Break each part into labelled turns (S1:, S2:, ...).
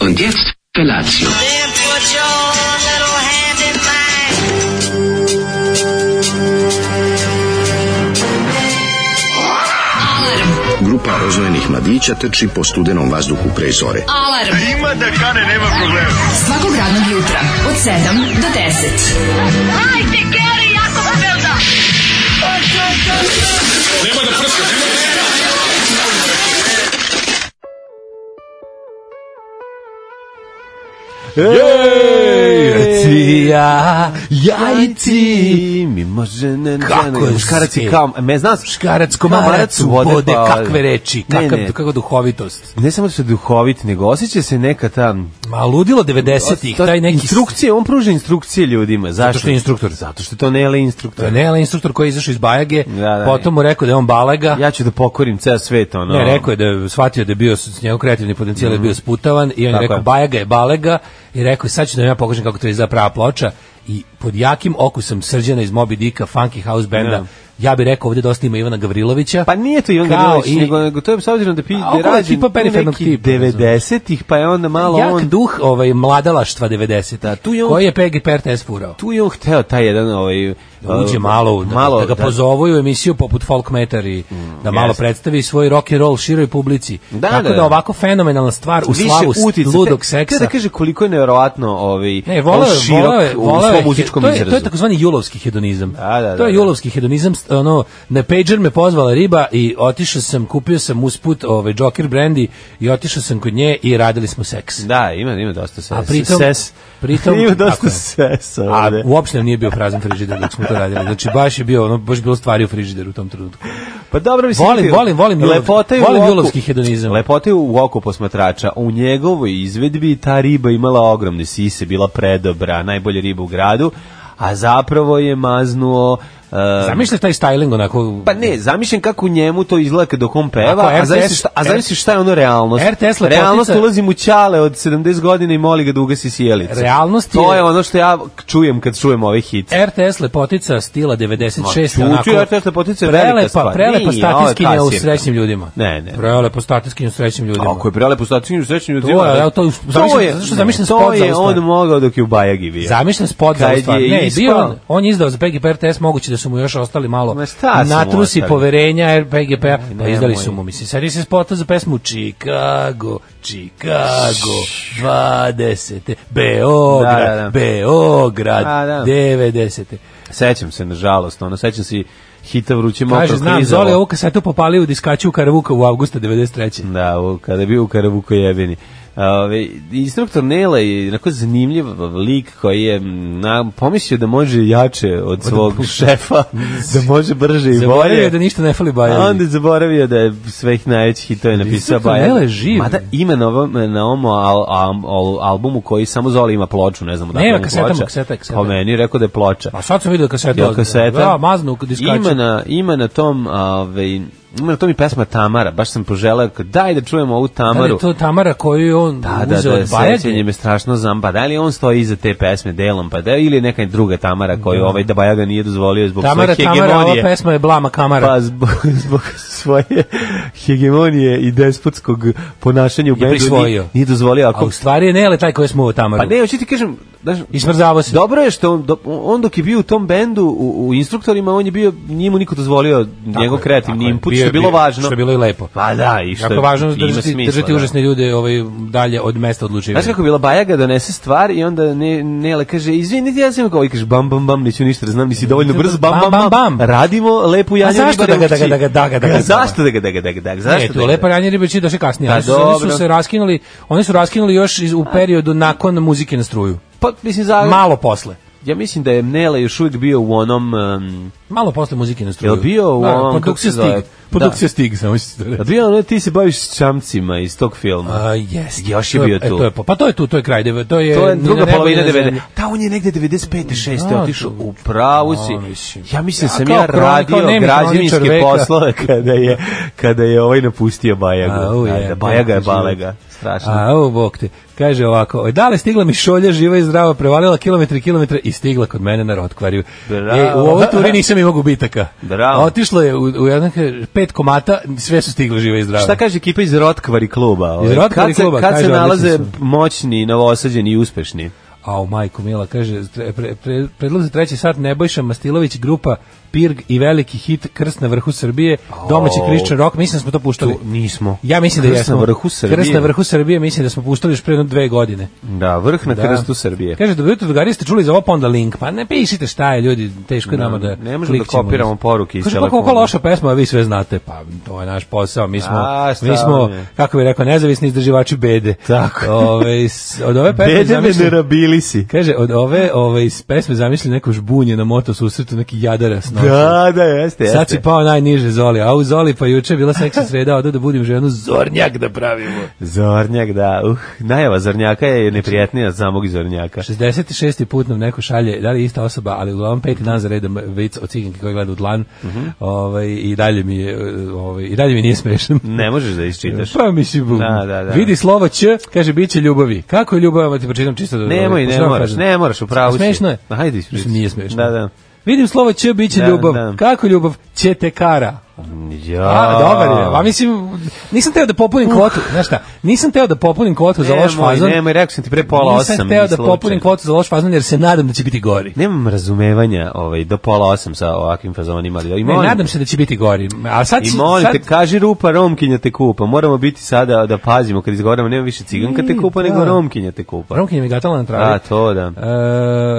S1: Und jetzt Felatio.
S2: Then put your little hand in mine.
S3: Grupa oznojenih mladića trči po studenom vazduhu pre zore.
S4: Alarm. Ima da kane, nema problema. Svakog radnog jutra, od 7 do 10.
S5: Ej,
S6: Ti, ja, ja i ti.
S5: ti mi može ne ne
S6: Kako
S5: ne,
S6: je
S5: muškarac je
S6: sve?
S5: kao me znam
S6: Škarac,
S5: komarac
S6: komarac,
S5: vode
S6: vode,
S5: pa-
S6: kakve reči,
S5: Ne,
S6: kakav,
S5: ne.
S6: kakva duhovitost.
S5: ne samo da su duhovit nego osjeća se neka ta
S6: Ma ludilo 90-ih, taj neki...
S5: instrukcije on pruža instrukcije ljudima zašto
S6: što je instruktor.
S5: zato što je to Nele instruktor
S6: Ne, ali instruktor koji je izašao iz Bajage,
S5: Da, da,
S6: potom mu rekao da je on balaga.
S5: ja ću da pokorim ceo svet ono
S6: Ne, rekao je da je shvatio da je bio, s- njegov kreativni potencijal je bio sputavan i on
S5: Mhm.
S6: je
S5: Tako
S6: rekao
S5: je.
S6: Bajaga je Balega i rekao je, sad ću da vam ja pokažem kako to izgleda prava ploča i pod jakim okusom Srđana iz Moby Dicka, Funky House Benda,
S5: Da.
S6: ja bih rekao ovdje dosta ima Ivana Gavrilovića.
S5: Pa nije to Ivan
S6: Kao
S5: Gavrilović,
S6: i-
S5: nego, nego to je s obzirom da pi,
S6: A oko je
S5: da rađen
S6: tipa perifernog
S5: neki
S6: tipa,
S5: 90-ih, pa je onda malo
S6: Jak
S5: on...
S6: duh ovaj, mladalaštva 90.
S5: Da, tu je on-
S6: Koji je Peggy Pertes furao.
S5: Tu je on hteo taj jedan... Ovaj,
S6: Da uđe malo, u- da, da ga pozovu u emisiju poput Folk Metar i da malo
S5: Mm, jeste.
S6: predstavi svoj rock and roll široj publici.
S5: Da,
S6: Tako
S5: da.
S6: da, ovako fenomenalna stvar u slavu s-
S5: uticaja.
S6: ludog
S5: Te-
S6: seksa.
S5: te da kaže koliko je nevjerovatno ovaj,
S6: Ne, voleo
S5: on
S6: je,
S5: širok
S6: voleo je, voleo
S5: u
S6: je,
S5: svom muzičkom
S6: to je,
S5: izrazu.
S6: To je takozvani julovski hedonizam.
S5: Da, da,
S6: to je
S5: da, da.
S6: julovski hedonizam, st- ono, na pager me pozvala riba i otišao sam, kupio sam usput ovaj, Joker brandy i otišao sam kod nje i radili smo seks.
S5: Da, ima, ima dosta ses.
S6: A pritom-
S5: ses.
S6: pritom-
S5: ima
S6: tako
S5: dosta
S6: je.
S5: sesa
S6: A
S5: ovde.
S6: uopšte nam nije bio prazan frižider dok smo to radili. Znači baš je bio, ono, baš je bilo stvari u frižideru u tom trenutku.
S5: Pa dobro mislim.
S6: Volim, volim, volim Julov-
S5: Lepota je u
S6: volim
S5: oku-
S6: julovski hedonizam.
S5: Lepota je u oku posmatrača. U njegovoj izvedbi ta riba imala ogromne sise, bila predobra, najbolja riba u gradu, a zapravo je maznuo uh,
S6: Zamišljaš taj styling onako...
S5: Pa ne, zamišljam kako njemu to izgleda kada on peva,
S6: Ako
S5: a
S6: RTS
S5: zamisli šta, a zamisli šta je ono realnost.
S6: RTS lepotica-
S5: realnost ulazi mu ćale od 70 godina i moli ga da ugasi sjelice.
S6: Realnost
S5: To
S6: je-
S5: je ono što ja čujem kad čujem ove hit.
S6: RTS lepotica stila 96
S5: Ma,
S6: onako.
S5: čuti, RTS lepotica je velika
S6: prelepa,
S5: stvar.
S6: Prelepa
S5: Nije, ovo je
S6: statiskinja u
S5: kasirka.
S6: srećnim ljudima.
S5: Ne, ne.
S6: Prelepa statiskinja u srećnim ljudima.
S5: Ako je prelepo statinju srećnju
S6: To je, evo, to je- zamišljam- zato što zamišljam
S5: to
S6: spot za
S5: je
S6: ovu stvar.
S5: on mogao dok je u Bajagi bio.
S6: Zamišljen spot za
S5: Kad
S6: ovu stvar.
S5: je
S6: Ne, bio
S5: ispao-
S6: on, on je izdao za PGP RTS, moguće da su mu još ostali malo
S5: Ma šta su mu
S6: natrusi
S5: ostali?
S6: poverenja PGP, pa
S5: nemoj.
S6: izdali su mu, mislim, sad se spota za pesmu Chicago, Chicago, 20. Beograd,
S5: Da, da, da.
S6: Beograd,
S5: A, da.
S6: 90.
S5: Sećam se, nažalost, ono, sećam se i hita vruće mokro
S6: Kaže, znam,
S5: klizavo.
S6: Zoli ovu kasetu popalio u diskaču u Karavuka u avgusta 93.
S5: Da, u, kada je bio u Karavuku jebeni. Ove, instruktor Nela je onako zanimljiv lik koji je m, na, pomislio da može jače od svog šefa, da može brže i
S6: Zaboravio je
S5: bolje.
S6: da ništa ne fali
S5: A
S6: Bajani.
S5: onda je zaboravio da je svih najvećih hitova napisao
S6: Instruktor
S5: Bajan.
S6: Nela je živ.
S5: Mada ima na ovom, na ovom al, al, al- albumu koji samo Zola ima ploču, ne znam odakle
S6: Nema,
S5: mu
S6: kaseta mu,
S5: ploča.
S6: kaseta je, kaseta.
S5: Po meni je rekao da je ploča.
S6: A Pa sad sam vidio kasetu.
S5: Jel kaseta?
S6: Da, maznu u diskaču.
S5: Ima na, ima na tom, ovaj, ima na tom i pesma Tamara, baš sam poželeo, kao, daj da čujemo ovu
S6: Da li
S5: Tamaru.
S6: je to Tamara koju je on
S5: Da, da,
S6: uzeo
S5: da,
S6: od Bajage?
S5: sećanje me strašno zamba. Da li on stoji iza te pesme delom, pa da, ili je neka druga Tamara koju ovaj da Bajaga nije dozvolio zbog
S6: Tamara,
S5: svoje
S6: Tamara, ova
S5: hegemonije.
S6: pesma je Blama Kamara.
S5: Pa zbog, zbog svoje hegemonije i despotskog ponašanja u bendu nije-
S6: prisvojio.
S5: Nije dozvolio
S6: a
S5: ako...
S6: u stvari je Nele taj koji je smuvao Tamaru.
S5: Pa ne, hoću ti kažem... Znaš,
S6: I smrzavao Pa se.
S5: Dobro je što on, do- on dok je bio u tom bendu, u, u instruktorima, on je bio, nije mu niko dozvolio njegov
S6: je,
S5: kreativni
S6: tako je.
S5: input,
S6: Bio
S5: što je bilo važno.
S6: Što je bilo i lepo.
S5: Pa da, i što
S6: Jako je važno
S5: ima
S6: držati,
S5: smisla,
S6: držati
S5: da.
S6: užasne ljude ovaj, dalje od mesta odlučivanja.
S5: Znaš kako je bila Bajaga donese stvar i onda ne, Nele kaže, izvinite, ja sam kao, i kaže, bam, bam, bam, neću ništa da znam, nisi dovoljno brz, bam, bam, bam,
S6: Bam, bam.
S5: radimo lepu janju.
S6: zašto
S5: ribare
S6: da ga-
S5: u
S6: da ga- da ga- da ga- da ga-
S5: Ga- Zašto da ga, da ga, da ga, da ga,
S6: Ne,
S5: zašto
S6: tu je lepa ranje ribeći došli kasnije.
S5: Pa
S6: Oni su, oni su
S5: dobro.
S6: se raskinuli, oni su raskinuli još iz, u periodu nakon muzike na struju.
S5: Pa, mislim, za,
S6: Malo posle.
S5: ja mislim da je Nele još uvijek bio u onom, um,
S6: Malo posle muzike na struju.
S5: Jel bio u
S6: Da,
S5: ovom,
S6: produkcija
S5: kako se zove?
S6: Stig. Produkcija Stig, samo ću ti to reći.
S5: bio ono, ti se baviš s čamcima iz tog filma.
S6: A, jest.
S5: Još je
S6: To
S5: bio
S6: e,
S5: tu.
S6: to je, po- pa to je tu, to je kraj. deve- To je,
S5: to je
S6: ni
S5: druga
S6: na nebu,
S5: polovina
S6: ni na
S5: 90.
S6: zemlji.
S5: Ta on je negde 95. 6.
S6: Da,
S5: otišao
S6: to-
S5: u pravu
S6: A,
S5: si.
S6: mislim.
S5: Ja mislim
S6: Ja
S5: sam
S6: kao
S5: ja
S6: kroni- kao
S5: radio
S6: nemi kroničar
S5: građevinske
S6: veka.
S5: poslove kada je kada je ovaj napustio
S6: Au,
S5: Bajagu. Da,
S6: jebote,
S5: da, Bajaga je
S6: život.
S5: balega. Strašno.
S6: A, evo, bog te. Kaže ovako, "Oj, da li stigla mi šolja živa i zdrava, prevalila kilometre i kilometre i stigla kod mene na rotkvariju.
S5: Bravo.
S6: E, u ovoj turi nisam imao gubitaka.
S5: Bravo.
S6: Otišlo je u, u jedan, kaže, pet komata, sve su stigle žive i zdrave.
S5: Šta kaže ekipa iz Rotkvari kluba? Ovaj,
S6: Iz Rotkvari
S5: kad se,
S6: kluba,
S5: Kad
S6: kaže,
S5: se
S6: odlični
S5: nalaze
S6: su.
S5: moćni, novosađeni i uspešni?
S6: A u majku Mila kaže tre, pre, pre, predlog za treći sat Nebojša Mastilović grupa Pirg i veliki hit Krst na vrhu Srbije, domaći
S5: Au.
S6: Christian rock, mislim da smo to puštali.
S5: Tu nismo.
S6: Ja mislim da
S5: Krst na
S6: jesmo.
S5: vrhu Srbije.
S6: Krst na vrhu Srbije mislim da smo puštali još pre jedno dve godine.
S5: Da, vrh na
S6: Da.
S5: krstu Srbije.
S6: Kaže, dobro jutro, drugari, ste čuli za ovo, pa onda link. Pa ne pišite šta je, ljudi, teško je
S5: Da,
S6: nama da
S5: ne možemo da
S6: klikćemo.
S5: kopiramo poruke iz
S6: Kaže, pa
S5: telefona.
S6: koliko loša pesma, a vi sve znate, pa to je naš posao. Mi smo,
S5: A, šta
S6: mi smo
S5: vam je?
S6: kako bih rekao, nezavisni izdrživači bede.
S5: Tako.
S6: Ove, s- od ove pesme
S5: Bede me ne
S6: zamišljam-
S5: rabili si.
S6: Kaže, od ove, ove iz pesme zamisli neko žbunje na moto susretu, neki jadaras. noću.
S5: Da, da, jeste, jeste.
S6: Znači. Sad si pao najniže Zoli, a u Zoli pa juče je bila seksi sreda, odo da budim ženu zornjak da pravimo.
S5: Zornjak, da. Uh, najava zornjaka je neprijatnija od samog zornjaka.
S6: 66. put nam neko šalje, da li je ista osoba, ali uglavnom peti dan za redom vic o ciganki koji gleda u dlan
S5: Mhm.
S6: ovaj, i dalje mi je, e, ovaj, i dalje mi nije smešan.
S5: Ne možeš da isčitaš.
S6: Pa mislim,
S5: Da, da, da.
S6: vidi slovo Ć, kaže, bit će ljubavi. Kako je ljubav, Evo ti pročitam čisto. da-
S5: Nemoj,
S6: da-
S5: ne
S6: što vam
S5: moraš,
S6: kažem.
S5: ne moraš, u pravu si.
S6: Smešno je.
S5: Ma, hajde ispričaj.
S6: Mislim, nije smešno.
S5: Da, da.
S6: Vidim slovo Ć, bit će
S5: Da,
S6: ljubav.
S5: da.
S6: Kako ljubav? Će te kara.
S5: Ja.
S6: A, dobar je. A mislim, nisam teo da popunim kvotu, znaš šta, nisam teo da popunim kvotu za loš
S5: Nemoj,
S6: fazon.
S5: nemoj, rekao sam ti pre pola
S6: Nisam
S5: osam,
S6: hteo da
S5: slučajno.
S6: popunim kvotu za loš fazon jer se nadam da će biti gori.
S5: Nemam razumevanja ovaj, do pola osam sa ovakvim fazonima. ali- I
S6: Ne,
S5: molim,
S6: nadam se da će biti gori. A sad
S5: I
S6: će-
S5: molim
S6: sad,
S5: te, kaži rupa, Romkinja te kupa. Moramo biti sada da pazimo kad izgovaramo, nema više ciganka te kupa,
S6: Mm,
S5: nego
S6: da.
S5: Romkinja te kupa.
S6: Romkinja mi gatala na travi.
S5: A, to da.
S6: E,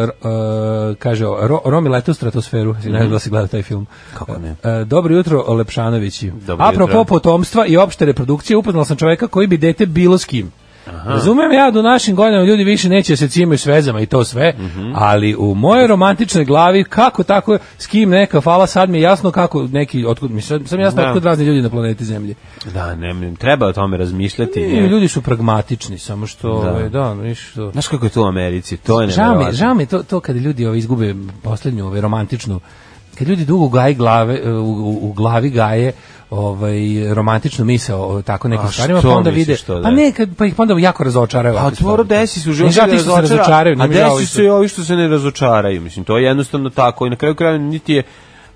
S6: r- e, kaže, ro, Romi lete u stratosferu, si ne znam da li si gledao taj film.
S5: Kako ne?
S6: E, dobro jutro, Lepšanovići.
S5: Dobro
S6: Apropo
S5: jutro.
S6: potomstva i opšte reprodukcije, upoznal sam čoveka koji bi dete bilo s kim. Razumem ja da u našim godinama ljudi više neće da se cimaju s vezama i to sve,
S5: Mhm.
S6: ali u mojoj romantičnoj glavi kako tako s kim neka fala sad mi je jasno kako neki otkud mi sad, sam jasno
S5: Da.
S6: otkud razni ljudi na planeti Zemlji.
S5: Da, ne, ne, treba o tome razmišljati.
S6: I,
S5: Ne.
S6: ljudi su pragmatični, samo što
S5: Da.
S6: ovaj, da, viš, što-
S5: Znaš kako je to u Americi? To je
S6: Žao mi,
S5: nevjerovatno.
S6: žao mi je to, to kada ljudi ove izgube poslednju ove romantičnu kad ljudi dugo gaje glave e, u, u- u glavi gaje ovaj romantičnu misao o tako nekim
S5: A
S6: stvarima
S5: što
S6: pa onda
S5: misliš
S6: vide
S5: to, da?
S6: pa ne kad, pa ih onda jako razočaraju
S5: Pa
S6: ovakve
S5: tvoro
S6: stvari.
S5: desi se u
S6: Ne
S5: životu
S6: žao
S5: da
S6: ti što se
S5: razočara,
S6: razočaraju,
S5: a
S6: ne mi žao
S5: desi
S6: isto.
S5: se i ovi što se ne razočaraju, mislim, to je jednostavno tako i na kraju kraja niti je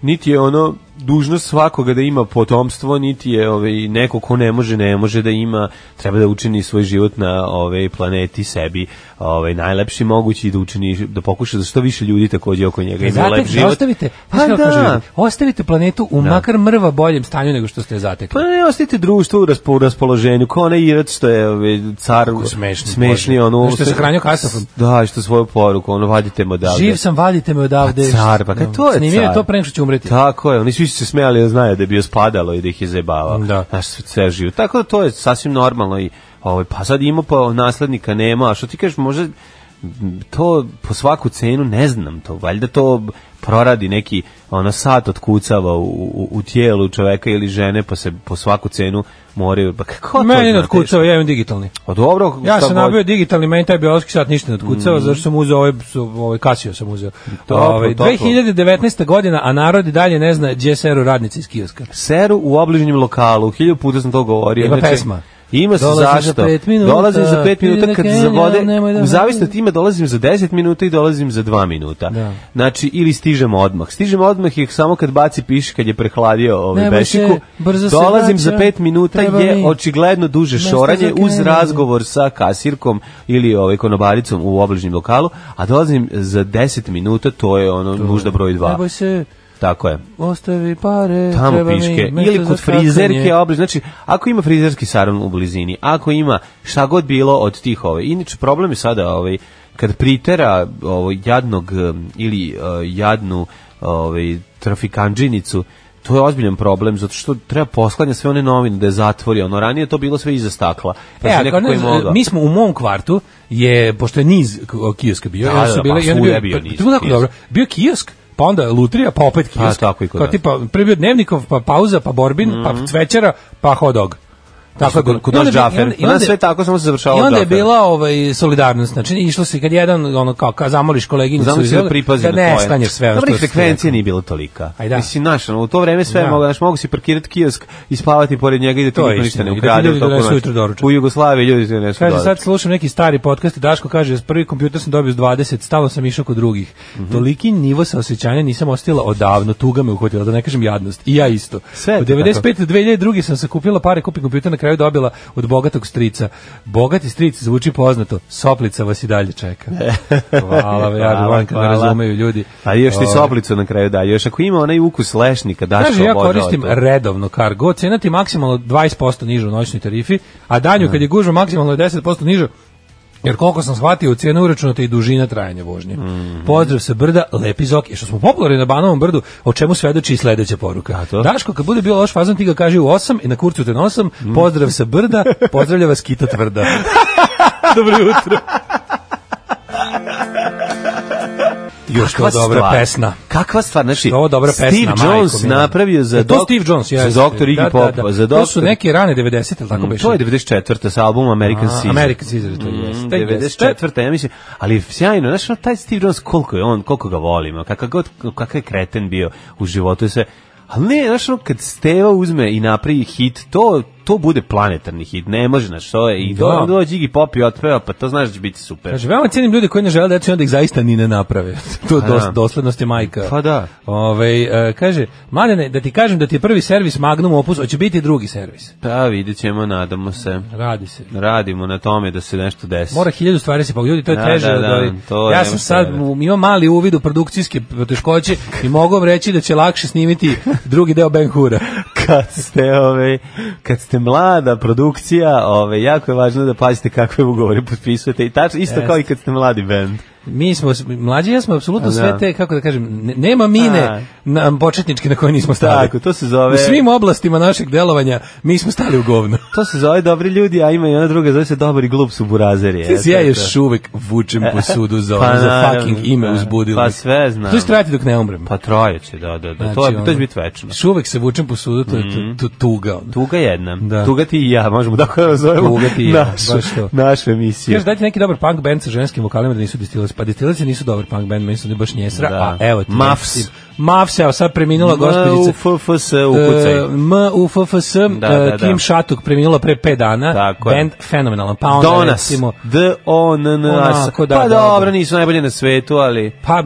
S5: niti je ono dužnost svakoga da ima potomstvo, niti je ovaj neko ko ne može, ne može da ima, treba da učini svoj život na ovaj planeti sebi, ovaj najlepši mogući i da učini da pokuša da što više ljudi takođe oko njega ima
S6: Zatek-
S5: lep život.
S6: ostavite,
S5: Pa
S6: E, znaš kako
S5: da.
S6: kažu ljudi, ostavite planetu u makar mrva boljem stanju nego što ste je zatekli.
S5: Pa ne, ostavite društvo u raspo- u raspoloženju, kao onaj Irac što je ovaj, car
S6: smešni,
S5: smešni
S6: Bože.
S5: ono...
S6: Znaš što je sahranio kasafom?
S5: Da, i što svoju poruku, ono, vadite mu odavde.
S6: Živ sam, vadite me odavde.
S5: Pa car, pa kad to je
S6: Snimio
S5: car.
S6: to pre nego što ću umreti.
S5: Tako je, oni svi su se smijali da znaju da je bio spadalo i da ih je zajebavao.
S6: Da.
S5: Znaš, sve- sve živo. Tako da to je sasvim normalno i ovaj, pa sad ima pa naslednika nema, a što ti kažeš, možda m, to po svaku cenu ne znam to, valjda to proradi neki ono sat otkucava u, u, u tijelu čoveka ili žene pa se po svaku cenu moraju pa kako to
S6: Meni
S5: znate?
S6: ne otkucao, ja imam digitalni.
S5: A dobro,
S6: Ja
S5: šta
S6: sam
S5: god. Mhm.
S6: nabio digitalni, meni taj biološki sat ništa ne otkucao, zašto sam uzeo ovaj, su- ovaj Casio sam uzeo.
S5: Toplo,
S6: Ovaj,
S5: toplo.
S6: 2019. godina, a narod i dalje ne zna gdje seru radnici iz kioska.
S5: seru u obližnjem lokalu. Hiljadu puta sam to govorio.
S6: Ima
S5: Inače,
S6: pesma.
S5: Ima se
S6: Dolazim
S5: zašto.
S6: za pet minuta,
S5: dolazim za 5 minuta kad
S6: idem na
S5: zavode.
S6: Kenjan, nemoj da-
S5: u zavisno od time dolazim za 10 minuta i dolazim za 2 minuta.
S6: Da.
S5: Znači ili stižemo odmah. Stižemo odmah ih samo kad baci piši kad je prehladio ovaj
S6: Nemoj
S5: bešiku.
S6: se, brzo se
S5: dolazim za
S6: vraća,
S5: 5 minuta
S6: treba
S5: je
S6: mi
S5: očigledno duže
S6: mesto
S5: šoranje
S6: za
S5: uz
S6: Kenjan.
S5: razgovor sa kasirkom ili ovaj konobaricom u obližnjem lokalu, a dolazim za 10 minuta, to je ono nužda broj 2.
S6: Neboj se,
S5: Tako je
S6: ostavi pare,
S5: tamo
S6: E, treba mi
S5: piške
S6: mesto
S5: ili
S6: za
S5: kod
S6: skakanje.
S5: frizerke obraz znači ako ima frizerski salon u blizini ako ima šta god bilo od tih ove inače problem je sada ovaj kad pritera ovo jadnog em, ili eh, jadnu ovaj trafikandžinicu to je ozbiljan problem zato što treba posklanja sve one novine da je zatvori ono ranije je to bilo sve iza stakla pa
S6: E,
S5: se
S6: a
S5: neko
S6: ne,
S5: koji mogao
S6: mi smo u mom kvartu, je, pošto je niz k- o, kioska bio,
S5: Da,
S6: i onda
S5: da,
S6: su
S5: da,
S6: bile,
S5: pa
S6: i onda
S5: svuda je bio
S6: pa-
S5: niz
S6: to je tako
S5: kioska.
S6: dobro, bio kiosk, pa onda lutrija, pa opet kiosk.
S5: tako i kod
S6: Kao
S5: nas. Mhm.
S6: tipa, prvi bio dnevnikov, pa pauza, pa borbin, pa cvećara, pa hot dog. Tako je bilo.
S5: Kod
S6: I
S5: nas
S6: onda bi- i
S5: Džafer.
S6: onda- i
S5: Kod nas
S6: onda-
S5: sve tako, samo se završavalo
S6: I onda je
S5: Džaferom.
S6: bila ovaj, solidarnost. Znači, išlo se kad jedan, ono, kao, kao zamoliš koleginicu.
S5: Znamo
S6: iz
S5: se da
S6: ovoga,
S5: pripazi
S6: Znači, da
S5: na
S6: ne
S5: tvoje.
S6: stanješ sve. ono
S5: Dobrih
S6: što si ti
S5: frekvencija
S6: rekao.
S5: nije bilo tolika.
S6: Aj da.
S5: Mislim, znaš, ono, u to vreme sve
S6: Da.
S5: mogu, znaš, mogu si parkirati kiosk i spavati pored njega i da ti
S6: To je
S5: niko ništa
S6: istina,
S5: ne
S6: i da ti
S5: ukrade.
S6: ljudi
S5: u toku
S6: donesu
S5: noći.
S6: ujutro doručak.
S5: U Jugoslaviji ljudi ti ne
S6: Kaže, sad slušam neki stari podcast i Daško kaže, prvi kompjuter sam dobio s 20, stalo sam išao kod drugih.
S5: Mhm.
S6: Toliki nivo saosećanja nisam ostavila odavno, tuga me uhvatila, da ne kažem jadnost. I ja isto.
S5: Sve je
S6: Od
S5: to
S6: 95. do 2002. sam sakupila pare, kupim kompjuter, na kraju dobila od bogatog strica. Bogati stric zvuči poznato, soplica vas i dalje čeka. Hvala, ja
S5: Hvala,
S6: volim kad me
S5: hvala.
S6: razumeju ljudi.
S5: A još ti
S6: Ovaj.
S5: soplicu na kraju da. Još ako ima onaj ukus lešnika, daš
S6: Kaže, ja koristim redovno kargo, cena ti maksimalno 20% niža u noćnoj tarifi, a danju kad je gužva maksimalno je 10% niža, jer koliko sam shvatio, u cijenu uračunata i dužina trajanja vožnje. Pozdrav sa brda, lepi zok. I što smo popularni na Banovom brdu, o čemu svedoči i sledeća poruka.
S5: to?
S6: Daško, kad bude bilo loš fazon, ti ga kaži u 8 i na kurcu te na 8, pozdrav sa brda, pozdravlja vas kita tvrda. Dobro jutro. Još to dobra pesna.
S5: Kakva stvar, znači,
S6: Ovo je dobra
S5: Steve
S6: pesma, majko
S5: Jones
S6: mila.
S5: napravio za,
S6: E, to
S5: dok-
S6: Steve Jones,
S5: za
S6: jeste.
S5: doktor Iggy
S6: Da, da,
S5: Popa.
S6: da.
S5: Za
S6: To su
S5: doktor-
S6: neke rane 90 ili tako
S5: Mm,
S6: beše.
S5: To je 94. sa albuma American
S6: A,
S5: Caesar.
S6: American Caesar, to jeste,
S5: Mm, 94. ja mislim, ali sjajno, znaš, ono, taj Steve Jones, koliko je on, koliko ga volimo, kakav god, kakav je kreten bio u životu i sve, ali ne, znaš, ono, kad Steva uzme i napravi hit, to, to bude planetarni hit, ne može, znaš, to je, i
S6: Da.
S5: do, dođe Iggy Pop i otpeva, pa to znaš da će biti super.
S6: Kaže, Znači, veoma cenim ljude koji ne žele decu i onda ih zaista ni ne naprave. to je
S5: Pa
S6: dos,
S5: da.
S6: doslednost je majka.
S5: Pa da.
S6: Ove, kaže, mladene, da ti kažem da ti je prvi servis Magnum Opus, hoće biti drugi servis.
S5: Pa vidjet ćemo, nadamo se.
S6: Radi se.
S5: Radimo na tome da se nešto desi.
S6: Mora hiljadu stvari se pogledati, to je
S5: Da,
S6: teže.
S5: da,
S6: od
S5: da,
S6: ovih.
S5: to
S6: ja
S5: nema
S6: sam
S5: šta
S6: sad,
S5: da
S6: mu- imao mali uvid u produkcijske poteškoće i mogu vam reći da će lakše snimiti drugi deo Ben Hura.
S5: kad ste ove kad ste mlada produkcija, ove jako je važno da pazite kakve ugovore potpisujete i tačno isto
S6: Jest.
S5: kao i kad ste mladi bend.
S6: Mi smo, s- mlađi i ja smo apsolutno
S5: Da.
S6: sve te, kako da kažem, ne- nema mine
S5: Da.
S6: na, početničke na koje nismo stali.
S5: Tako, to se zove-
S6: U svim oblastima našeg delovanja mi smo stali u govno.
S5: To se zove dobri ljudi, a ima i ona druga zove se dobar i glup su burazeri.
S6: Ti ja još uvek vučem po sudu za,
S5: Pa
S6: ono, za
S5: naravno,
S6: fucking ime
S5: da.
S6: uzbudilo.
S5: Pa
S6: me.
S5: sve znam.
S6: To će trajati dok ne umrem.
S5: pa trajeće, da, da, da. to,
S6: Znači,
S5: je, to
S6: ono,
S5: će biti večno. Mhm.
S6: Još uvek se vučem po sudu, to je tu- tu- tuga. ono.
S5: Tuga jedna.
S6: Da.
S5: Tuga ti i ja, možemo tako da nazovemo
S6: Tuga ti i ja,
S5: našu,
S6: baš to.
S5: našu emisiju.
S6: Još dajte neki dobar punk band sa ženskim vokalima da nisu Distillers. Pa Distillers nisu dobar punk band, meni su oni baš njesra.
S5: Da.
S6: A evo ti.
S5: Muffs.
S6: Mafs, evo sad preminula gospođica.
S5: MUFFS, ukucaj.
S6: E, MUFFS,
S5: Da, da, da.
S6: e, Kim Šatuk preminula pre 5 dana.
S5: Tako je.
S6: Band fenomenalan. Pa onda
S5: Donas.
S6: recimo...
S5: D-O-N-N-A-S.
S6: Onako, da,
S5: Pa
S6: da, da.
S5: dobro, nisu najbolje na svetu, ali...
S6: Pa,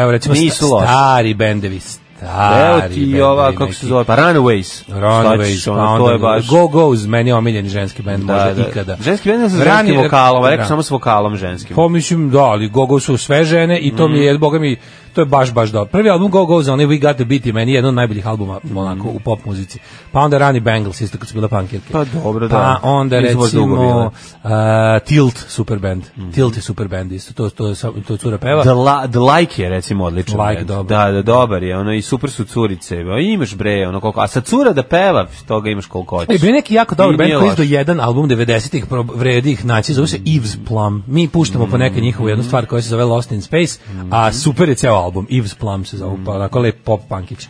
S6: evo recimo sta-
S5: Nisu loši.
S6: stari bendevi. Stari
S5: Evo ti i
S6: bendevi
S5: ova, kako se
S6: neki.
S5: zove, pa Runaways. Šta
S6: Runaways,
S5: ćeš,
S6: pa
S5: ono,
S6: onda
S5: to je baš...
S6: Go Go's, meni je omiljeni ženski band, možda ikada.
S5: Ženski bend je sa ženskim
S6: Ranije-
S5: vokalom, a
S6: Da.
S5: rekao samo s vokalom ženskim.
S6: Pa mislim, da, ali Gogo su sve žene i to mi
S5: Mhm.
S6: je, boga mi, to je baš, baš dobro. Prvi album Gogo za onaj We Got The Beat je meni jedan od najboljih albuma
S5: Mhm.
S6: onako u pop muzici. Pa onda rani Bangles, isto kad su bile punkirke.
S5: Pa dobro,
S6: Pa
S5: da.
S6: onda
S5: Nisu baš dugo
S6: recimo
S5: bile. Mhm.
S6: a, Tilt, super band. Tilt je super band isto, to, to, to, to cura peva.
S5: The, la, the Like je recimo odličan.
S6: Like,
S5: bend.
S6: dobar.
S5: Da, da, dobar je, ono, i super su curice. o, Imaš bre, ono, koliko, a sa cura da peva, toga imaš koliko hoćeš.
S6: E, bio je neki jako dobar
S5: I
S6: band
S5: nije
S6: koji
S5: loš.
S6: izdo jedan album 90-ih, prob- vredi ih naći, zove se Eve's Plum. Mi puštamo po neke njihovu jednu stvar koja se zove Lost in Space, a super je ceo album, Eve's Plum se zove, pa onako lep pop punkić. E,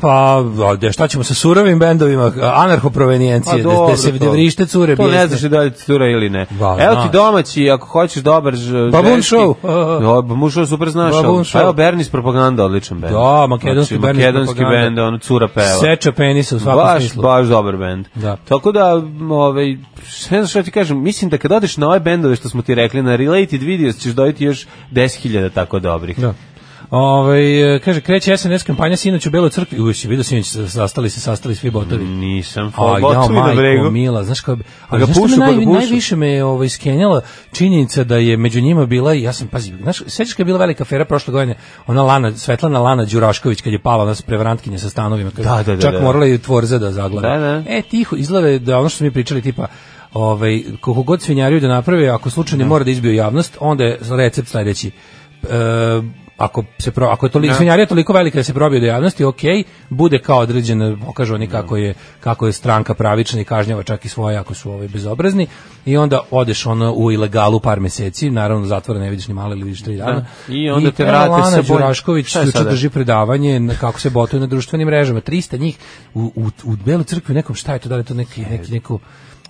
S6: pa, ode, šta ćemo sa surovim bendovima,
S5: Pa
S6: anarhoprovenijencije, da,
S5: dobro
S6: da se da
S5: to.
S6: vrište cure
S5: To ne
S6: bijesne.
S5: znaš da li ti cura ili ne.
S6: Ba,
S5: Evo
S6: znaš.
S5: ti domaći, ako hoćeš dobar ž-
S6: Baboon
S5: ženski-
S6: Show.
S5: Da, Baboon Show super znaš.
S6: Baboon
S5: ali-
S6: Show.
S5: Evo Bernis Propaganda, odličan bend. Znači,
S6: Da, makedonski Bernis
S5: Makedonski
S6: Propaganda.
S5: bend, ono, cura peva.
S6: Seča penisa u svakom
S5: baš,
S6: smislu.
S5: baš dobar bend.
S6: Da.
S5: Tako da, m, ovaj, ne znam što ti kažem, mislim da kad odeš na ove bendove što smo ti rekli, na Related Videos ćeš dobiti još 10.000 tako dobrih.
S6: Da. Ove, kaže, kreće SNS kampanja sinoć u Beloj crkvi. Uj, si vidio sinoć, sastali se, sastali svi botovi.
S5: Nisam,
S6: A
S5: hvala,
S6: ja,
S5: botovi na
S6: majko,
S5: bregu.
S6: mila, znaš kao,
S5: Pa
S6: ali
S5: ga
S6: znaš što me
S5: pušu, pa
S6: naj,
S5: ga pušu.
S6: najviše me je ovo iskenjala činjenica da je među njima bila, ja sam, pazi, znaš, sećaš kad je bila velika afera prošle godine, ona Lana, Svetlana Lana Đurašković kad je pala, ona prevarantkinja sa stanovima, kad
S5: Da, da, da,
S6: čak
S5: da.
S6: morala je tvorza da zagleda.
S5: Da, da.
S6: E, tiho, izgleda je da ono što smo mi pričali, tipa, ovaj, koliko god svinjariju da naprave, ako slučajno mora da izbiju javnost, onda je recept sledeći. E, ako se pro, ako je toliko svinjarija toliko velika da se probije do javnosti, ok, bude kao određena, pokažu oni kako je kako je stranka pravična i kažnjava čak i svoje ako su ovi bezobrazni i onda odeš ono u ilegalu par meseci, naravno zatvora ne vidiš ni malo ili vidiš tri dana.
S5: I onda te vrate
S6: evo, Ana
S5: sa boj-
S6: Đurašković
S5: Šta je
S6: juče
S5: sada?
S6: drži predavanje na kako se botuje na društvenim mrežama. 300 njih u, u, u Beloj crkvi u nekom šta je to, da li je to neki, neki, neku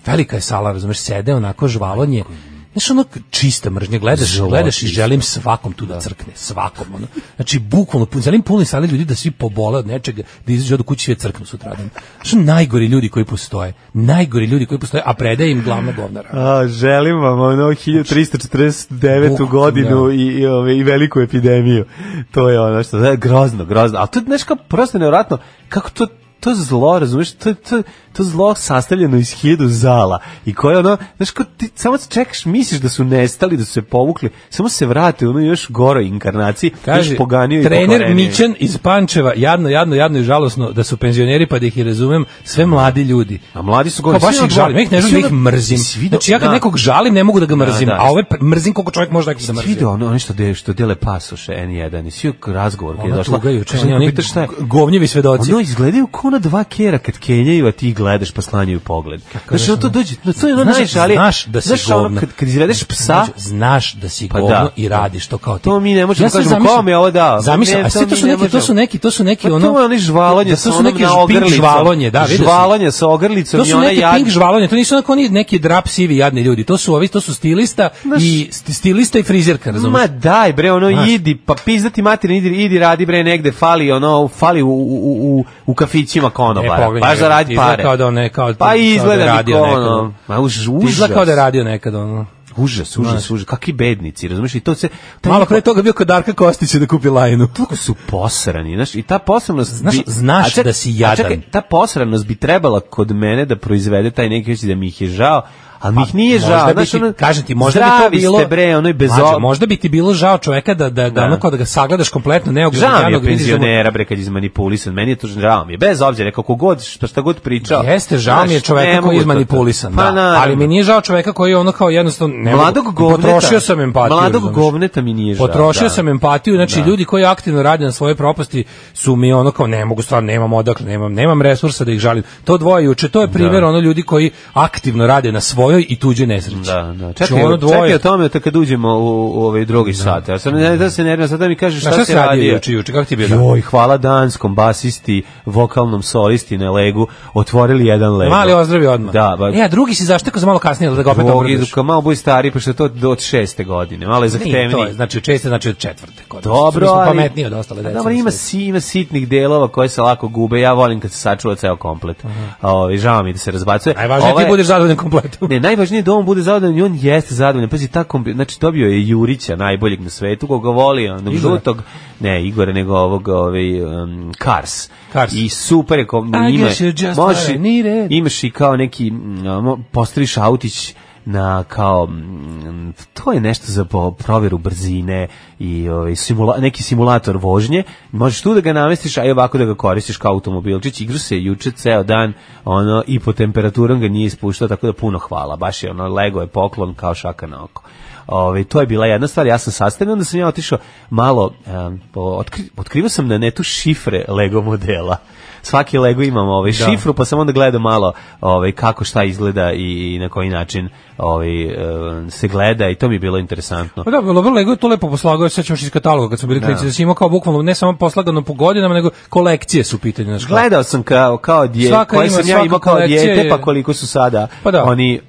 S6: velika je sala, razumeš, sede onako žvalonje. Znaš, ono k- čista mržnja, gledaš, gledaš i želim svakom tu da crkne, svakom. Ono. Znači, bukvalno, pun, želim puni sale ljudi da svi pobole od nečega, da izađu od kući sve crknu sutradan. Znaš, najgori ljudi koji postoje, najgori ljudi koji postoje, a predaje im glavna govnara.
S5: A, želim vam ono 1349.
S6: Bukvalno,
S5: godinu
S6: da.
S5: i, i, ove, i veliku epidemiju. To je ono što, da, grozno, grozno. Ali to je nešto prosto nevjerojatno, kako to to zlo, razumeš, to, to, to zlo sastavljeno iz hiljadu zala i koje ono, znaš, ko ti samo čekaš, misliš da su nestali, da su se povukli, samo se vrate u ono još goroj inkarnaciji, još poganio i
S6: trener
S5: pokvarenio.
S6: Mićan iz Pančeva, jadno, jadno, jadno i žalosno da su penzioneri, pa da ih i razumem, sve mladi ljudi.
S5: A mladi su
S6: Kao
S5: gori.
S6: Pa baš
S5: Svi
S6: ih žalim, ja ih ne
S5: Svi
S6: želim, ja ih
S5: ono-
S6: mrzim.
S5: Jesi vidio-
S6: Znači ja kad
S5: da.
S6: nekog žalim, ne mogu da ga mrzim,
S5: Da, da.
S6: a ove pr- mrzim koliko čovjek može da ga mrzim.
S5: Vidio ono, oni što, de, što dele pasoše N1 i svi razgovor gdje je
S6: Ona
S5: došla.
S6: Ono, tuga juče,
S5: Kaže,
S6: oni, oni
S5: pitaš šta je?
S6: govnjevi svedoci.
S5: Ono izgledaju kao na dva kera kad kenjaju, a ti gledaš pa slanjaju pogled. Znaš, ono to dođe, no, to je ono
S6: Znaš-
S5: najžalije.
S6: znaš da si
S5: Znaš, ono,
S6: govno.
S5: Kad, kad izvedeš psa,
S6: Znaš, Znači, znaš da si
S5: Pa
S6: govno
S5: da.
S6: i radiš to kao ti.
S5: To mi ne možemo
S6: sad
S5: kažemo,
S6: zamišljam-
S5: kome je ovo dao?
S6: Zamišljam,
S5: Ne,
S6: a sve
S5: to
S6: to
S5: mi
S6: su
S5: ne
S6: neki, to
S5: možemo.
S6: su neki, to su neki
S5: pa to
S6: ono.
S5: je ono žvalanje
S6: da,
S5: sa
S6: to su
S5: onom
S6: neki
S5: na
S6: pink
S5: ogrlicom.
S6: žvalonje, da, vidio sam.
S5: Žvalanje sa ogrlicom
S6: To
S5: i
S6: su
S5: ona
S6: neki
S5: jad-
S6: pink žvalonje, to nisu onako oni neki drap sivi jadni ljudi, to su ovi, to su stilista i sti- stilista i frizerka, razumeš?
S5: Ma daj bre, ono idi, pa pizdati materina, idi, idi radi bre negde, fali ono, fali u, u, u, u- u kafićima konobara,
S6: pogledaj
S5: baš
S6: ga,
S5: da radi
S6: izgleda
S5: pare.
S6: Kao da on ne, kao,
S5: Pa
S6: kao
S5: i izgleda
S6: da je
S5: mi
S6: radio
S5: kao
S6: nekad.
S5: ono, ma už,
S6: Izgleda kao da je
S5: užas.
S6: radio nekad, ono.
S5: Užas, užas, užas, kakvi bednici, razumiješ, i to se... to
S6: Malo
S5: njihova-
S6: pre toga bio kod Darka Kostića da kupi lajnu.
S5: toliko su posrani, znaš, i ta posranost...
S6: Znaš-
S5: bi-
S6: znaš
S5: a ček-
S6: da si
S5: a
S6: jadan.
S5: čekaj, ta posranost bi trebala kod mene da proizvede taj neki osjećaj da mi ih je žao, ali mi ih nije
S6: Pa, možda
S5: žao,
S6: bi
S5: znaš,
S6: ti-
S5: ono,
S6: kažem ti, možda bi
S5: zdravi
S6: to bilo...
S5: ste bre, ono je bez
S6: Mlađo,
S5: o-
S6: možda bi ti bilo žao čoveka da, da, da,
S5: Da.
S6: ono kao da ga sagledaš kompletno neogranog
S5: Žao mi je
S6: jadnog, vidiš da mu-
S5: penzionera, bre, kad je izmanipulisan. Meni je to žao mi je. Bez obzira, kako god, što šta god pričao.
S6: Jeste, žao mi je
S5: Znaš, ne
S6: čoveka
S5: mogu
S6: koji je
S5: to-
S6: izmanipulisan,
S5: Pa,
S6: da.
S5: naravno.
S6: ali mi nije žao čoveka koji je ono kao jednostavno ne mogu.
S5: Mladog govneta.
S6: potrošio sam empatiju.
S5: Mladog
S6: razumeš?
S5: govneta mi nije žao.
S6: Potrošio
S5: da.
S6: sam empatiju, znači ljudi koji aktivno rade na svoje propasti su mi ono kao ne mogu stvarno nemam odakle, nemam nemam resursa da ih žalim. To dvoje juče, to je primjer ono ljudi koji aktivno rade na svojoj i tuđoj nesreći.
S5: Da, da.
S6: Znači,
S5: Čekaj,
S6: ono dvoje-
S5: čekaj o tome da kad uđemo u, u ovaj drugi sat. Ja sam ne da se nervira, sad da mi kažeš
S6: Na
S5: šta,
S6: šta
S5: se
S6: si radio
S5: radi.
S6: juče, juče? Kako ti je bio dan?
S5: Joj, hvala danskom basisti, vokalnom solisti na legu, otvorili jedan lego.
S6: Mali ozdravi odmah.
S5: Da, ba.
S6: E, a drugi si zaštekao za malo kasnije, ali da ga opet
S5: Drugi,
S6: obradiš.
S5: kao malo budi stari, pošto je to od šeste godine. Malo je
S6: Nije, to je,
S5: zahtevniji.
S6: znači često znači od četvrte. Kod nas.
S5: Dobro,
S6: Mi smo
S5: ali...
S6: pametniji od ostale
S5: A
S6: dece.
S5: Dobro, ima,
S6: mislim.
S5: si, ima sitnih delova koje se lako gube. Ja volim kad se sačuva ceo komplet. Ovi, žao mi je da se razbacuje.
S6: Najvažnije je
S5: Ovaj-
S6: ti budeš zadovoljan kompletom.
S5: Ne, najvažnije je da on bude zadovoljan i on jeste zadovoljan. Pazi, ta kombi... znači dobio je Jurića, najboljeg na svetu, koga voli, onog
S6: Igora.
S5: žutog, ne Igora, nego ovog, ovaj, um, Kars.
S6: Kars.
S5: I super je, kom,
S6: I
S5: ima,
S6: guess you're just
S5: možeš
S6: what I
S5: i-
S6: needed.
S5: imaš i kao neki, mm, ono, postaviš autić na kao mm, to je nešto za po- proveru brzine i ovaj simula, neki simulator vožnje možeš tu da ga namestiš a i ovako da ga koristiš kao automobilčić igra se juče ceo dan ono i po temperaturom ga nije ispuštao tako da puno hvala baš je ono lego je poklon kao šaka na oko Ove, to je bila jedna stvar, ja sam sastavio, onda sam ja otišao malo, em, po, otkri, otkrivao sam na netu šifre Lego modela. Svaki Lego imam ovaj, šifru, pa sam onda gledao malo ovaj, kako šta izgleda i, i na koji način ovaj, em, se gleda i to mi je bilo interesantno.
S6: Pa da, bilo Lego je to lepo poslagao, sad ćemo iz kataloga kad smo bili klinici, da si imao kao bukvalno ne samo poslagano po godinama, nego kolekcije su u pitanju. Znaš, kao.
S5: Gledao sam kao, kao dje,
S6: Svaka
S5: koje
S6: ima-
S5: sam ja
S6: svaka
S5: imao kao
S6: kolekcija
S5: dijete,
S6: je-
S5: pa koliko su sada
S6: Pa da,
S5: oni...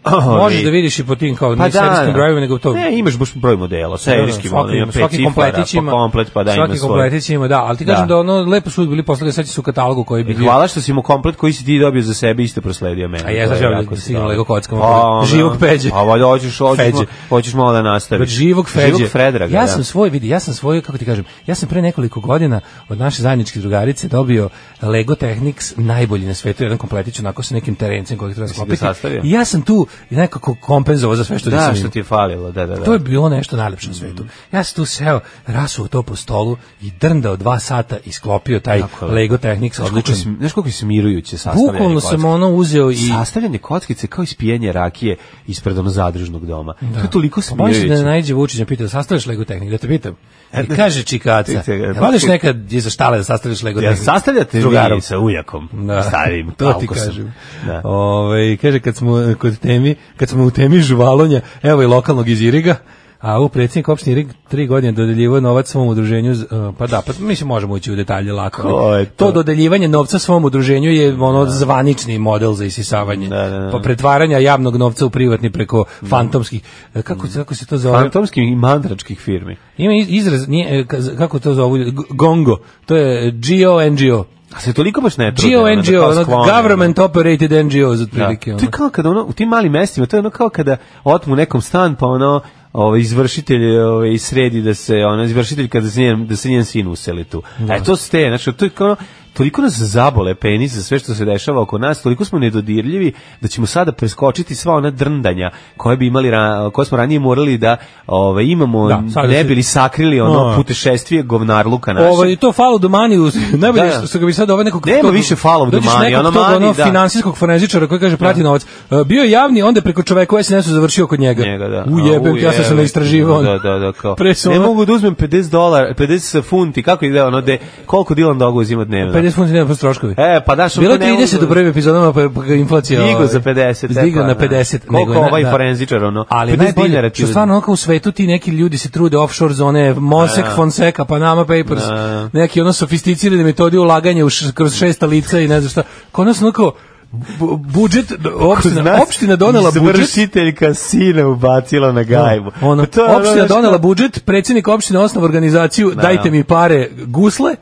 S5: ovi-
S6: možeš
S5: Pa
S6: da vidiš i po tim kao ne serijskim brojevima, nego to
S5: Ne, imaš baš broj modela, serijski
S6: svaki
S5: model, ima
S6: ima,
S5: pet
S6: svaki
S5: cifara,
S6: kompletić
S5: pa
S6: ima,
S5: komplet, pa da ima
S6: svaki
S5: svoj.
S6: kompletić ima, da, ali ti kažem
S5: Da.
S6: da, ono lepo su bili poslali, sad su u katalogu koji bi
S5: I
S6: bio.
S5: hvala što si mu komplet koji si ti dobio za sebe isto prosledio meni.
S6: A ja
S5: To
S6: sad želim
S5: jako
S6: da
S5: si
S6: stignem
S5: dobro.
S6: Lego kockama,
S5: Pa, ono,
S6: živog Peđe.
S5: A valjda hoćeš, hoćeš,
S6: Feđe.
S5: malo- hoćeš malo da nastaviš.
S6: Od živog Feđe.
S5: Živog Fredraga,
S6: ja
S5: da.
S6: sam svoj, vidi, ja sam svoj, kako ti kažem, ja sam pre nekoliko godina od naše zajedničke drugarice dobio Lego Technics najbolji na svetu, jedan kompletić onako sa nekim terencem kojeg treba
S5: ga
S6: sklopiti.
S5: sastavio?
S6: I ja sam tu nekako kompenzovao za sve što
S5: Da,
S6: nisam
S5: što
S6: imao.
S5: ti je falilo, da, da, da, da. Mhm.
S6: To je bilo nešto najlepše na svetu. Ja sam tu seo, rasuo to po stolu i drndao dva sata i sklopio taj
S5: Tako je.
S6: Lego Technics
S5: Znaš koliko je
S6: odličan.
S5: sm- Znaš koliko je smirujuće sastavljanje
S6: Bukvalno sam
S5: kockice?
S6: ono uzeo i...
S5: i sastavljanje kockice kao ispijenje rakije ispred ono zadružnog doma. To je toliko
S6: Pa Možeš
S5: smirujuće.
S6: da najđe Vučić da pita, sastaviš Lego tehnik, da te pitam.
S5: E,
S6: I kaže čikaca,
S5: Ti- ti-
S6: jel odeš nekad iza štale da sastaviš Lego
S5: Jel
S6: tehnik?
S5: sastavljate
S6: S
S5: drugarom sa ujakom?
S6: Da,
S5: Stavim,
S6: to ti
S5: aukosom.
S6: kažem.
S5: Da.
S6: Ove, kaže, kad smo e, kod temi, kad smo u temi žuvalonja, evo i lokalnog iz Iriga, a u predsjednik opštine Irig tri godine dodeljivao novac svom udruženju, z- e, pa da, pa mislim možemo ući u detalje lako. ali
S5: Ko je to?
S6: to dodeljivanje novca svom udruženju je ono zvanični model za isisavanje.
S5: Da, da, da.
S6: Pa pretvaranja javnog novca u privatni preko fantomskih, e, kako, se- kako se to zove?
S5: Fantomskih i mandračkih firmi.
S6: Ima iz- izraz, nije, e, ka- kako to zovu, ljudi? G- gongo, to je G-O-N-G-O.
S5: A se toliko baš ne trude.
S6: GO
S5: ono, da kao
S6: NGO, ono,
S5: sklone,
S6: government operated NGOs otprilike.
S5: Da.
S6: ono.
S5: To je kao kada ono, u tim malim mestima, to je ono kao kada otmu nekom stan, pa ono, ovaj izvršitelj ovaj sredi da se ono izvršitelj kada se njen da se njen sin useli tu. E to ste, znači to je kao ono, toliko nas zabole penis za sve što se dešava oko nas, toliko smo nedodirljivi da ćemo sada preskočiti sva ona drndanja koje bi imali ra, koje smo ranije morali da ovaj imamo
S6: Da, sad
S5: ne
S6: se-
S5: bili sakrili ono
S6: A.
S5: putešestvije govnarluka našeg.
S6: Ovo, i to falo domani, uz, najbolje
S5: Da.
S6: da. što ga bi sad ovaj nekog...
S5: Nema
S6: tog-
S5: više falov
S6: dođeš
S5: domani,
S6: nekog
S5: ono
S6: tog,
S5: mani,
S6: ono
S5: da.
S6: financijskog forenzičara koji kaže prati novac. E, Bio je javni, onda je preko čoveka u SNS-u završio kod njega.
S5: njega, da.
S6: U
S5: A,
S6: jebem, ti, ja sam se
S5: ujebe.
S6: ne istraživao. ono.
S5: Da, da, da, kao.
S6: Pre su
S5: ne
S6: ono-
S5: mogu da uzmem 50 dolara, 50 funti, kako ide ono, de, koliko Dilan Dogo uzima dnevno?
S6: 50 funti nema plus troškovi.
S5: E, pa daš,
S6: Bilo je
S5: ne mogu-
S6: 30 u prvim epizodama, pa je pa ga inflacija...
S5: Digo
S6: ovaj,
S5: za 50. e,
S6: Digao
S5: pa,
S6: na
S5: da.
S6: 50.
S5: Koliko
S6: je na-
S5: ovaj forenzičar, ono,
S6: Ali
S5: 50 dinara
S6: najbolje,
S5: ti
S6: Pa što
S5: uzme.
S6: stvarno onako u svetu ti neki ljudi se trude offshore zone, Mosek,
S5: Da.
S6: Fonseca, Panama Papers,
S5: Da.
S6: neki ono sofisticirane metode ulaganja u š, kroz šesta lica i ne znam šta. Kod nas onako bu- budžet,
S5: Kod
S6: opština,
S5: nas
S6: opština donela budžet,
S5: Izvršiteljka sina ubacila na gajbu.
S6: ono,
S5: Pa to je ono,
S6: opština
S5: znaš,
S6: donela
S5: kao-
S6: budžet, predsjednik opštine osnov organizaciju, dajte mi pare gusle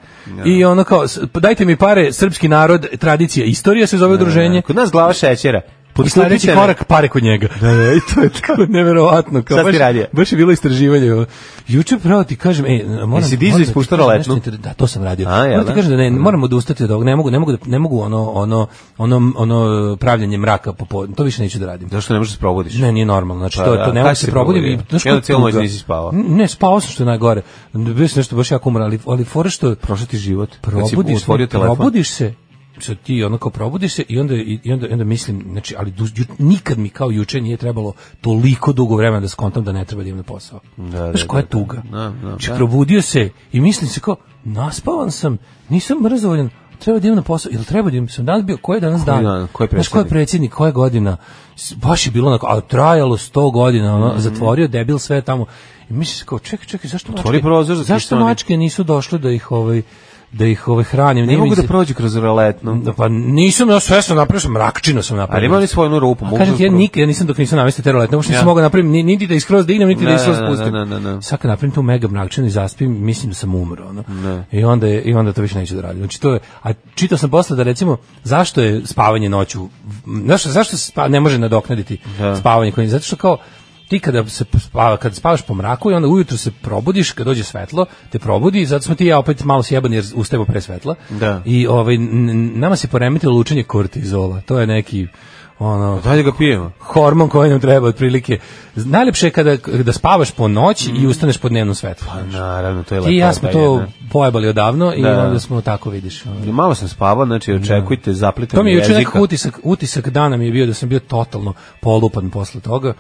S6: i ono kao, s- dajte mi pare srpski narod, tradicija, istorija se zove udruženje.
S5: Kod nas glava šećera.
S6: I sledeći
S5: Potkupite me.
S6: korak pare kod njega.
S5: Da, da, i to je tako.
S6: Kako neverovatno, kao
S5: Šta si
S6: baš,
S5: radio?
S6: baš je bilo istraživanje. Juče pravo ti kažem, ej, moram
S5: Jesi dizao
S6: moram
S5: i
S6: ti
S5: spuštao
S6: kažem
S5: roletnu?
S6: nešto inter- Da, to sam radio.
S5: A, jel
S6: moram ti
S5: da?
S6: kažem da ne, moramo odustati od ovog, ne mogu, ne mogu da ne mogu ono ono ono ono pravljanje mraka popodne. To više neću da radim.
S5: Zašto ne možeš da se probodiš?
S6: Ne, nije normalno. Znači
S5: Pa
S6: to,
S5: da,
S6: to ne
S5: kad
S6: mogu
S5: si
S6: se probudim i
S5: probudio?
S6: znaš
S5: I onda
S6: kako
S5: cijelu noć
S6: tuga.
S5: nisi spavao?
S6: N- Ne, spavao sam što je najgore. Bio sam nešto baš jako umoran, ali ali fora što
S5: Prošao ti život. Kad si
S6: probudiš,
S5: otvorio
S6: se,
S5: telefon.
S6: probudiš se, sad ti onako probudiš se i onda, i i onda, i onda mislim, znači, ali du, ju- nikad mi kao juče nije trebalo toliko dugo vremena da skontam da ne treba da idem na posao.
S5: da,
S6: Znaš, koja
S5: da,
S6: je tuga?
S5: da. Da, da,
S6: znači,
S5: da.
S6: probudio se i mislim se kao, naspavan sam, nisam mrzovoljan, treba da idem na posao, ili treba da idem, sam danas bio, koji je danas dan?
S5: dan, koji je
S6: Znaš, ko je
S5: predsjednik?
S6: predsjednik, koja je godina? S- Baš je bilo onako, a trajalo 100 godina,
S5: Mhm.
S6: ono, zatvorio debil sve tamo. I mislim se kao, čekaj, čekaj, zašto
S5: Otvori
S6: mačke-
S5: prozor za
S6: zašto
S5: krštanje.
S6: mačke nisu došle da ih ovaj da ih ovaj hranim.
S5: Ne mogu da prođu kroz roletnu.
S6: da pa nisam ja svesno napravio sam mrakčinu sam napravio.
S5: Ali ima li svoju onu rupu?
S6: A
S5: mogu
S6: kažem
S5: da
S6: ti, ja
S5: prođu.
S6: nikad ja nisam dok nisam namestio te rolete, uopšte
S5: Ja.
S6: nisam mogao napravim, ni, niti da iskroz da idem, niti da
S5: Ne,
S6: iskroz
S5: ne, ne,
S6: pustim.
S5: ne, ne, ne.
S6: Sad kad napravim tu mega mrakčinu i zaspim, mislim da sam umro. Ono. I, onda je, I onda to više neću da radim. Znači, to je, a čitao sam posle da recimo, zašto je spavanje noću, m, zašto, zašto se spa, ne može nadoknaditi spavanje? Koje, zato što kao, ti kada se spava, kada spavaš po mraku i onda ujutru se probudiš, kad dođe svetlo, te probudi, zato smo ti i ja opet malo sjebani jer ustajemo pre svetla.
S5: Da.
S6: I ovaj, n- n- nama se poremetilo lučenje kortizola. To je neki ono,
S5: Dalje Pa ga pijemo.
S6: hormon koji nam treba otprilike. Z- Najlepše je kada da spavaš po noći
S5: Mm.
S6: i ustaneš po dnevnom svetlu.
S5: Pa Naravno, to je lepo.
S6: Ti i ja smo to pojebali odavno i
S5: Da.
S6: onda smo tako vidiš. ono.
S5: Malo sam spavao, znači očekujte zapletan
S6: To mi je juče
S5: jezika.
S6: nekako utisak, utisak dana mi je bio da sam bio totalno polupan posle toga.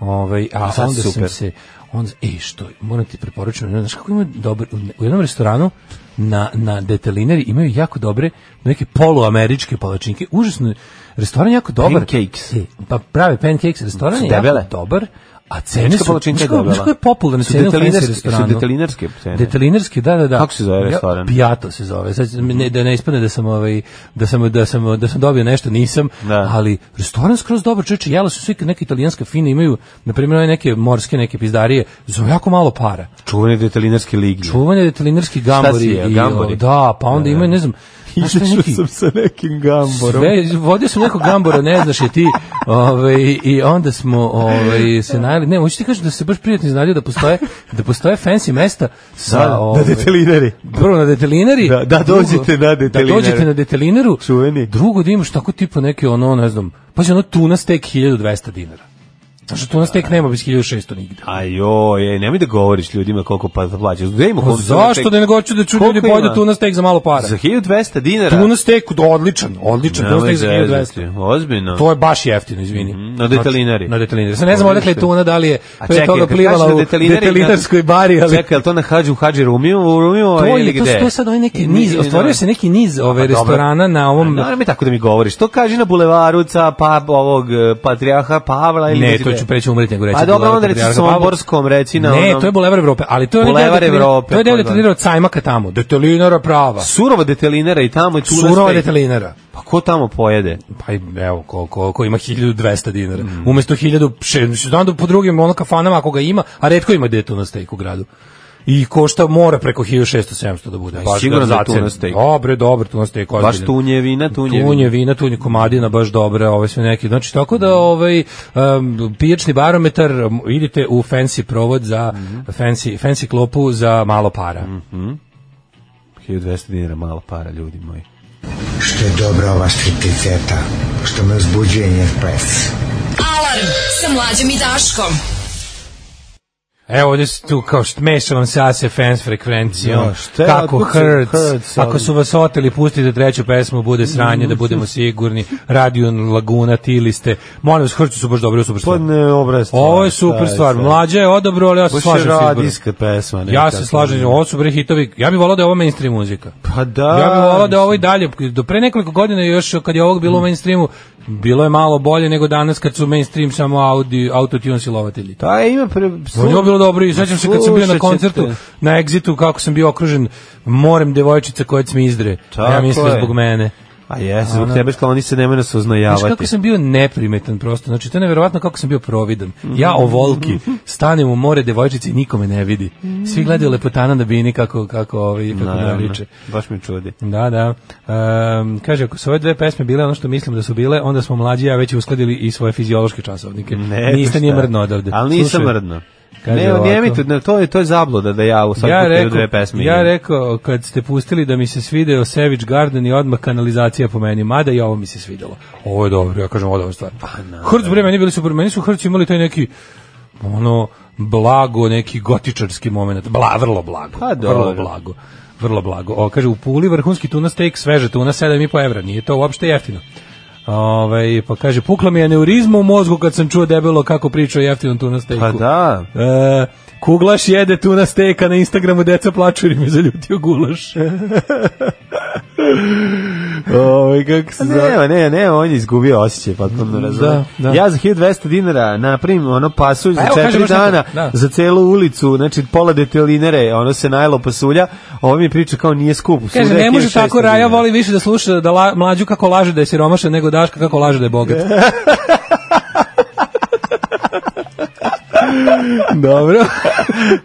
S6: Ovaj, a,
S5: sad
S6: onda
S5: super.
S6: sam se onda, e što, moram ti preporučiti, znaš kako ima dobar, u jednom restoranu na, na detelineri imaju jako dobre neke poluameričke palačinke, užasno, je. restoran je jako dobar.
S5: Pancakes.
S6: E, pa prave pancakes, restoran
S5: Su
S6: je jako
S5: debele.
S6: dobar, a cene
S5: Američka
S6: su,
S5: palačinka je
S6: znaš kako-
S5: debela.
S6: znaš koje je popularne
S5: Su
S6: cene u fancy
S5: detelinarske-
S6: restoranu?
S5: Su detelinarske cene.
S6: Detelinarski, da, da, da.
S5: Kako se zove
S6: Ja-
S5: restoran?
S6: Pijato se zove. Sad ne,
S5: Mhm.
S6: da ne ispadne da sam ovaj da sam da sam da sam dobio nešto nisam,
S5: Da.
S6: ali restoran skroz dobar, čoveče, jela su svi neka italijanska fina imaju, na primjer, one neke morske neke pizdarije za jako malo para.
S5: Čuvene detelinarske ligi.
S6: Čuvanje detelinarski gambori,
S5: jeo,
S6: i,
S5: gambori?
S6: o, da, pa onda imaju ne znam, znaš šta je
S5: Izašao
S6: neki-
S5: sam sa nekim gamborom.
S6: sve, vodio sam nekog gambora, ne znaš je ti, ovaj, i onda smo ovaj, se najeli, ne, hoću ti kažem da se baš prijatno iznadio da postoje, da postoje fancy mesta sa,
S5: Da, da
S6: ovaj,
S5: detelinari.
S6: prvo na detelinari,
S5: Da, da
S6: drugo-
S5: dođete na
S6: da
S5: detelinare.
S6: dođete na detelinaru,
S5: Čuveni.
S6: drugo da imaš tako tipa neke ono, ne znam, pazi ono tuna steak 1200 dinara. Zašto tu nas tek nema bez 1600 nigde?
S5: Ajo, je, nemoj da govoriš ljudima koliko pa plaćaš. Da ima
S6: Pa
S5: koliko-
S6: zašto da ne goću da ću ljudi
S5: Koliko
S6: pojedu
S5: ima?
S6: tu nas tek za malo para?
S5: Za 1200 dinara.
S6: Tu nas tek, odličan, odličan, tu nas
S5: Nemoj
S6: tek za
S5: zezati.
S6: 1200.
S5: Ozbiljno.
S6: To je baš jeftino, izvini.
S5: Mhm, na detalinari.
S6: Znači, Na detalinari. Sad ne znam odakle je
S5: Odlično.
S6: tuna, da li je
S5: A
S6: pre
S5: čekaj,
S6: toga
S5: kad kažeš
S6: plivala
S5: na
S6: u
S5: detalinari, znači,
S6: detalinarskoj bari, ali
S5: Čekaj, je li to na Hadži u Hadži Rumiju, u Rumiju
S6: to
S5: ili
S6: je, to,
S5: gde?
S6: su- to je sad ovaj neki
S5: I-
S6: niz,
S5: i-
S6: ostvario se neki niz ove
S5: Pa dobro.
S6: restorana na ovom...
S5: Naravno mi tako da mi govoriš. To kaži na bulevaru ca pa ovog eh, patrijarha Pavla ili
S6: Ne,
S5: gde?
S6: to ću preći umreti nego reći.
S5: Pa dobro,
S6: Bulevar
S5: onda reći
S6: Patrijarha Pavla.
S5: Somborskom, reci na
S6: Ne,
S5: onom-
S6: to je Bulevar Evrope, ali to je onaj deo
S5: Bulevar
S6: detalina-
S5: Evrope,
S6: To je deo
S5: pa da.
S6: detalinara od sajmaka tamo, detalinara prava.
S5: Surova detelinara i tamo je tu
S6: Surova detalinara.
S5: Pa ko tamo pojede?
S6: Pa i, evo, ko, ko, ko ima 1200 dinara. Mm. Umesto 1600, znam da po drugim ono kafanama ako ga ima, a redko ima detu na steak u gradu. I košta mora preko 1600-700 da bude. Baš
S5: siguran da je
S6: zaceni.
S5: tuna steak.
S6: Dobre, dobre, tu na steak.
S5: Baš tunjevina, tunjevina.
S6: Tunje vina, tunje komadina, baš dobra, ove sve neke. Znači, tako da ovaj, um, pijačni barometar, um, idite u fancy provod za,
S5: Mhm.
S6: fancy, fancy klopu za malo para.
S5: 1200 dinara malo para, ljudi moji.
S1: Što je dobra ova stripticeta, što me uzbuđuje njen pes.
S4: Alarm sa mlađom i Daškom.
S6: Evo ovdje su tu kao što meša vam se ase fans frekvencijom,
S5: Da, šta je,
S6: kako
S5: otkud su
S6: hurts,
S5: hurts, ali- Mhm.
S6: ako su vas oteli, pustite treću pesmu, bude sranje, da budemo sigurni, Radion Laguna, tili ste, molim vas, hurts su baš dobri, ovo je super stvar.
S5: Pa obraz.
S6: Ovo je super stvar, mlađa je odobro, ali ja se slažem s izborom.
S5: pesma.
S6: Ja se slažem, ovo su bre hitovi, ja bih volao da je ovo mainstream muzika.
S5: Pa da.
S6: Ja bih volao da ovaj- je ovo i dalje, do pre nekoliko godina još kad je ovog bilo u mainstreamu, bilo je malo bolje nego danas kad su mainstream samo audi, autotune silovatelji.
S5: Pa ima pre...
S6: Ovo je bilo dobro i sećam se kad sam bio na
S5: Slušat
S6: koncertu,
S5: ćete.
S6: na Exitu, kako sam bio okružen morem devojčica koje cmizdre.
S5: Tako
S6: ja mislim
S5: je.
S6: zbog mene.
S5: A jes, zbog
S6: Ono-
S5: tebe što oni se nemaju nas oznajavati.
S6: Znači kako sam bio neprimetan prosto, znači to je neverovatno kako sam bio providan. Ja ovolki stanem u more devojčice i nikome ne vidi. Svi gledaju lepotana na bini kako, kako, ovaj, kako
S5: Naravno,
S6: naviče.
S5: Baš mi čudi.
S6: Da, da. Ehm, kaže, ako su ove dve pesme bile ono što mislim da su bile, onda smo mlađi i ja već uskladili i svoje fiziološke časovnike. Niste nije
S5: šta.
S6: mrdno odavde.
S5: Ali nisam
S6: Slušaj,
S5: mrdno.
S6: Kaže
S5: ne,
S6: ovako.
S5: ne, mi to, ne, to je to je zabluda da ja u
S6: ja
S5: svakom ja
S6: rekao,
S5: dve pesme.
S6: ja
S5: imam.
S6: rekao, kad ste pustili da mi se svideo Savage Garden i odmah kanalizacija po meni, mada i ovo mi se svidelo. Ovo je dobro, ja kažem, ovo je dobra stvar. Pa, Hrc, bre, meni bili super, meni su Hrci imali taj neki, ono, blago, neki gotičarski moment, bla, vrlo blago,
S5: Pa, dobro.
S6: vrlo blago. Vrlo blago. O, kaže, u Puli vrhunski tuna steak, sveže tuna, 7,5 evra. Nije to uopšte jeftino. Ove, pa kaže, pukla mi je neurizma u mozgu kad sam čuo debelo kako priča o jeftinom tuna steaku.
S5: Pa da.
S6: E, kuglaš jede tu na steka na Instagramu, deca plaču jer im je zaljutio gulaš.
S5: Ovaj kako se Ne, ne, ne, on je izgubio osjećaj, potpuno razumem.
S6: da. Pa
S5: Ja za 1200 dinara napravim ono pasulj za
S6: evo, kažem
S5: 4
S6: još neko,
S5: dana,
S6: da.
S5: za celu ulicu, znači pola detelinere, ono se najelo pasulja, a ovo mi priča kao nije skup.
S6: Kaže,
S5: svuda je
S6: ne može
S5: 1600
S6: tako, Raja
S5: dinara.
S6: voli više da sluša da la, mlađu kako laže da je siromašan nego Daška kako laže da je bogat. Dobro.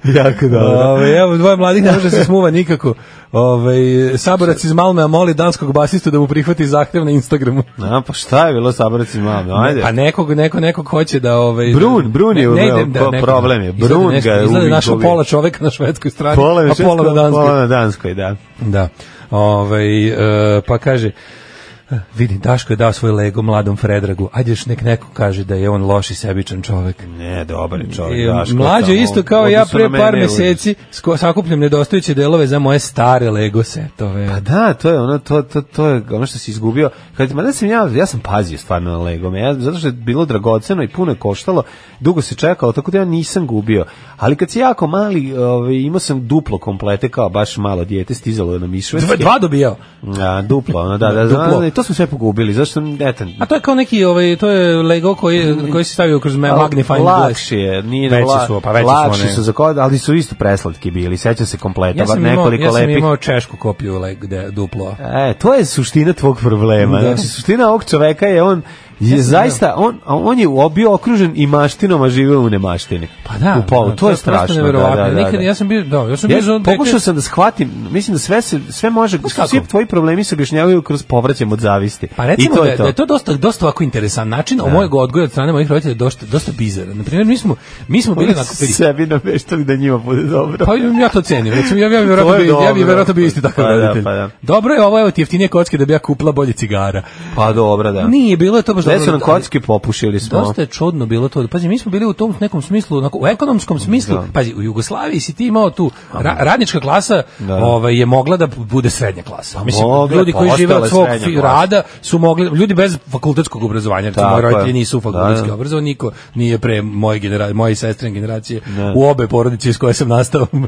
S5: jako dobro.
S6: Ove, evo, dvoje mladih ne može da se smuva nikako. Ove, saborac iz Malmea moli danskog basistu da mu prihvati zahtev na Instagramu.
S5: A, pa šta je bilo sabraci mame? Ajde.
S6: Pa nekog, nekog, nekog hoće da... Ovaj,
S5: Brun, Brun je
S6: ne- ne
S5: uveo
S6: idem
S5: po-
S6: nekog-
S5: problem je.
S6: izgleda
S5: Brun
S6: nešto-
S5: ga je
S6: Izgleda
S5: uvijek
S6: našao
S5: ubio.
S6: pola čoveka na švedskoj strani,
S5: Pola je
S6: a pola na
S5: švedskoj,
S6: danskoj.
S5: Pola na danskoj, da.
S6: Da. Ovaj e, pa kaže vidi, Daško je dao svoj lego mladom Fredragu. Ajde još nek neko kaže da je on loš i sebičan čovek.
S5: Ne, dobar je čovjek.
S6: E,
S5: Daško,
S6: Mlađo
S5: samo
S6: isto kao
S5: u
S6: ja
S5: odnosu na
S6: pre
S5: mene
S6: par
S5: je užas.
S6: meseci sko- sakupljam nedostajuće delove za moje stare Lego setove.
S5: Pa da, to je ono, to, to, to je ono što si izgubio. Kad, ma da sam ja, ja sam pazio stvarno na Legome, ja, zato što je bilo dragoceno i puno je koštalo, dugo se čekalo, tako da ja nisam gubio. Ali kad si jako mali, ovaj, imao sam duplo komplete, kao baš malo dijete, stizalo nam iz
S6: Dva,
S5: Švedske.
S6: dva dobijao.
S5: A, duplo, ono, da, da,
S6: Duplo.
S5: da, da, i to smo sve pogubili, zašto sam, eto,
S6: A to je kao neki, ovaj, to je Lego koji,
S5: Mm.
S6: koji se stavio kroz me- magnifying glass.
S5: lakši je, nije
S6: Veći
S5: la-
S6: su, pa veći su
S5: lakši
S6: one.
S5: su za kod, ali su isto preslatki bili, sećam se kompleta,
S6: Ja
S5: bar
S6: sam, imao,
S5: nekoliko
S6: ja sam
S5: lepih.
S6: imao češku kopiju Lego, de, duplo.
S5: E, to je suština tvog problema.
S6: Da.
S5: Znači, suština ovog čoveka je on je zaista, on, a on je u- bio okružen i maštinom, a žive u nemaštini.
S6: Pa da,
S5: u polu.
S6: da,
S5: to je
S6: prosto
S5: strašno. Da, da,
S6: neverovatno.
S5: da, da.
S6: Nikad, ja sam bio, da, ja sam bio
S5: Ja
S6: za ono
S5: pokušao sam da shvatim, mislim da sve se sve može,
S6: kako?
S5: svi tvoji problemi se objašnjavaju kroz povraćaj od zavisti.
S6: Pa recimo
S5: I to
S6: da,
S5: je to.
S6: da je to dosta dosta ovako interesantan način, da. mojeg odgoja od strane mojih roditelja je dosta dosta bizaran. Na primjer, mi smo mi smo bili na
S5: Oni su sebi nameštali da njima bude dobro.
S6: Pa ja to cenim. Recimo, ja, ja
S5: To
S6: bih verovatno
S5: je
S6: bio, ja bih
S5: dobro.
S6: verovatno bio isti takav
S5: Pa da,
S6: roditelj.
S5: pa da.
S6: Dobro je ovo, evo ti jeftinije kocke da bi ja kupila bolje cigara.
S5: Pa dobro, da.
S6: Nije bilo je to baš
S5: sve su nam
S6: ali-
S5: kocke popušili smo.
S6: Dosta je čudno bilo to. Pazi, mi smo bili u tom nekom smislu, onako, u ekonomskom smislu, pazi, u Jugoslaviji si ti imao tu, ra, radnička klasa ovaj, je mogla da bude srednja klasa. Mislim,
S5: mogla, pa
S6: ljudi koji
S5: postala
S6: žive
S5: je
S6: od svog
S5: srednja
S6: fi-
S5: klasa.
S6: rada su mogli, ljudi bez fakultetskog obrazovanja, recimo,
S5: Tako
S6: moji
S5: je.
S6: roditelji nisu fakultetski
S5: Da.
S6: obrazovani, niko nije pre moje generacije, moje sestre generacije, u obe porodice iz koje sam nastao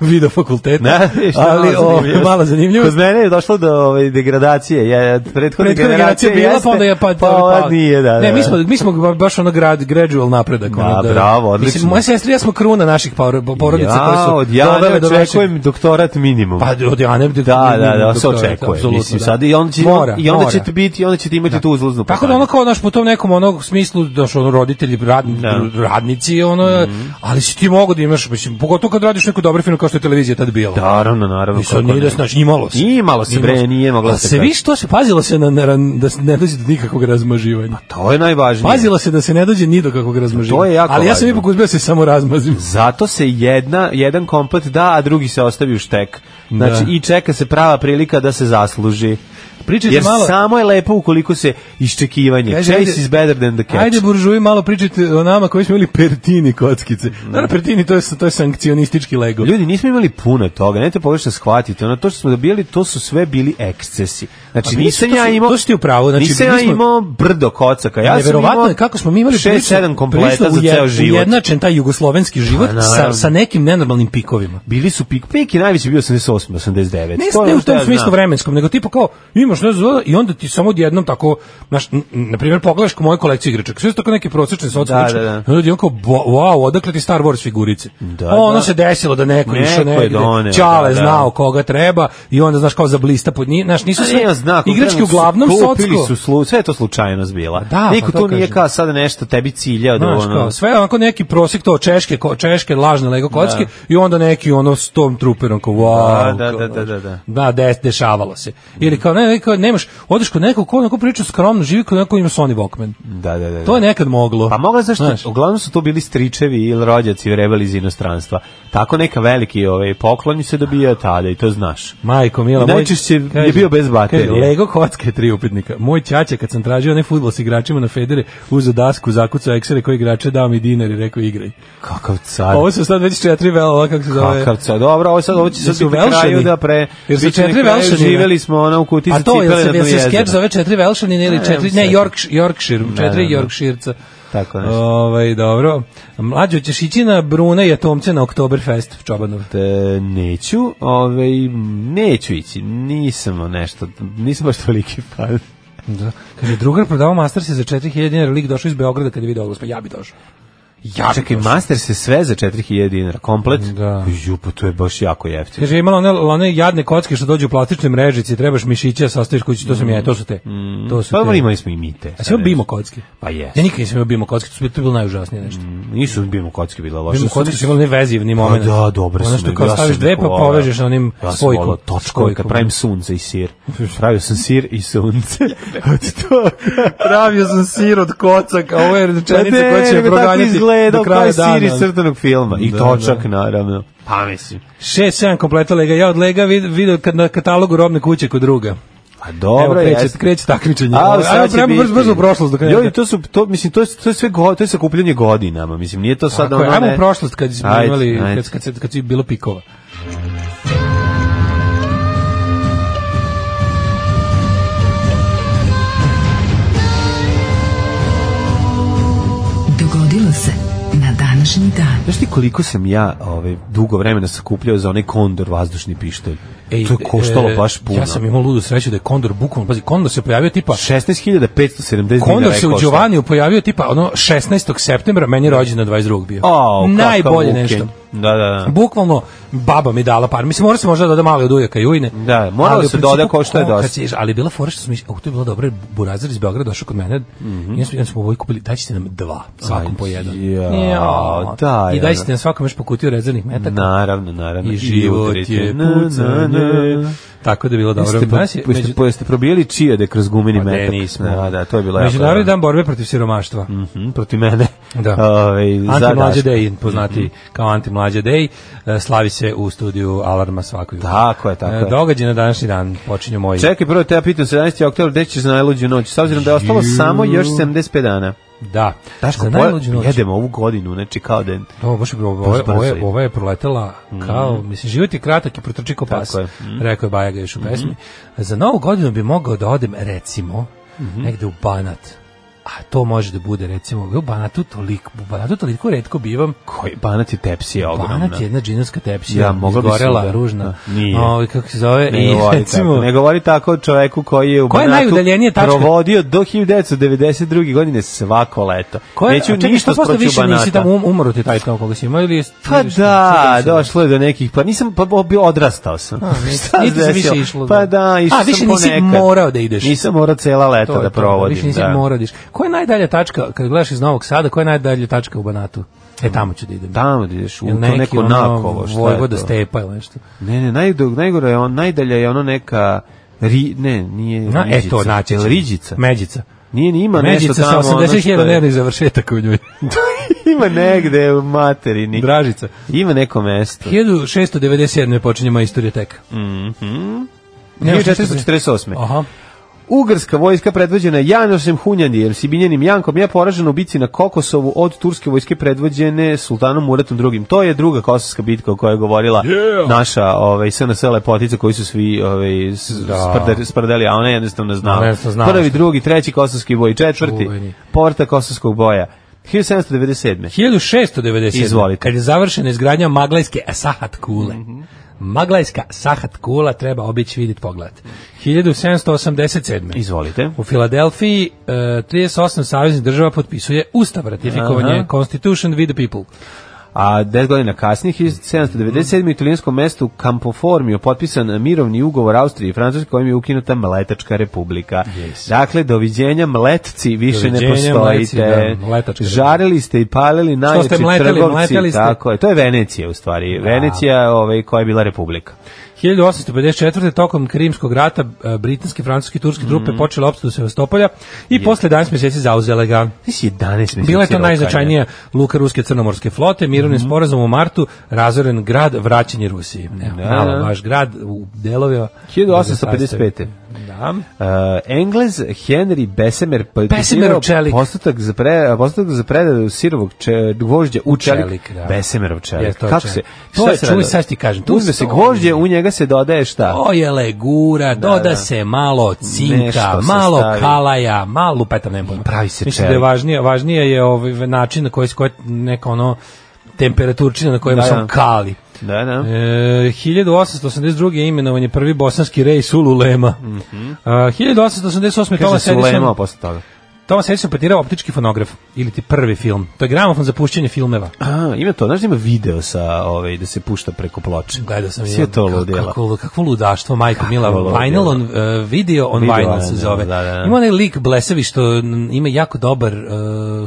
S6: video fakulteta,
S5: Ne, šta
S6: ali ovaj,
S5: malo
S6: o,
S5: zanimljivo.
S6: mala zanimljivost.
S5: Kod mene je došlo do ovaj, degradacije. Ja, prethodna,
S6: Prethodna generacija bila, pa onda je pa,
S5: pa ova nije, da, da.
S6: Ne, mi
S5: da.
S6: smo, mi smo ba- baš ono grad, gradual napredak.
S5: Da,
S6: ono,
S5: bravo, odlično.
S6: Mislim, moja sestra i ja smo kruna naših por- porodica koje
S5: Ja,
S6: su
S5: od Jane
S6: dovele do našeg-
S5: očekujem doktorat minimum.
S6: Pa od Jane da
S5: da, da, da, se očekuje. Mislim, sad i onda, će,
S6: mora,
S5: i onda
S6: mora.
S5: ćete biti, i onda ćete imati tu uzlaznu
S6: Tako da
S5: putanju.
S6: ono kao naš po tom nekom onog smislu da su ono roditelji radni,
S5: Da. Mhm.
S6: radnici ono ali si ti mogu da imaš mislim pogotovo kad radiš neku dobru firmu kao što je televizija tad bila.
S5: Naravno, naravno.
S6: I sad
S5: kako
S6: nije
S5: ne.
S6: da se znači, imalo se.
S5: Imalo se, bre, nije moglo
S6: A
S5: se
S6: se.
S5: kaže.
S6: vi što se pazilo se na, na da se ne dođe do nikakvog razmaživanja.
S5: To je najvažnije.
S6: Pazilo se da se ne dođe ni do kakvog razmaživanja.
S5: To je jako
S6: Ali ja sam
S5: važno.
S6: ipak uspeo da se samo razmazim.
S5: Zato se jedna, jedan komplet da, a drugi se ostavi u štek. Znači,
S6: Da.
S5: i čeka se prava prilika da se zasluži.
S6: Pričajte
S5: Jer
S6: malo-
S5: samo je lepo ukoliko se iščekivanje.
S6: Kaže,
S5: Chase
S6: ajde-
S5: is better than the catch.
S6: Ajde buržuji malo pričajte o nama koji smo imali pertini kockice. Naravno pertini to je to je sankcionistički lego.
S5: Ljudi, nismo imali puno toga, nemojte pogrešno shvatiti. Ono to što smo dobili, to su sve bili ekscesi. Znači,
S6: A mi
S5: nisam
S6: smo- Pa to
S5: ja
S6: si-
S5: imao...
S6: to si ti u pravu, znači,
S5: nisam
S6: mi
S5: ja
S6: smo-
S5: imao brdo kocaka. Ja sam
S6: Neverovatno
S5: imao
S6: je kako smo mi imali
S5: 6-7 kompleta za ceo život.
S6: Jednačen taj jugoslovenski život
S5: Pa, naravno.
S6: sa, sa nekim nenormalnim pikovima.
S5: Bili su pik, pik je najveći bio 88, 89.
S6: Ne,
S5: To je
S6: ne
S5: ono
S6: u
S5: što
S6: tom
S5: ja
S6: smislu
S5: znam.
S6: vremenskom, nego tipo kao imaš ne znam i onda ti samo odjednom tako znaš, n- n- na primjer pogledaš kao moju kolekciju igračaka, sve su tako neke prosečne
S5: Da,
S6: socijalne.
S5: da, da.
S6: Ljudi on kao bo- wow, odakle ti Star Wars figurice?
S5: Da,
S6: ono
S5: da.
S6: se desilo da neko,
S5: Neko je
S6: išao negde,
S5: doneo,
S6: Čale
S5: da, da.
S6: znao koga treba i onda znaš kao zablista pod njih, znaš nisu
S5: Pa
S6: sve
S5: nije znak,
S6: igračke
S5: okrenuli su-
S6: E, uglavnom
S5: kupili
S6: socsko.
S5: su slu, sve je to slučajnost bila.
S6: da, pa
S5: Niko
S6: to
S5: tu nije
S6: kažem.
S5: kao sada nešto tebi ciljao da
S6: Znaš,
S5: ono...
S6: kao, sve onako neki prosjek to češke, ko, češke lažne Lego kocke i onda neki ono Stormtrooperom kao wow.
S5: Da, da,
S6: kao,
S5: da, da, da.
S6: Da, de, dešavalo se. Ili kao, ne, ne, kao, nemaš, odeš kod nekog ko onako priča skromno, živi kod nekog ima Sony Walkman.
S5: Da, da, da, da.
S6: To je nekad moglo.
S5: Pa mogla zašto?
S6: Znaš.
S5: Uglavnom su to bili stričevi ili rođaci rebeli iz inostranstva. Tako neka veliki ovaj, poklon se dobija tada i to znaš.
S6: Majko, mila,
S5: I
S6: moj-
S5: najčešće je bio bez baterije.
S6: kaže, Lego kocke, tri upitnika. Moj ćaća, kad sam tražio onaj futbol s igračima na Federe, uzeo dasku, zakucao eksere koji igrače, dao mi dinar i rekao igraj.
S5: Kakav car.
S6: Ovo su sad već četiri vela, ova kako se zove.
S5: Kakav car. Dobro, ovo sad ovo će
S6: Jesu
S5: sad u
S6: Velšani?
S5: kraju da pre...
S6: Jer su
S5: bit će na
S6: četiri
S5: kraju,
S6: Velšani, ne?
S5: Živeli smo ono u kutici
S6: A Pa to
S5: cipele na
S6: je se
S5: dnu
S6: jel se
S5: jezera.
S6: skeč zove četiri Velšanine ili četiri ne
S5: znam.
S6: Yorksh- Yorkshire, četiri
S5: da, da.
S6: Yorkshireca.
S5: Tako nešto.
S6: Ovaj dobro. Mlađo ćeš ići na Brune i Atomce na Oktoberfest u Čobanovu.
S5: E, neću, ovaj, neću ići, nisam ono nešto, nisam baš toliki fan.
S6: Da. Kaže drugar prodavao master se za 4000 dinara, lik došao iz Beograda kad je video oglas, pa ja bi došao. Ja bi
S5: Čekaj,
S6: došao.
S5: master se sve za 4000 dinara, komplet?
S6: Da.
S5: Ju, pa to je baš jako jeftino.
S6: Kaže imala one, one jadne kocke što dođu u plastičnoj mrežici, trebaš mišiće, sastaviš kući, to sam ja, to su te. To su
S5: Pa dobro,
S6: te.
S5: imali smo i mite.
S6: A si imao bimo kocke?
S5: Pa jes.
S6: Ja nikad nisam imao bimo kocke, to su- to je bilo najužasnije nešto.
S5: Nisu bimo kocke bila loša.
S6: Bimo
S5: su
S6: kocke
S5: oni-
S6: su imali vezivni
S5: Mm. Pa
S6: moment.
S5: da, dobre
S6: Ono
S5: su.
S6: što
S5: mi,
S6: kao
S5: ja sam
S6: staviš dve
S5: ih
S6: pa
S5: volao.
S6: povežeš na onim
S5: ja
S6: spojkom.
S5: Ja točko, kad
S6: Spojkom.
S5: pravim sunce i sir. Pravio sam sir i sunce. Od to.
S6: Pravio sam sir od kocaka, ovo je rečenica
S5: Pa ne,
S6: koja će me
S5: nego tako
S6: proganjati
S5: izgledao
S6: do
S5: kao
S6: kraja
S5: sir iz
S6: dana.
S5: crtanog filma. I
S6: Da,
S5: točak, naravno. Pa mislim.
S6: Šest, sedam kompleta lega. Ja od lega vid- video kad na katalogu robne kuće kod druga.
S5: A Pa dobro
S6: Evo, kreće,
S5: jeste.
S6: kreće takmičenje.
S5: A,
S6: Ovo-
S5: sad
S6: ajmo
S5: će
S6: prema
S5: biti.
S6: brzo, brzo u prošlost. Dok ne-
S5: Ljudi, to su to mislim to je to je sve go, to je sakupljanje godinama, mislim nije to sad
S6: Tako je,
S5: ono.
S6: ajmo
S5: ne-
S6: u prošlost kad smo
S5: Ajde,
S6: imali,
S5: ajde.
S6: kad, kad, se- kad je bilo pikova.
S4: Dogodilo se na današnji dan.
S5: Znaš ti koliko sam ja ovaj, dugo vremena sakupljao za onaj kondor vazdušni pištolj? to je koštalo
S6: e,
S5: baš puno.
S6: Ja sam imao ludu sreću da je Kondor bukvalno, pazi, Kondor se pojavio tipa
S5: 16.570 dinara
S6: Kondor
S5: je
S6: se u
S5: koštao.
S6: Giovaniju pojavio tipa ono 16. septembra, meni je rođendan 22. bio.
S5: Au, kakav
S6: Najbolje
S5: buken.
S6: nešto.
S5: Da, da, da.
S6: Bukvalno baba mi dala par. Mislim, mora se možda da doda malo od ujaka i ujne.
S5: Da, moralo
S6: Ali u
S5: se
S6: principu,
S5: doda košta je
S6: ko- kad
S5: dosta.
S6: si- ali je bila fora što smo išli, au, to je bilo dobro, jer burazir iz Beograda došao kod mene, i onda smo, i onda smo ovoj kupili, daćete nam dva, svakom
S5: Mhm. Aj,
S6: po jedan.
S5: ja,
S6: Jao.
S5: daj,
S6: I daćete
S5: ono.
S6: nam svakom još po kutiju rezervnih metaka.
S5: Naravno, naravno.
S6: I život
S5: utrite.
S6: je
S5: Na, na,
S6: pucanje Tako da je bilo dobro.
S5: Jeste,
S6: Danas je
S5: po- jeste,
S6: među-
S5: po- jeste probijeli čijade kroz gumeni
S6: Pa ne,
S5: metak?
S6: nismo.
S5: Da, da, to je bilo
S6: Međunarodni dan borbe protiv siromaštva.
S5: Mhm, protiv mene.
S6: Da.
S5: Ovaj, za
S6: Antimlađa
S5: Daška.
S6: Dej, poznati kao Antimlađa Dej, e, slavi se u studiju Alarma svakog jutra.
S5: Tako je, tako je.
S6: E, Događaj na današnji dan, počinju moji.
S5: Čekaj, prvo te ja pitam 17. oktober, gde ćeš za najluđu noć? S obzirom da je ostalo samo još 75 dana.
S6: Da.
S5: Daško,
S6: Za
S5: po-
S6: najluđu noć. Pa,
S5: jedemo ovu godinu, znači kao da je...
S6: Ovo, baš je bilo, ovo, je-
S5: Baš brzo
S6: ovo, je,
S5: ide. Mhm.
S6: ovo je proletela kao, mislim, život je kratak i protrči ko pas,
S5: Tako je. Mhm.
S6: rekao je Bajaga još u pesmi. Za novu godinu bi mogao da odem, recimo,
S5: Mhm.
S6: negde u Banat. A to može da bude, recimo, u Banatu toliko, u Banatu toliko redko bivam,
S5: Koji banat je tepsija ogromna.
S6: Banat je jedna džinovska tepsija,
S5: Ja, mogla bi
S6: izgorela,
S5: se da-
S6: ružna.
S5: da, nije.
S6: Ovaj, kako se zove?
S5: Ne
S6: I,
S5: govori,
S6: recimo,
S5: tako, ne govori tako o čoveku koji je u
S6: Koja je
S5: Banatu
S6: najudaljenija tačka?
S5: provodio do 1992. godine svako leto.
S6: Ko je,
S5: Neću
S6: a čekaj,
S5: ništa
S6: što posle
S5: sproću
S6: više
S5: Banata.
S6: nisi tamo um, umro ti taj tamo koga si imao ili... jesi-
S5: Pa
S6: ili šta?
S5: da,
S6: Šta si-
S5: došlo je do nekih, pa nisam, pa bo- bio odrastao sam.
S6: A, nisi-
S5: Šta
S6: niti
S5: se
S6: se
S5: desilo?
S6: više išlo,
S5: Pa
S6: da.
S5: da, išao
S6: A,
S5: sam
S6: više nisi
S5: ponekad.
S6: morao da ideš.
S5: Nisam morao cela leta
S6: To je
S5: da
S6: to, Više
S5: provodim.
S6: nisi
S5: Da.
S6: morao da ideš. Koja je najdalja tačka, kad gledaš iz Novog Sada, koja je najdalja tačka u Banatu? E, tamo ću da idem.
S5: Tamo da ideš, u
S6: Ili
S5: to neko nakovo, šta je
S6: Vojvoda
S5: to?
S6: ono Stepa ili nešto.
S5: Ne, ne, najdog, najgore je on, najdalje je ono neka, ri, ne, nije
S6: Na, e, to, naći
S5: Jel
S6: ću.
S5: Riđica.
S6: Međica.
S5: Nije ni ima
S6: Međica
S5: nešto
S6: sa
S5: tamo. ono što je-
S6: 80.000 nevnih završetaka u njoj.
S5: ima negde u materini.
S6: Dražica.
S5: Ima neko mesto.
S6: 1697. počinje moja istorija teka.
S5: Mhm.
S6: Ne,
S5: 1448.
S6: Aha.
S5: Ugarska vojska predvođena Janošem Hunjandijem, Sibinjanim Jankom je poražena u bici na Kokosovu od turske vojske predvođene sultanom Muratom II. To je druga kosovska bitka o kojoj je govorila naša ovaj, SNS lepotica koji su svi ovaj, s- sprde- sprdeli, a ona je jednostavno znala.
S6: Ona jednostavno znala
S5: Prvi,
S6: šta.
S5: drugi, treći kosovski boj, četvrti,
S6: Čuveni.
S5: povrta kosovskog boja. 1797.
S6: 1697.
S5: Izvolite. Mhm.
S6: Kad je završena izgradnja Maglajske Sahat kule. Maglajska Sahat kula treba obići vidjeti pogled. 1787.
S5: Izvolite.
S6: U Filadelfiji e, 38 saveznih država potpisuje ustav ratifikovanje
S5: Aha.
S6: Constitution with the people.
S5: a 10 godina kasnije 1797. u italijanskom mestu Campoformio potpisan mirovni ugovor Austrije i Francuske kojim je ukinuta Mletačka republika. Dakle, doviđenja mletci više
S6: Doviđenja,
S5: ne postojite.
S6: mletci, da, mletačka
S5: Žarili ste i palili najjači
S6: ste mleteli,
S5: trgovci.
S6: mleteli ste.
S5: Tako je. To je Venecija u stvari. Venecija ovaj, koja je bila republika.
S6: 1854. tokom Krimskog rata e, britanske, francuske i turske
S5: Mhm.
S6: trupe počele opstanu Sevastopolja i posle 11 mjeseci zauzele ga.
S5: Znači 11 meseci.
S6: Bila je to
S5: rokanja.
S6: najznačajnija luka ruske crnomorske flote, mirovni sporazum u martu, razoren grad, vraćanje Rusiji. Evo,
S5: Mhm. Da.
S6: malo vaš grad u delovima.
S5: 1855.
S6: Da.
S5: Uh, Englez Henry Bessemer pa
S6: Bessemer u čelik.
S5: postotak za pre postotak za predaju sirovog če, gvožđa u čelik,
S6: čelik, da.
S5: Bessemerov čelik.
S6: Jeste, to je
S5: Kako
S6: čelik.
S5: se
S6: To
S5: šta
S6: je,
S5: se
S6: čuj,
S5: radi?
S6: sad ti kažem, to
S5: Uzme se
S6: stoji.
S5: gvožđe, u njega se dodaje šta?
S6: To je legura, doda
S5: da.
S6: se malo cinka,
S5: Nešto se
S6: malo
S5: stavi.
S6: kalaja, malo lupeta, ne pojma.
S5: Pravi se
S6: Mislim da je
S5: čelik.
S6: važnije, važnije je ovaj način na koji se koje neka ono temperaturčina na kojem
S5: Da,
S6: da,
S5: da.
S6: kali.
S5: Da, da.
S6: E, 1882. je imenovan je prvi bosanski rej Sululema. Mm 1888.
S5: Mhm. Kaže
S6: Toma
S5: se ulemao
S6: Sedison,
S5: posle toga.
S6: Toma Sedison patirao optički fonograf, ili ti prvi film. To je gramofon za pušćenje filmeva.
S5: A, ima to, znaš da ima video sa, ovaj, da se pušta preko ploče.
S6: Gledao sam
S5: Sve
S6: jedan-
S5: to
S6: kako-
S5: ludila.
S6: Kako, kako ludaštvo, majko Mila.
S5: ludilo.
S6: Vinyl on, eh, video on
S5: Video
S6: vinyl
S5: on,
S6: se
S5: da,
S6: zove.
S5: da, da.
S6: Ima onaj lik Blesevi što n- ima jako dobar eh,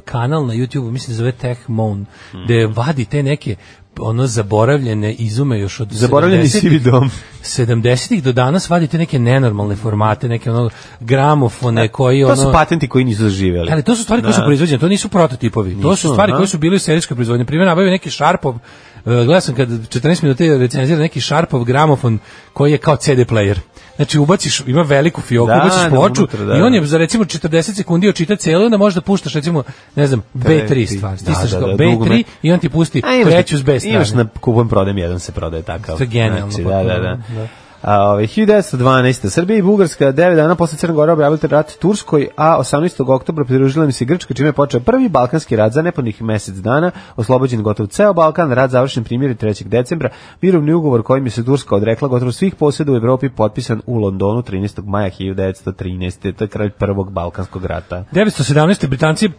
S6: kanal na YouTube, mislim da se zove Tech Moon,
S5: Hmm.
S6: gde vadi te neke ono zaboravljene izume još od
S5: Zaboravljeni
S6: 70-ih.
S5: sivi dom.
S6: 70-ih do danas vadite neke nenormalne formate, neke ono gramofone koji
S5: E, To
S6: ono...
S5: su patenti koji nisu zaživeli.
S6: Ali to su stvari koje su proizvođene, to nisu prototipovi. to su
S5: Nisu,
S6: stvari
S5: aha.
S6: koje su bile u serijskoj proizvodnji. Primjer, nabavio neki Sharpov, e, gledao sam kad 14 minuta je recenzira neki Sharpov gramofon koji je kao CD player. Znači ubaciš, ima veliku fioku,
S5: Da,
S6: ubaciš
S5: da,
S6: ploču
S5: unutra, da.
S6: i on je za recimo 40 sekundi očita celo i onda možeš da puštaš recimo, ne znam, B3 stvar.
S5: Da,
S6: Stisneš
S5: da,
S6: da,
S5: da,
S6: B3
S5: dugme.
S6: i on ti pusti
S5: A Pa imaš
S6: treću
S5: na-
S6: s B strane.
S5: Imaš na kupom prodajem, jedan se prodaje takav.
S6: To je genijalno
S5: Znači, da, da, da.
S6: potpuno, da.
S5: A, ovaj, ove, 1912. Srbija i Bugarska 9 dana posle Crna Gora objavili rat Turskoj, a 18. oktobra pridružila mi se Grčka, čime je počeo prvi balkanski rat za nepunih mesec dana, oslobođen gotov ceo Balkan, rat završen primjeri 3. decembra, mirovni ugovor kojim je se Turska odrekla gotovo svih posjeda u Evropi potpisan u Londonu 13. maja 1913. To je kraj prvog balkanskog rata.
S6: 917. Britanci b-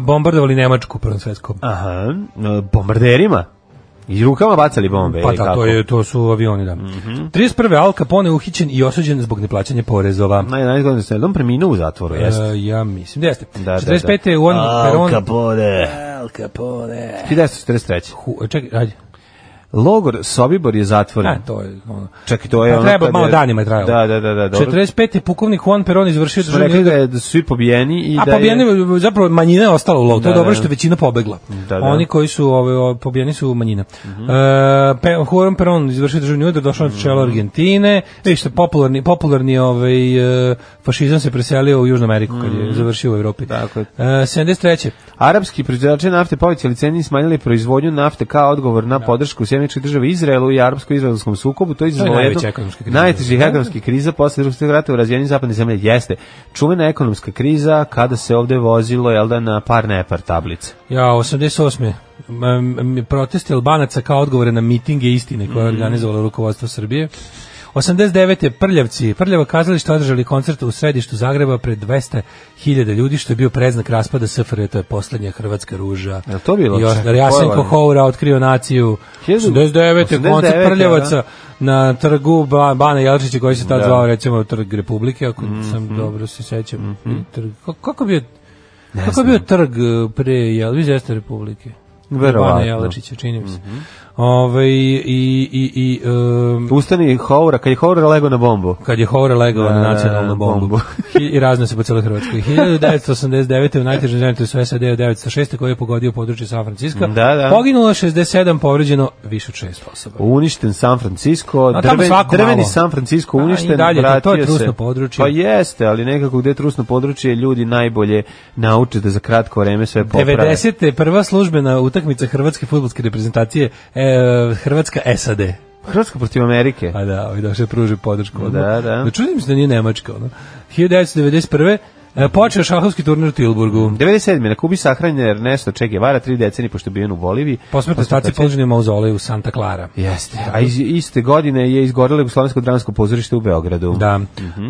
S6: bombardovali Nemačku u Prvom svetskom.
S5: Aha, e, bombarderima. I rukama bacali bombe.
S6: Pa
S5: ili
S6: da,
S5: kako?
S6: to, je, to su avioni, da.
S5: Mhm.
S6: 31. Al Capone je uhićen i osuđen zbog neplaćanja porezova.
S5: Na 11 godina sam jednom preminuo u zatvoru, jeste.
S6: E, ja mislim da jeste.
S5: Da,
S6: 45.
S5: da, da.
S6: je on Peron...
S5: Al Capone.
S6: Al Capone.
S5: 1943.
S6: Hu, e, čekaj, ajde.
S5: Logor Sobibor je zatvoren.
S6: A, to je ono.
S5: Čak i to je
S6: Pa
S5: ono
S6: treba,
S5: kad
S6: malo danima je trajalo.
S5: Da, da, da, da, dobro.
S6: 45. je pukovnik Juan Perón izvršio
S5: Smo
S6: državni
S5: rekli da
S6: udar.
S5: je da su svi pobijeni i
S6: A
S5: da je-
S6: pobijeni, zapravo manjina je ostala u logu, to
S5: Da,
S6: je dobro
S5: da.
S6: što je većina pobegla.
S5: Da, Mhm. da.
S6: Oni koji su ove, ove, pobijeni su manjina. e, pe, Juan Perón izvršio državni udar, došao na čelo
S5: Mhm.
S6: Argentine, vidite, popularni, popularni ovaj, e, fašizam se preselio u Južnu Ameriku kad je završio u Evropi.
S5: Mhm. Tako je.
S6: E, 73.
S5: Arapski proizvođači nafte povećali cene i smanjili proizvodnju nafte kao odgovor na podršku Sjemeničke države Izraelu i arapsko-izraelskom sukobu. To je izazvalo
S6: najveća
S5: jednu-
S6: ekonomska kriza.
S5: Najtežih ekonomskih kriza posle drugog svjetskog rata u razvijenim zapadne zemlje jeste čuvena ekonomska kriza kada se ovde vozilo jel da, na par nepar tablice.
S6: Ja, 88. M- m- Protesti Albanaca kao odgovore na mitinge istine koje je
S5: Mhm.
S6: organizovalo rukovodstvo Srbije. 89. Prljavci, Prljava kazališta održali koncert u središtu Zagreba pred 200.000 ljudi, što je bio preznak raspada SFRJ, to je poslednja hrvatska ruža.
S5: Jel to bilo?
S6: I još-
S5: Čekaj,
S6: Jasenko
S5: koje
S6: Houra otkrio naciju. 89. koncert
S5: 89.,
S6: Prljavaca
S5: da.
S6: na trgu Ba- Bana Jelčića, koji se tad
S5: Da. Mhm,
S6: zvao, recimo, Trg Republike, ako sam dobro se sećam. Trg- kako- Kako bi kako je bio trg e, pre Jelviz Jeste Republike?
S5: Verovatno. Mhm.
S6: Bana Jelačića, čini mi se. Ovaj, i, i, i, um,
S5: Ustani Houra, kad je Houra lego na bombu.
S6: kad je Hover legao
S5: Da,
S6: na nacionalnu
S5: da,
S6: bombu.
S5: bombu.
S6: Hi- I razne se po cijeloj Hrvatskoj. 1989. u najtežem zemlju su SAD 906. koji je pogodio područje San Francisco.
S5: Da, da.
S6: Poginulo je 67, povređeno više od 6 osoba.
S5: Uništen San Francisco,
S6: A tamo
S5: drven,
S6: svako
S5: drveni
S6: malo.
S5: San Francisco
S6: A, i
S5: uništen,
S6: dalje, to- to je
S5: vratio
S6: trusno
S5: se.
S6: područje.
S5: Pa jeste, ali nekako gde je trusno područje ljudi najbolje nauče da za kratko vreme sve poprave.
S6: 90. prva službena utakmica hrvatske fudbalske reprezentacije e, Hrvatska SAD.
S5: Hrvatska protiv Amerike.
S6: Pa da, ovaj došao je pruži podršku. odmah.
S5: Da, da.
S6: čudim se da nije Nemačka. Ono. 1991. e, Počeo šahovski turnir u Tilburgu.
S5: 97. na Kubi sahranjen je Ernesto Che Guevara, tri decenije pošto je bio u Boliviji.
S6: Posmrtne stacije položene u mauzoleju u Santa Clara.
S5: Jeste. A iz, iste godine je izgorelo Jugoslovensko dramsko pozorište u Beogradu.
S6: Da.
S5: Mhm.
S6: E,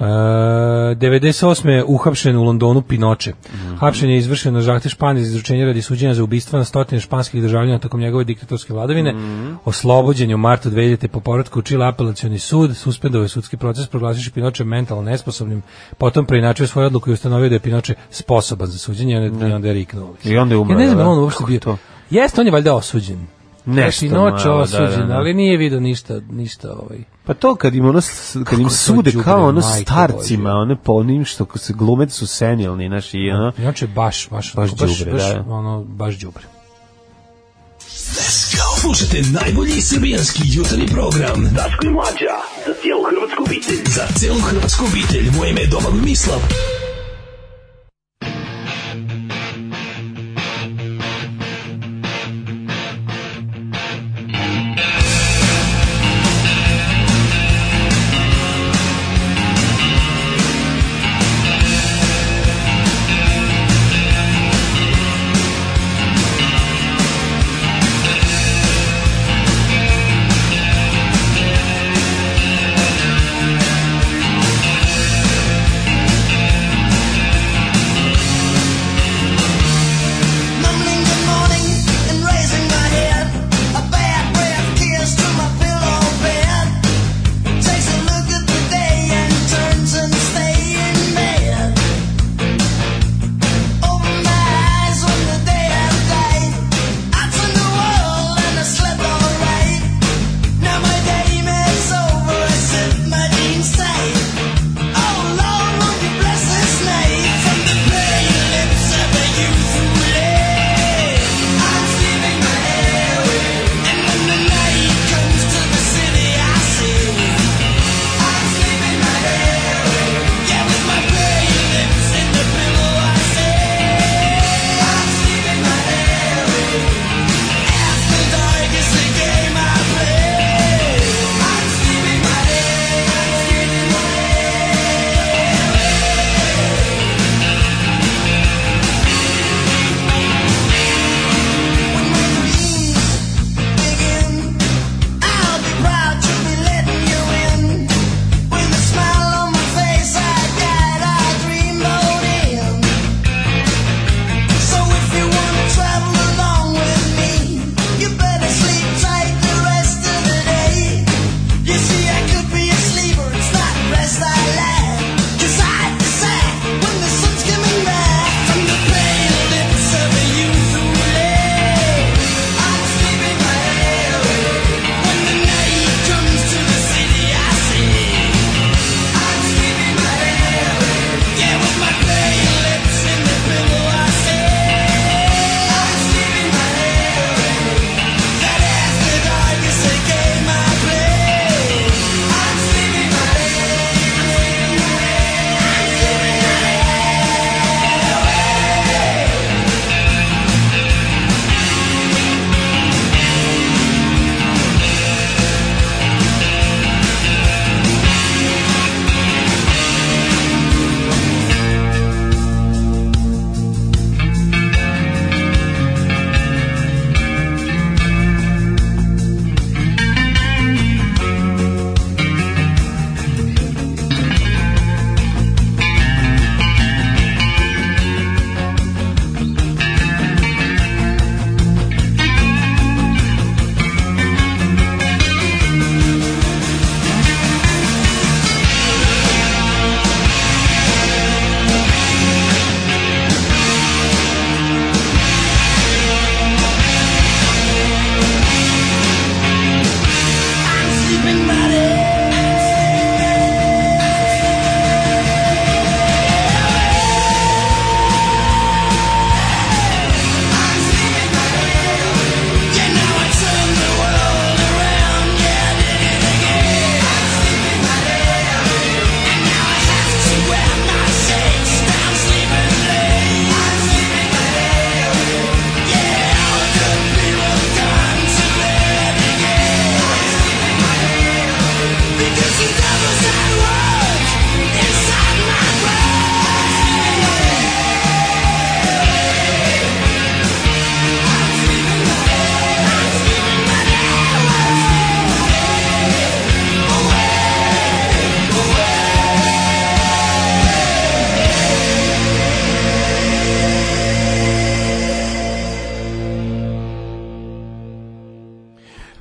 S6: 98. je uhapšen u Londonu Pinoče.
S5: Mhm.
S6: Hapšenje je izvršeno na zahtev Španije za izručenje radi suđenja za ubistva na stotine španskih državljana tokom njegove diktatorske vladavine.
S5: Mhm.
S6: Oslobođen je u martu 2000. po povratku u Čile apelacioni sud, suspendovao je sudski proces, proglasivši Pinoče mentalno nesposobnim, potom preinačio svoju odluku i ustanovio da je Pinoče sposoban za suđenje i onda- i onda je riknuo.
S5: I onda je umro,
S6: Ja ne znam
S5: da,
S6: je li on
S5: da.
S6: uopšte
S5: Kako
S6: bio.
S5: to?
S6: Jeste, on je valjda osuđen.
S5: Nešto
S6: Pinoče
S5: malo, da,
S6: osuđen,
S5: da, da.
S6: ali nije video ništa, ništa ovaj.
S5: Pa to kad im ono s- kad im
S6: Kako
S5: sude
S6: to đubre,
S5: kao ono
S6: majko
S5: starcima,
S6: Božja.
S5: one po onim što ko se glumete su senilni, znaš, i ono.
S6: Inače baš, baš,
S5: Baš
S6: baš, baš,
S5: đubre,
S6: baš,
S5: da.
S6: ono, baš đubre.
S7: Slušajte najbolji srbijanski jutarnji program Daško i Mlađa Za cijelu hrvatsku obitelj Za cijelu hrvatsku obitelj Moje ime je Domagoj Mislav
S8: Thank
S9: Oh,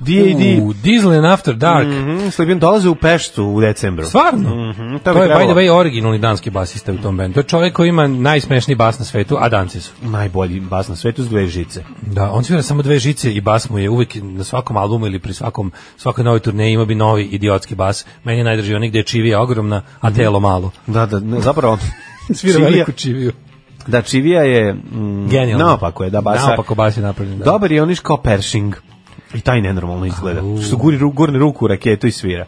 S5: D.A.D.
S6: U, Diesel and After Dark.
S5: Mhm, Sleeping dolaze u Peštu u decembru.
S6: Stvarno?
S5: Mhm, to
S6: to,
S5: bi
S6: je, by
S5: trebalo.
S6: the way, originalni danski basista u tom bendu. To je čovjek koji ima najsmešniji bas na svetu, a danci su.
S5: Najbolji bas na svetu s dve žice.
S6: Da, on svira samo dve žice i bas mu je uvek na svakom albumu ili pri svakom svakoj novoj turneji ima bi novi idiotski bas. Meni je najdrži onaj gde je čivija ogromna, a telo malo.
S5: Da, da, ne, zapravo.
S6: Svira
S5: Čivija-
S6: veliku čiviju.
S5: Da, Čivija je... Mm,
S6: Genijalno.
S5: Naopako je, da, basa.
S6: Naopako bas je napravljen. Da.
S5: Dobar je oniš kao Pershing. I taj nenormalno izgleda. Što guri ru, gurne ruku u raketu i svira.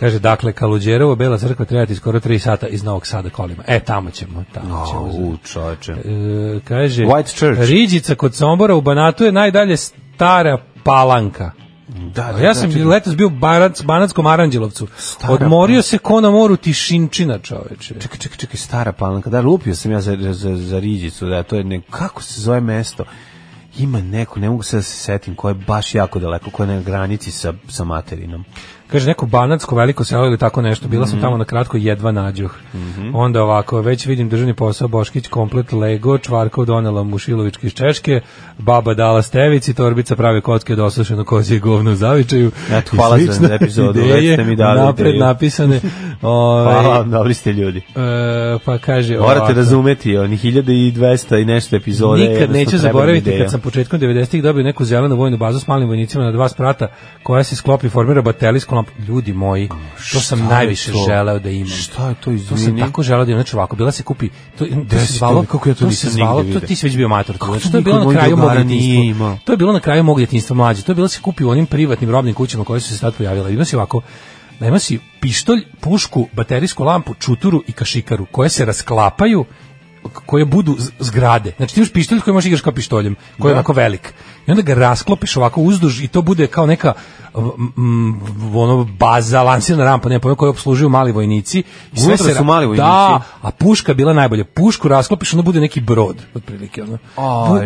S6: Kaže, dakle, Kaludjerovo, Bela crkva, trebati skoro 3 sata iz Novog Sada kolima. E, tamo ćemo, tamo ćemo.
S5: Au, čoveče.
S6: E, kaže,
S5: White Church.
S6: Riđica kod Sombora u Banatu je najdalje stara palanka.
S5: Da,
S6: A ja sam
S5: znači-
S6: letos bio u Banac, Banatskom Aranđelovcu. Odmorio se ko na moru Tišinčina, čoveče.
S5: Čekaj, čekaj, čekaj, stara palanka. Da, lupio sam ja za, za, za Riđicu, da, to je ne, kako se zove mesto? Ima neko, ne mogu se da se setim, koje je baš jako daleko, koje je na granici sa, sa materinom.
S6: Kaže, neko Banatsko veliko selo ili tako nešto. Bila
S5: Mhm.
S6: sam tamo na kratko, jedva nađoh. Onda ovako, već vidim državni posao Boškić, komplet Lego, Čvarkov donela Mušilovički iz Češke, baba dala stevici, torbica prave kocke od osušeno kozije govno u zavičaju.
S5: Eto,
S6: I
S5: hvala za
S6: slične
S5: epizodu, već
S6: ideje
S5: ste mi dali
S6: Napred
S5: ideju.
S6: napisane. Ovaj,
S5: Hvala vam, Pa, dobri ste ljudi.
S6: E, pa kaže
S5: Morate
S6: ovako,
S5: razumeti, oni 1200 i nešto epizode.
S6: Nikad
S5: jednostavno
S6: neću
S5: treba nam
S6: zaboraviti
S5: ideja.
S6: kad sam početkom 90-ih dobio neku zelenu vojnu bazu s malim vojnicima na dva sprata koja se sklopi i formira batalijsku lampu. Ljudi moji, to sam najviše
S5: to?
S6: želeo da imam.
S5: Šta je to,
S6: To sam
S5: izvini?
S6: tako želeo da imam. Znači ovako, bila se kupi, to, to
S5: Desi
S6: se
S5: to,
S6: zvalo,
S5: kako ja to
S6: se
S5: nisam nigde
S6: zvalo, to
S5: vidio.
S6: ti si već bio mator. Kako
S5: to
S6: to je bilo
S5: niko
S6: na
S5: od
S6: kraju
S5: mojih
S6: mog
S5: drugara nije
S6: djetinjstva.
S5: imao?
S6: To je bilo na kraju mog djetinjstva mlađe. To je bilo se kupi u onim privatnim robnim kućama koje su se tad pojavile. Ima si ovako, da ima si pištolj, pušku, baterijsku lampu, čuturu i kašikaru koje se rasklapaju k- koje budu z- zgrade. Znači ti imaš pištolj koji možeš igraš kao pištoljem, koji je onako velik. I onda ga rasklopiš ovako uzduž i to bude kao neka m, m, ono baza, lansirna rampa, ne pojma, koju obslužuju mali vojnici. I sve
S5: Unutra
S6: se ra-
S5: su mali vojnici?
S6: Da, a puška je bila najbolja. Pušku rasklopiš, onda bude neki brod, otprilike. Ono.
S5: Aj,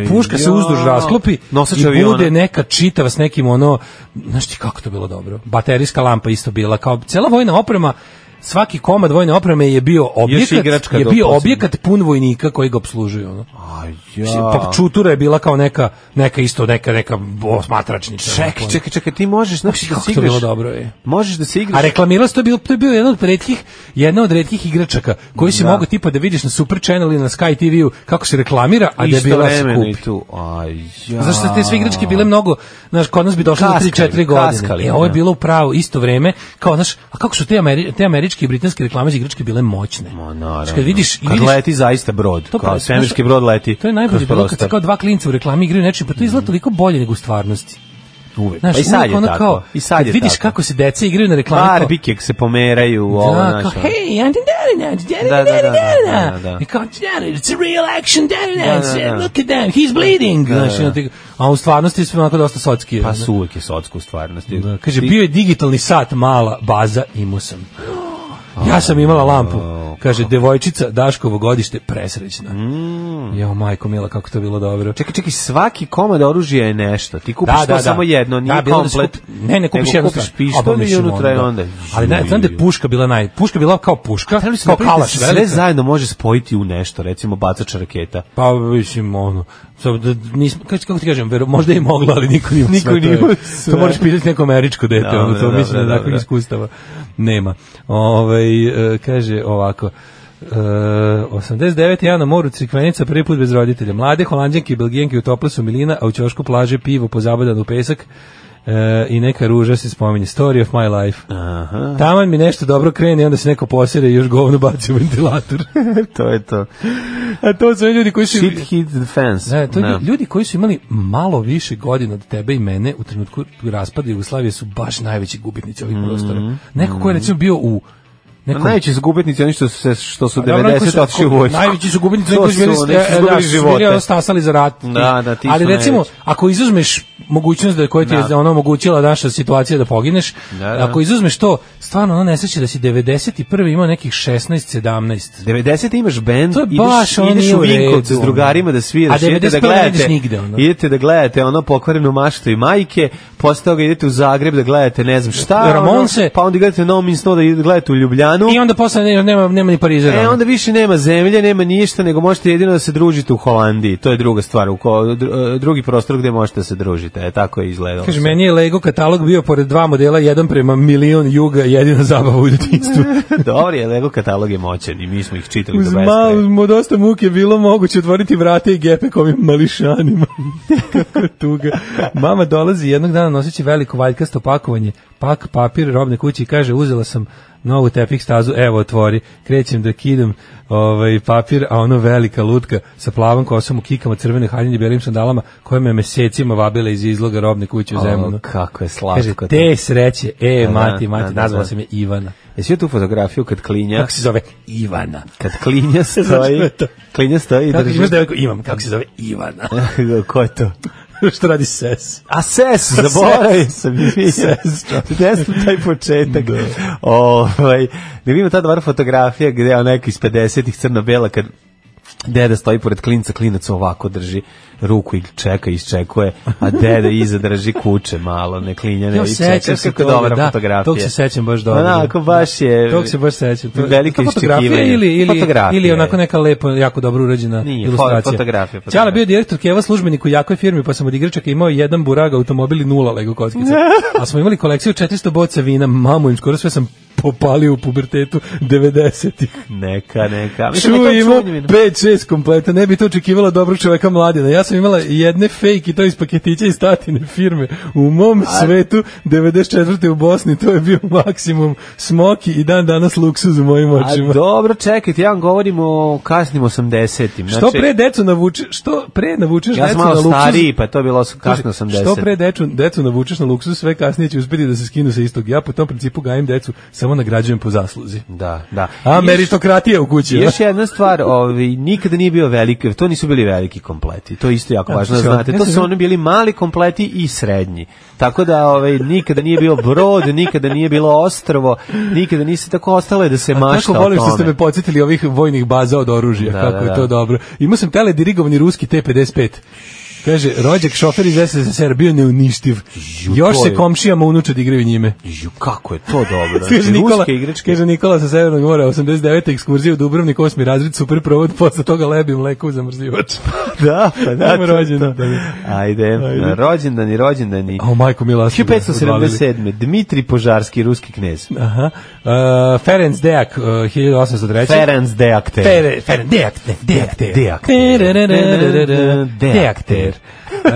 S6: Pu- puška se
S5: ja.
S6: uzduž rasklopi
S5: Nosač
S6: i
S5: aviona.
S6: bude neka čitava s nekim ono, znaš ti kako to bilo dobro. Baterijska lampa isto bila, kao cela vojna oprema, svaki komad vojne opreme je bio objekat,
S5: igračka
S6: je
S5: do
S6: bio
S5: posebno.
S6: objekat pun vojnika koji ga obslužuju. Ono.
S5: Aj,
S6: Pa
S5: ja.
S6: čutura je bila kao neka, neka isto, neka, neka osmatračnica.
S5: Čekaj, čekaj, čekaj, ti možeš, znači,
S6: Znaš
S5: da
S6: kako
S5: se
S6: to
S5: igraš.
S6: bilo dobro je.
S5: Možeš da se
S6: A
S5: igraš.
S6: reklamirala se to je bio to je bio jedan od retkih jedna od retkih igračaka koji si
S5: Da.
S6: mogao tipa da vidiš na Super Channel ili na Sky TV-u kako se reklamira, a da je bila se
S5: Istovremeno i
S6: kupi.
S5: tu. Aj, ja.
S6: Zašto te sve igračke bile mnogo, znaš, kod nas bi došlo
S5: Kaskali,
S6: do 3-4 godine.
S5: kaskali,
S6: e, ovo je
S5: da.
S6: bilo u pravo isto vreme, kao, znaš, a kako su te, Ameri te američke i britanske reklame za igračke bile moćne?
S5: Ma,
S6: Znaš,
S5: naravno.
S6: Kad vidiš, i
S5: Kad
S6: vidiš
S5: leti zaista brod,
S6: to
S5: kao
S6: pre-
S5: svemirski
S6: znaš,
S5: brod leti.
S6: To je najbolje
S5: kroz
S6: bilo kad se
S5: prostor.
S6: kao dva klinca u reklami igraju nečim, pa to izgleda toliko bolje nego u stvarnosti.
S5: Uvek.
S6: Znaš,
S5: Pa i sad
S6: uvek
S5: je
S6: ono
S5: tako.
S6: kao,
S5: I sad
S6: kad
S5: je
S6: vidiš
S5: tako.
S6: kako se deca igraju na reklami, kao,
S5: Barbike se pomeraju, ovo,
S6: da, kao,
S5: znaš. ono.
S6: hey, Anton Derinac,
S5: Da, da, da, da,
S6: Derinac,
S5: da, da.
S6: I kao, Derinac, it's a real action Derinac,
S5: Da, da, da.
S6: uh, look at them, he's bleeding.
S5: da,
S6: Znaš, i onda ti- a u stvarnosti sve onako dosta socki.
S5: Pa
S6: ono.
S5: su uvek je socku u stvarnosti.
S6: Da, kaže,
S5: Znači, Ti-
S6: bio je digitalni sat, mala baza, imao sam. Ja sam imala lampu. Kaže, devojčica Daškovo godište, presrećna. Jo, majko mila, kako to bilo dobro.
S5: Mm. Čekaj, čekaj, svaki komad oružja je nešto. Ti kupiš to samo jedno, nije
S6: bilo da se
S5: komplet.
S6: kupi- ne, ne kupiš
S5: nego
S6: jedno.
S5: kupiš
S6: stvar.
S5: pištolj
S6: Obaviš
S5: i
S6: im
S5: unutra je
S6: onda.
S5: onda.
S6: Ali ne, znam da je
S5: Juj.
S6: puška bila naj... Puška bila kao puška,
S5: Trebali su
S6: kao
S5: napraviti da
S6: kalaš.
S5: se sve
S6: velika.
S5: zajedno može spojiti u nešto, recimo bacač raketa.
S6: Pa mislim ono, samo da nismo kako, kako ti kažem, vero, možda je i mogla, ali niko nije
S5: Niko
S6: sve to je-
S5: nije sve.
S6: To moraš pitati neko američko dete,
S5: Dobro,
S6: ono, to
S5: dobro,
S6: mislim da
S5: dobro.
S6: takvih iskustava nema. Ovaj e, kaže ovako Uh, 89. ja na moru Crikvenica prvi put bez roditelja. Mlade holandjanke i belgijanke utopile su milina, a u ćošku plaže pivo pozabadano u pesak e, i neka ruža se spominje. Story of my life.
S5: Aha.
S6: Taman mi nešto dobro krene i onda se neko posere i još govno baci u ventilator.
S5: to je to.
S6: a to su oni ljudi koji su...
S5: Shit hit the fence.
S6: Da, to lju- ljudi koji su imali malo više godina od tebe i mene u trenutku raspada Jugoslavije su baš najveći gubitnici ovih prostora. Neko ko je recimo bio u nekom
S5: Mhm. Najveći su gubitnici, oni što su, se, što su
S6: A dobro, neko
S5: 90
S6: su-
S5: otišli u vojsku.
S6: Najveći su gubitnici
S5: To
S6: koji su bili
S5: su,
S6: e,
S5: neki su
S6: e,
S5: izgubili
S6: da, su bili,
S5: živote.
S6: ono, stasali za rat.
S5: Da, da, ti su
S6: Ali recimo,
S5: najveći.
S6: ako izuzmeš mogućnost da koja ti je
S5: Da.
S6: ono omogućila naša situacija da pogineš,
S5: Da, da.
S6: ako izuzmeš to, stvarno ono nesreće da si 91. imao nekih 16, 17.
S5: 90 imaš bend,
S6: To je
S5: ideš,
S6: baš ono
S5: ideš
S6: nije
S5: u
S6: u redu,
S5: Vinkovce s
S6: ono.
S5: drugarima da sviraš,
S6: A
S5: idete da
S6: 91
S5: gledate,
S6: ideš nigde, ono.
S5: idete da gledate ono pokvarenu maštu i majke, posle toga idete u Zagreb da gledate ne znam šta, ono,
S6: Ramonse.
S5: pa onda gledate No Means No da idete- gledate u Ljubljani, Milanu.
S6: I onda posle ne- nema, nema ni Parizera.
S5: E, onda više nema zemlje, nema ništa, nego možete jedino da se družite u Holandiji. To je druga stvar, u ko, dru- drugi prostor gde možete da se družite. E, tako je izgledalo.
S6: Kaže, meni je Lego katalog bio pored dva modela, jedan prema milion juga, jedina zabava u djetinstvu.
S5: Dobar je, Lego katalog je moćan i mi smo ih čitali
S6: Uz
S5: do beskraja.
S6: malo, dosta muke je bilo moguće otvoriti vrate i gepe ovim mališanima. Kako je tuga. Mama dolazi jednog dana noseći veliko valjkasto pakovanje, pak papir robne kući i kaže uzela sam novu tepih stazu, evo otvori, krećem da kidam ovaj, papir, a ono velika lutka sa plavom kosom u kikama, crvene haljine i belim sandalama, koja me mesecima vabila iz izloga robne kuće u Zemunu.
S5: O, kako je
S6: Ono, Kaže,
S5: slatko. to.
S6: te sreće, e,
S5: Da,
S6: mati,
S5: da,
S6: mati,
S5: da,
S6: nazvala
S5: da.
S6: sam je Ivana.
S5: Jesi vidio tu fotografiju kad klinja,
S6: Kako se zove? Ivana.
S5: kad klinja stoji,
S6: to?
S5: klinja stoji i
S6: Kako
S5: drži.
S6: imaš devojku? Imam. Kako se zove? Ivana.
S5: Ko je to?
S6: Što radi ses?
S5: A ses, zaboravio sam i
S6: Ses,
S5: Ne znam taj početak. Ovaj, ne vidimo ta dobra fotografija gde je onako iz 50-ih crno-bela kad deda stoji pored klinca, klinac ovako drži ruku i čeka, isčekuje, a deda iza drži kuče malo, ne klinja, ne
S6: Jo,
S5: i
S6: sećam
S5: čeka.
S6: se
S5: Kako
S6: toga,
S5: dobra
S6: da,
S5: fotografija.
S6: tog se sećam baš dobro.
S5: Onako, baš je...
S6: Tog se baš sećam. To je-
S5: Velika
S6: to je fotografija
S5: iščekivanja.
S6: ili, ili,
S5: Fotografija
S6: ili
S5: je.
S6: onako neka lepo, jako dobro urađena
S5: Nije, fo-
S6: ilustracija.
S5: fotografija, fotografija.
S6: Ćala bio direktor Keva službenik u jakoj firmi, pa sam od igračaka imao jedan burag automobil i nula Lego kockica. A smo imali kolekciju 400 boca vina, mamu im skoro sve sam popalio u pubertetu 90-ih.
S5: Neka, neka. Mislim,
S6: Ču
S5: neka je
S6: imao
S5: čudnjevina.
S6: 5-6 kompleta, ne bi to očekivala dobro čoveka mladina. Ja sam imala jedne fake i to iz paketića iz tatine firme. U mom svetu, 94. u Bosni, to je bio maksimum smoki i dan danas luksuz u mojim očima.
S5: A dobro, čekajte, ja vam govorim o kasnim 80-im.
S6: što pre decu navuče, što pre navučeš
S5: znači- Ja
S6: decu
S5: sam
S6: na
S5: malo
S6: luksuz,
S5: stariji, pa to je bilo s- kasno
S6: Kaže,
S5: 80.
S6: Što pre decu, decu navučeš na luksuz, sve kasnije će uspjeti da se skinu sa istog. Ja po tom principu gajim decu, samo nagrađujem po zasluzi.
S5: Da, da.
S6: A
S5: I još-
S6: meritokratija u kući.
S5: Još jedna stvar, ovaj nikada nije bio veliki, to nisu bili veliki kompleti. To je isto jako
S6: Ja,
S5: važno da
S6: sve ono-
S5: znate.
S6: ja
S5: To
S6: se
S5: su
S6: znam-
S5: oni bili mali kompleti i srednji. Tako da ovaj nikada nije bio brod, nikada nije bilo ostrvo, nikada nisi tako ostalo je da se
S6: A
S5: mašta
S6: Tako
S5: o
S6: volim što ste
S5: tome.
S6: me podsjetili ovih vojnih baza od oružja,
S5: Da,
S6: kako
S5: da,
S6: je
S5: da.
S6: to dobro. Imao sam teledirigovani ruski T-55. Kaže, rođak šofer iz SSSR bio neuništiv. Još
S5: to
S6: se
S5: je-
S6: komšijama unučad igraju njime.
S5: Ju, kako je to dobro.
S6: Kaže
S5: Znači,
S6: Nikola,
S5: ruske igračke.
S6: kaže Nikola sa Severnog mora, 89. ekskurzija u Dubrovnik, osmi razred, super provod, posle toga lebi mleko u zamrzivač.
S5: da, pa da.
S6: Ajmo
S5: to-
S6: rođendan.
S5: to- Ajde,
S6: Ajde.
S5: rođendan i rođendan i...
S6: A o majko mila. smo
S5: 1577. Dmitri Požarski, ruski knez.
S6: Aha. Uh, Ferenc Dejak, uh, 1803.
S5: Ferenc Deakter.
S6: Fere, Fere, deakter, deakter.
S5: Deakter.
S6: Terererererere,
S5: Deakter.
S6: Deakter. E, e,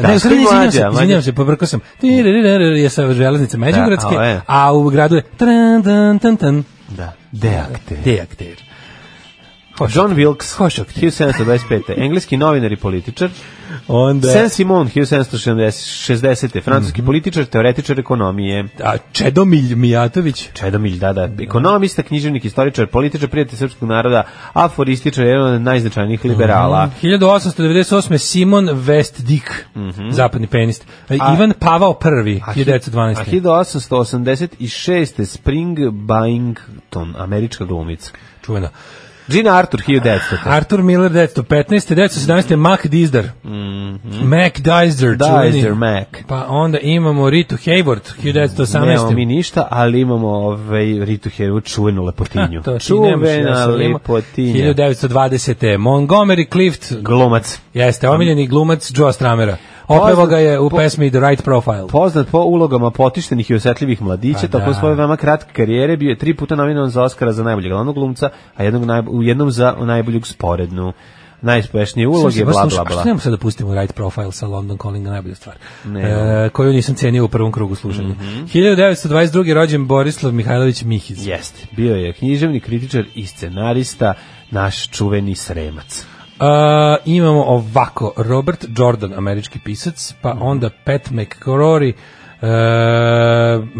S5: Da,
S6: ne, u stvari
S5: što je
S6: izvinjam
S5: mlađa,
S6: se,
S5: mlađa.
S6: izvinjam se, pobrkao sam. Tererererere je sa železnice Međugradske,
S5: Da, a e. ovo je.
S6: a u gradu je tran, tan, tan, tan,
S5: Da, Deakter.
S6: Deakter.
S5: John Wilkes,
S6: Hošok ti.
S5: 1725. Engleski novinar i političar.
S6: Onda,
S5: Saint-Simon, 1760. Francuski političar, teoretičar ekonomije.
S6: a Čedomilj Mijatović,
S5: Čedomilj, da, da. Ekonomista, književnik, istoričar, političar, prijatelj srpskog naroda, aforističar, jedan od najznačajnijih liberala.
S6: 1898. Simon Westdick, zapadni penist. E,
S5: Mhm. A-
S6: Ivan Pavao I,
S5: A hi- A
S6: 1912.
S5: 1886. Spring Byington, američka glumica.
S6: Čuvena.
S5: Gina Arthur, 1900.
S6: Arthur Miller, 1915. 1917. Mac Dizdar. Mac Dizdar, čuveni.
S5: Dizer Mhm. Mac.
S6: Pa onda imamo Ritu Hayward, 1918.
S5: Nemamo mi ništa, ali imamo ovaj Ritu Heru čuvenu lepotinju.
S6: To ti nemaš, ja
S5: Čuvena
S6: sam imao.
S5: lepotinja.
S6: 1920. Montgomery Clift,
S5: Glumac.
S6: jeste omiljeni glumac Joe Stramera.
S5: Pa,
S6: Opevao ga je u pesmi The Right Profile.
S5: Poznat po ulogama potištenih i osjetljivih mladića,
S6: Pa
S5: tokom
S6: da.
S5: svoje veoma kratke karijere bio je tri puta nominovan za Oscara za najboljeg glavnog glumca, a jednog najb- u jednom za najboljeg sporednu. Najuspešnije uloge,
S6: Slušaj, baš
S5: bla,
S6: slušaj,
S5: bla,
S6: Što
S5: bla.
S6: nemamo sad da pustimo Right Profile sa London Calling najbolja stvar,
S5: Ne.
S6: e, koju nisam cenio u prvom krugu slušanja.
S5: Mhm.
S6: 1922. rođen Borislav Mihajlović Mihiz.
S5: Jeste, bio je književni kritičar i scenarista, naš čuveni sremac.
S6: Uh, imamo ovako, Robert Jordan, američki pisac,
S5: Mhm.
S6: pa onda Pat McCrory,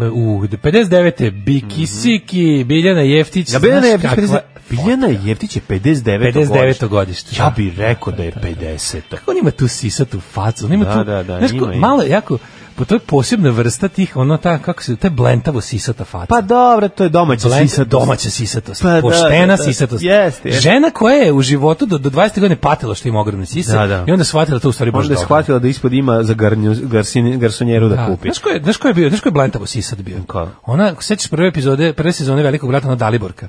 S6: uh, u 59. Biki Siki, Biljana Jeftić,
S5: Mhm. Ja Biljana
S6: znaš
S5: Jevtić,
S6: kakva-
S5: 50, Biljana Jevtić je 59.
S6: 59.
S5: godište.
S6: godište.
S5: Ja bih rekao da je 50.
S6: Kako on ima tu sisatu facu, on ima
S5: Da,
S6: tu,
S5: da, da,
S6: znaš,
S5: ima,
S6: ko-
S5: ima.
S6: malo je jako, po to je posebna vrsta tih, ono ta, kako se, to je blentavo sisata fata.
S5: Pa dobro, to je domaća
S6: Blend,
S5: sisatost.
S6: domaća sisatost,
S5: Pa da,
S6: poštena
S5: da, da,
S6: sisatost.
S5: jeste, jeste.
S6: Žena koja je u životu do, do 20. godine patila što ima ogromne sise
S5: Da, da.
S6: i onda shvatila da to u stvari baš
S5: Možda je
S6: dobro.
S5: shvatila da ispod ima za garnju, garsini- garsonjeru da, kupi.
S6: Znaš ko je, znaš ko je bio, znaš ko je blentavo sisat bio?
S5: Ko?
S6: Ona, ako se sećaš prve epizode, prve sezone Velikog brata, ona Daliborka.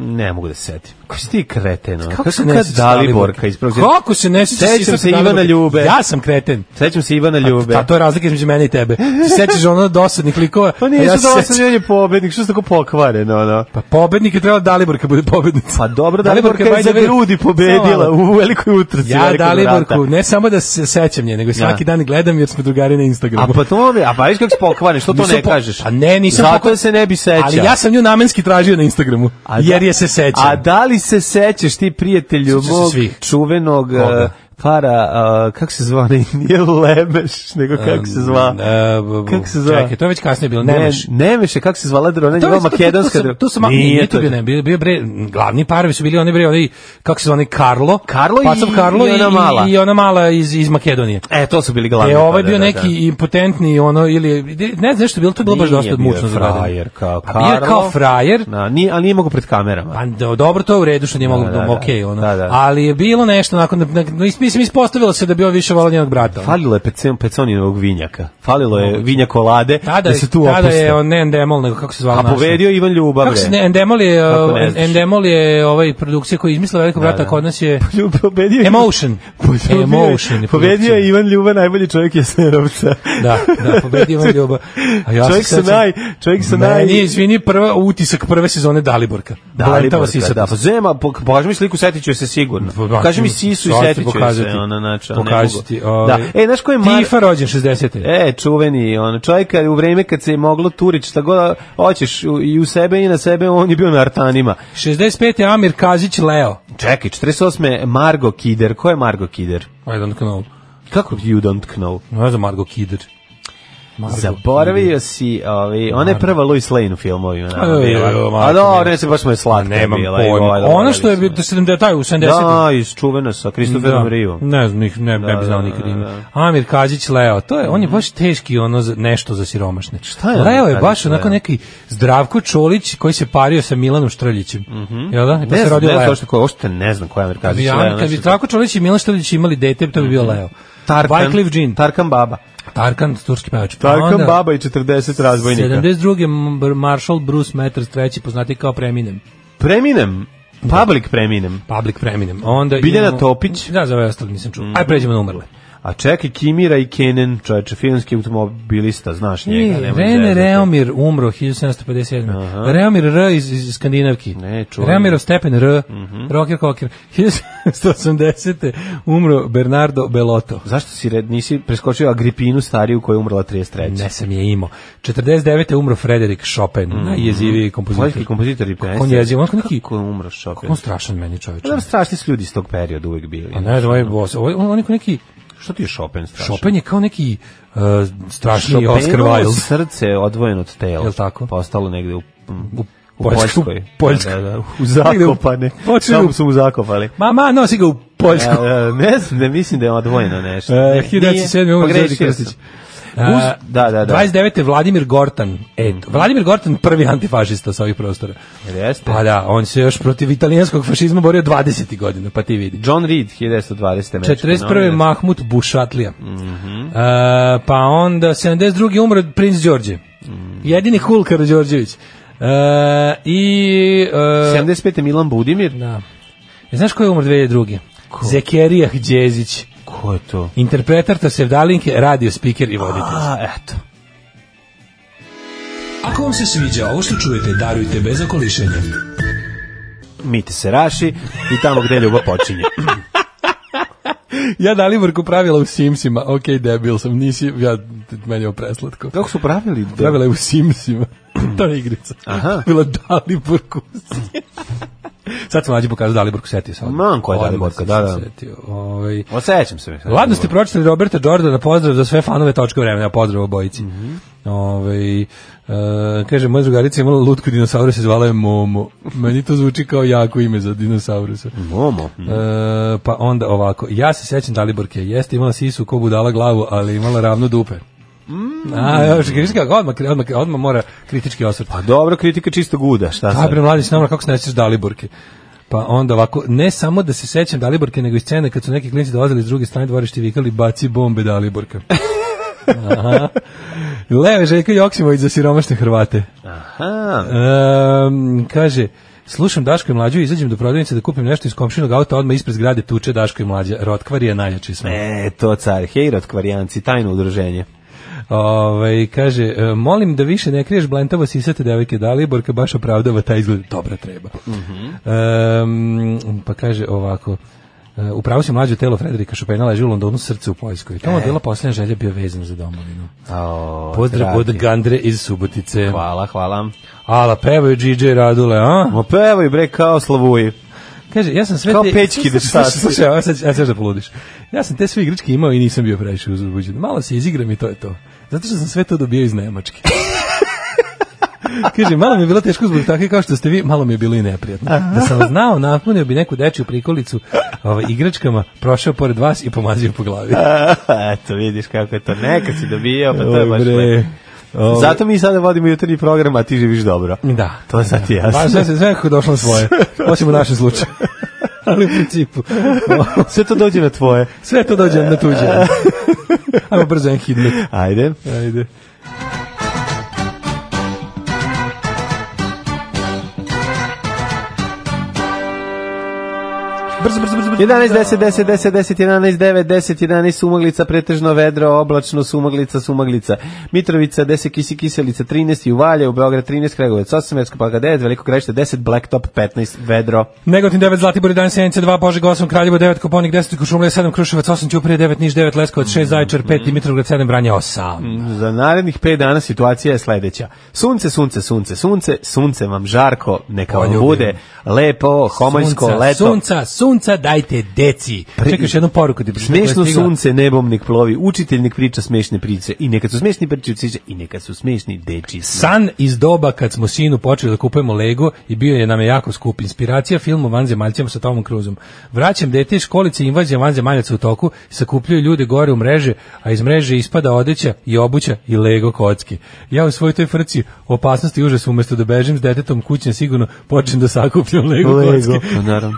S5: Ne mogu da se setim. Kako si ti kreten? ono? Kako,
S6: Kako
S5: kako
S6: se
S5: se
S6: ne
S5: kad
S6: sjećaš
S5: Daliborka ispravo?
S6: Kako se ne sjećaš
S5: Sećam
S6: sisate
S5: se Ivana
S6: Daliborke?
S5: Ljube.
S6: Ja sam kreten.
S5: Sećam se Ivana Ljube.
S6: A to je razlika između mene i tebe. Ti sećaš ono dosadnih likova.
S5: Pa
S6: a
S5: nije
S6: ja
S5: ja
S6: se
S5: što da
S6: sećam-
S5: sam je pobednik, što se tako pokvareno, ono.
S6: Pa pobednik je trebala Daliborka bude pobednica.
S5: Pa dobro,
S6: Daliborka
S5: Daliborka je
S6: by
S5: za
S6: the way-
S5: grudi
S6: Samo
S5: pobedila
S6: malo.
S5: u velikoj utrci.
S6: Ja
S5: velikog
S6: Daliborku,
S5: vrata.
S6: ne samo da se sećam nje, nego i svaki
S5: Ja.
S6: dan gledam jer smo drugari na
S5: A
S6: Instagramu.
S5: pa to mi, a pa viš kako se pokvareno, što to
S6: Nisam
S5: ne
S6: po-
S5: kažeš?
S6: A ne, nisam
S5: Zato
S6: pokvar-
S5: se ne bi sećao.
S6: Ali ja sam nju namenski tražio na Instagramu,
S5: A da-
S6: jer je se sećam.
S5: A da li se sećaš ti prijatelju
S6: Sećam se
S5: mog
S6: svih.
S5: čuvenog
S6: Koga?
S5: eh, para, eh, kako se zva, ne- nije Lemeš, nego kako se zva?
S6: E, b- b-
S5: Kako se zove?
S6: Čekaj, to je već kasnije bilo,
S5: Ne,
S6: nemaš.
S5: Nemeš je, kako se zvala drona,
S6: To
S5: je
S6: je
S5: bila
S6: već- to- to-
S5: makedonska
S6: to, to,
S5: drona.
S6: to, to, sam- nije to bio, ne, bio, bio bre, glavni parovi su bili oni bre, onaj, kako se zove, onaj Karlo,
S5: Karlo i-
S6: Pacov Karlo
S5: i ona mala.
S6: i, i ona mala iz, iz Makedonije.
S5: E, to su bili glavni.
S6: E, ovaj
S5: da,
S6: bio
S5: da,
S6: neki
S5: da.
S6: impotentni, ono, ili, ne znam što je bilo, to je bilo baš
S5: Nije
S6: dosta
S5: bio
S6: mučno za gledanje.
S5: frajer kao
S6: A bio je kao
S5: Karlo.
S6: frajer,
S5: Da, nije, ali nije mogu pred kamerama.
S6: Pa do- dobro, to je u redu što nije mogu da,
S5: da, da.
S6: okej, ono.
S5: Da, da.
S6: Ali je bilo nešto, nakon, na, na, mislim, ispostavilo se da bi on više volao njenog brata. ono.
S5: Falilo je pecon, peconinovog vinjaka. Falilo je vinja kolade
S6: Tada,
S5: da se tu
S6: tada
S5: opuste.
S6: je on ne Endemol, nego kako se zvala
S5: A
S6: naša.
S5: povedio Ivan Ljubav.
S6: Kako se
S5: bre.
S6: ne, Endemol je,
S5: Kako ne
S6: uh,
S5: znaš?
S6: Endemol je ovaj produkcija koju je izmislila Veliko brata, kod nas je
S5: Ljub- Pobedio je-
S6: Emotion.
S5: Pobedio je-
S6: Emotion je
S5: Pobedio je
S6: produkcija.
S5: Ivan Ljuba, najbolji čovjek Jasenovca.
S6: Da, da, pobedio Ivan Ljubav. A ja se
S5: čovjek sa
S6: sećam-
S5: naj, čovjek sa naj.
S6: Meni je, izvini, prva utisak prve sezone Daliborka. Blentava
S5: Daliborka,
S6: sisatost.
S5: da, pa zema, pok- pokaži mi sliku, setit ću je se sigurno.
S6: Pa,
S5: Pokaži mi sisu i
S6: sad ću
S5: setit ću je se.
S6: pokazati.
S5: Ona, znači, ona, ne
S6: Pokaži
S5: mogu.
S6: ti,
S5: Da.
S6: ovaj,
S5: E, znaš ko je Mar...
S6: Tifa rođen 60.
S5: E, čuveni, on čovjek kad- u vreme kad se je moglo turić šta god hoćeš u- i u sebe i na sebe, on je bio na artanima.
S6: 65. je Amir Kazić Leo.
S5: Čekaj, 48. Margo Kider. Ko je Margo Kider?
S6: I don't know.
S5: Kako you don't know?
S6: Ne znam, Margo Kidder.
S5: Zaboravio si, ovi, ona je prva Louis Lane u filmovima.
S6: Ej,
S5: naravno, bila.
S6: evo,
S5: A
S6: majko
S5: dobro,
S6: mila.
S5: ne se baš mu je slatka
S6: Nemam
S5: bila. i
S6: pojma.
S5: ovaj,
S6: Ono
S5: dobro,
S6: što je bio
S5: mislim.
S6: 70 taj u 70
S5: Da, iz čuvena sa Christopherom da.
S6: Ne znam, ih ne, ne bi znao
S5: da,
S6: nikad
S5: da,
S6: ime.
S5: da. Mhm.
S6: Amir Kađić Leo, to je, on je baš teški ono za, nešto za siromašne. Šta
S5: je
S6: Leo je
S5: Amir
S6: baš
S5: Kađić
S6: onako
S5: Leo?
S6: neki Zdravko Čolić koji se pario sa Milanom Štrljićem. Jel da? I
S5: Mhm.
S6: pa
S5: Ne
S6: se
S5: znam,
S6: rodio
S5: ne znam
S6: Leo.
S5: što ko, ošte ne znam koja je znači,
S6: Kad
S5: Amerikazić.
S6: bi, Am- kad bi Zdravko Čolić i Milan Štrljić imali dete, to bi bio Leo.
S5: Mhm. Tarkan,
S6: Wyclef Jean.
S5: Tarkan Baba.
S6: Tarkan, turski pevač. Pa
S5: Tarkan
S6: onda-
S5: Baba i 40 razbojnika.
S6: 72. Mar- Marshall Bruce Matters, treći poznati kao preminem.
S5: Preminem, public preminem.
S6: Public Preminem. Onda
S5: Biljana
S6: imamo-
S5: Topić. Mhm.
S6: Da, za ove ostale nisam čuo. Aj pređemo na umrle.
S5: A čekaj, Kimira i Kenen, čoveče, filmski automobilista, znaš njega.
S6: E,
S5: nemoj
S6: Rene
S5: zezati.
S6: Reomir umro 1757. Reomir R iz, iz Skandinavki.
S5: Ne, Mhm. čujem.
S6: Reomirov stepen R. Rocker Cocker. 1780. umro Bernardo Belotto.
S5: Zašto si red, nisi preskočio Agripinu stariju koja je umrla 33.
S6: Ne sam je imao. 49. umro Frederik Chopin, najjeziviji kompozitor.
S5: Poljski Mhm. kompozitor i pesnik.
S6: on jeziv, on kao neki-
S5: Kako je umro Chopin?
S6: On strašan meni čovječe.
S5: Pa dobro, strašni su ljudi iz tog perioda uvijek bili.
S6: A ne znam, ovaj boss, ovaj- on, on je kao neki...
S5: Što ti je Chopin strašan?
S6: Chopin je kao neki uh, strašni
S5: Chopinovo
S6: Oscar Wilde.
S5: srce odvojeno od tela.
S6: Jel tako?
S5: Postalo negde u, u, u
S6: Poljsku-
S5: Poljskoj.
S6: Poljskoj.
S5: Da, da, da. U Zakopane.
S6: Negde u- počeli u-
S5: Samo su mu zakopali.
S6: Ma, ma, nosi ga u Poljsku.
S5: Ja, ja, ne znam, ne mislim da je odvojeno nešto.
S6: E,
S5: Ne,
S6: 1907
S5: nije.
S6: umro Đorđe
S5: Pogrešio
S6: Krstić.
S5: sam.
S6: Uz,
S5: A, da, da, da.
S6: 29. Vladimir Gortan. E, Vladimir Gortan prvi antifašista sa ovih prostora.
S5: Jeste.
S6: Pa da, on se još protiv italijanskog fašizma borio 20. godina, pa ti vidi.
S5: John Reed, 1920. američki
S6: 41.
S5: novinar.
S6: Mahmut Bušatlija.
S5: Mhm.
S6: E, pa onda 72. umro princ Đorđe.
S5: Mm.
S6: Jedini Hulkar Đorđević. E, I... e,
S5: 75. Milan Budimir.
S6: da. E, Znaš ko je umro 2002. Zekerijah Đezić.
S5: Ko je to?
S6: Interpretar to sevdalinke, radio speaker i voditelj.
S5: A, eto.
S7: Ako vam se sviđa ovo što čujete, darujte bez okolišenja.
S5: Mite se raši i tamo gde ljubav počinje.
S6: Ja Daliborku pravila u Simsima. Ok, debil sam, nisi, ja, t- meni je ovo preslatko.
S5: Kako su pravili?
S6: Pravila je u Simsima. to je igrica.
S5: Aha.
S6: Bila Daliborku. u Simsima. Sad sam mlađi pokazao Daliborku, setio sam.
S5: Znam koja je
S6: Odmah
S5: Daliborka,
S6: sam
S5: da,
S6: se
S5: da.
S6: Setio. Ovaj.
S5: Osećam se.
S6: Ladno ste pročitali Roberta Jordana, pozdrav za sve fanove točka vremena, pozdrav obojici.
S5: Mhm.
S6: Ovaj, e, kaže, moja drugarica je imala lutku dinosaurusa, zvala je Momo. Meni to zvuči kao jako ime za dinosaurusa.
S5: Momo.
S6: E, pa onda ovako, ja se sećam Daliborke, jeste imala sisu ko budala glavu, ali imala ravno dupe. A, još, viš kako, odmah, odmah, odmah mora kritički osvrt.
S5: Pa dobro, kritika čisto guda, šta
S6: Aj
S5: sad?
S6: bre mladi, samo kako se nećeš Daliborke. Pa onda ovako, ne samo da se sećam Daliborke, nego i scene kad su neki klinci dolazili s druge strane dvorišta i vikali baci bombe Daliborka. Aha. Leo je Željko Joksimović za siromašne Hrvate.
S5: Aha.
S6: Ehm, kaže, slušam Daško i Mlađu, izađem do prodavnice da kupim nešto iz komšinog auta, odmah ispred zgrade tuče Daško i Mlađa. Rotkvar je najjači smo.
S5: E, to car, hejrat kvarijanci, tajno udruženje.
S6: Ovaj kaže, e, molim da više ne kriješ blentavo sisate devojke Daliborka, baš opravdava taj izgled, dobra treba. Em, pa kaže ovako, e, upravo si mlađe telo Frederika Chopina leži u Londonu srce u Poljskoj. To modela posljednja želja bio vezan za domovinu.
S5: O,
S6: Pozdrav
S5: dragi.
S6: od Gandre iz Subotice.
S5: Hvala, hvala.
S6: Ala, pevaju DJ Radule, a?
S5: Ma pevaj bre kao slavuji.
S6: Kaže, ja sam sve
S5: Kao pećki
S6: Slušaj,
S5: dečaci.
S6: Slušaj, slušaj, ja sad, ja sad da poludiš. Ja sam te sve igračke imao i nisam bio previše uzbuđen. Malo se izigram i to je to. Zato što sam sve to dobio iz Nemačke. Kaže, malo mi je bilo teško zbog takve kao što ste vi, malo mi je bilo i neprijatno. Da sam znao, napunio bi neku dečju prikolicu ovaj, igračkama, prošao pored vas i pomazio po glavi.
S5: Eto, vidiš kako je to. Neka si dobijao, pa to je baš
S6: Bre.
S5: lepo.
S6: Ovaj,
S5: Zato mi sada vodimo jutarnji program, a ti živiš dobro.
S6: Da.
S5: To sad ti jasno.
S6: Baš sve se sve nekako došlo na svoje. Osim u našem slučaju. Ali u principu.
S5: Sve to dođe na tvoje.
S6: Sve to dođe na tuđe. Ajmo brzo jedan hitnik.
S5: Ajde.
S6: Ajde. Brzo, brzo, brzo, brzo.
S5: 11, 10, 10, 10, 10, 11, 9, 10, 11, sumaglica, pretežno vedro, oblačno, sumaglica, sumaglica, Mitrovica, 10, kisi, kiselica, 13, i u Valjevu, Beograd, 13, Kregovac, 8, Mersko Palka, 9, Veliko Grešta, 10, Blacktop, 15, vedro.
S6: Negotin 9, Zlatibor 11, Sjenica 2, Požega 8, Kraljevo 9, Koponik 10, Košumlija 7, Kruševac 8, Ćuprije 9, Niš 9, Leskovac 6, Zaječar 5, Dimitrovgrad 7, Branje 8.
S5: Za narednih 5 dana situacija je sledeća. Sunce, sunce, sunce, sunce, sunce vam žarko, neka vam
S6: Poljubim.
S5: bude lepo, homoljsko
S6: sunca,
S5: leto.
S6: Sunca, sunca, dajte deci. Čekaj još jednu poruku ti pročitam koja je
S5: Smešno
S6: stigla.
S5: sunce, nebom nek plovi, učiteljnik priča smešne priče i nekad su smešni priče i nekad su smešni deči.
S6: San iz doba kad smo sinu počeli da kupujemo Lego i bio je nam je jako skup. Inspiracija film o vanzemaljcima sa Tomom Cruzom. Vraćam dete iz školice, invazija vanzemaljaca u toku, sakupljuju ljude gore u mreže, a iz mreže ispada odeća i obuća i Lego kocke. Ja u svojoj toj frci opasnosti i užas umesto da bežim s detetom kućem sigurno počnem da sakupljam Lego, kocke.
S5: Pa naravno.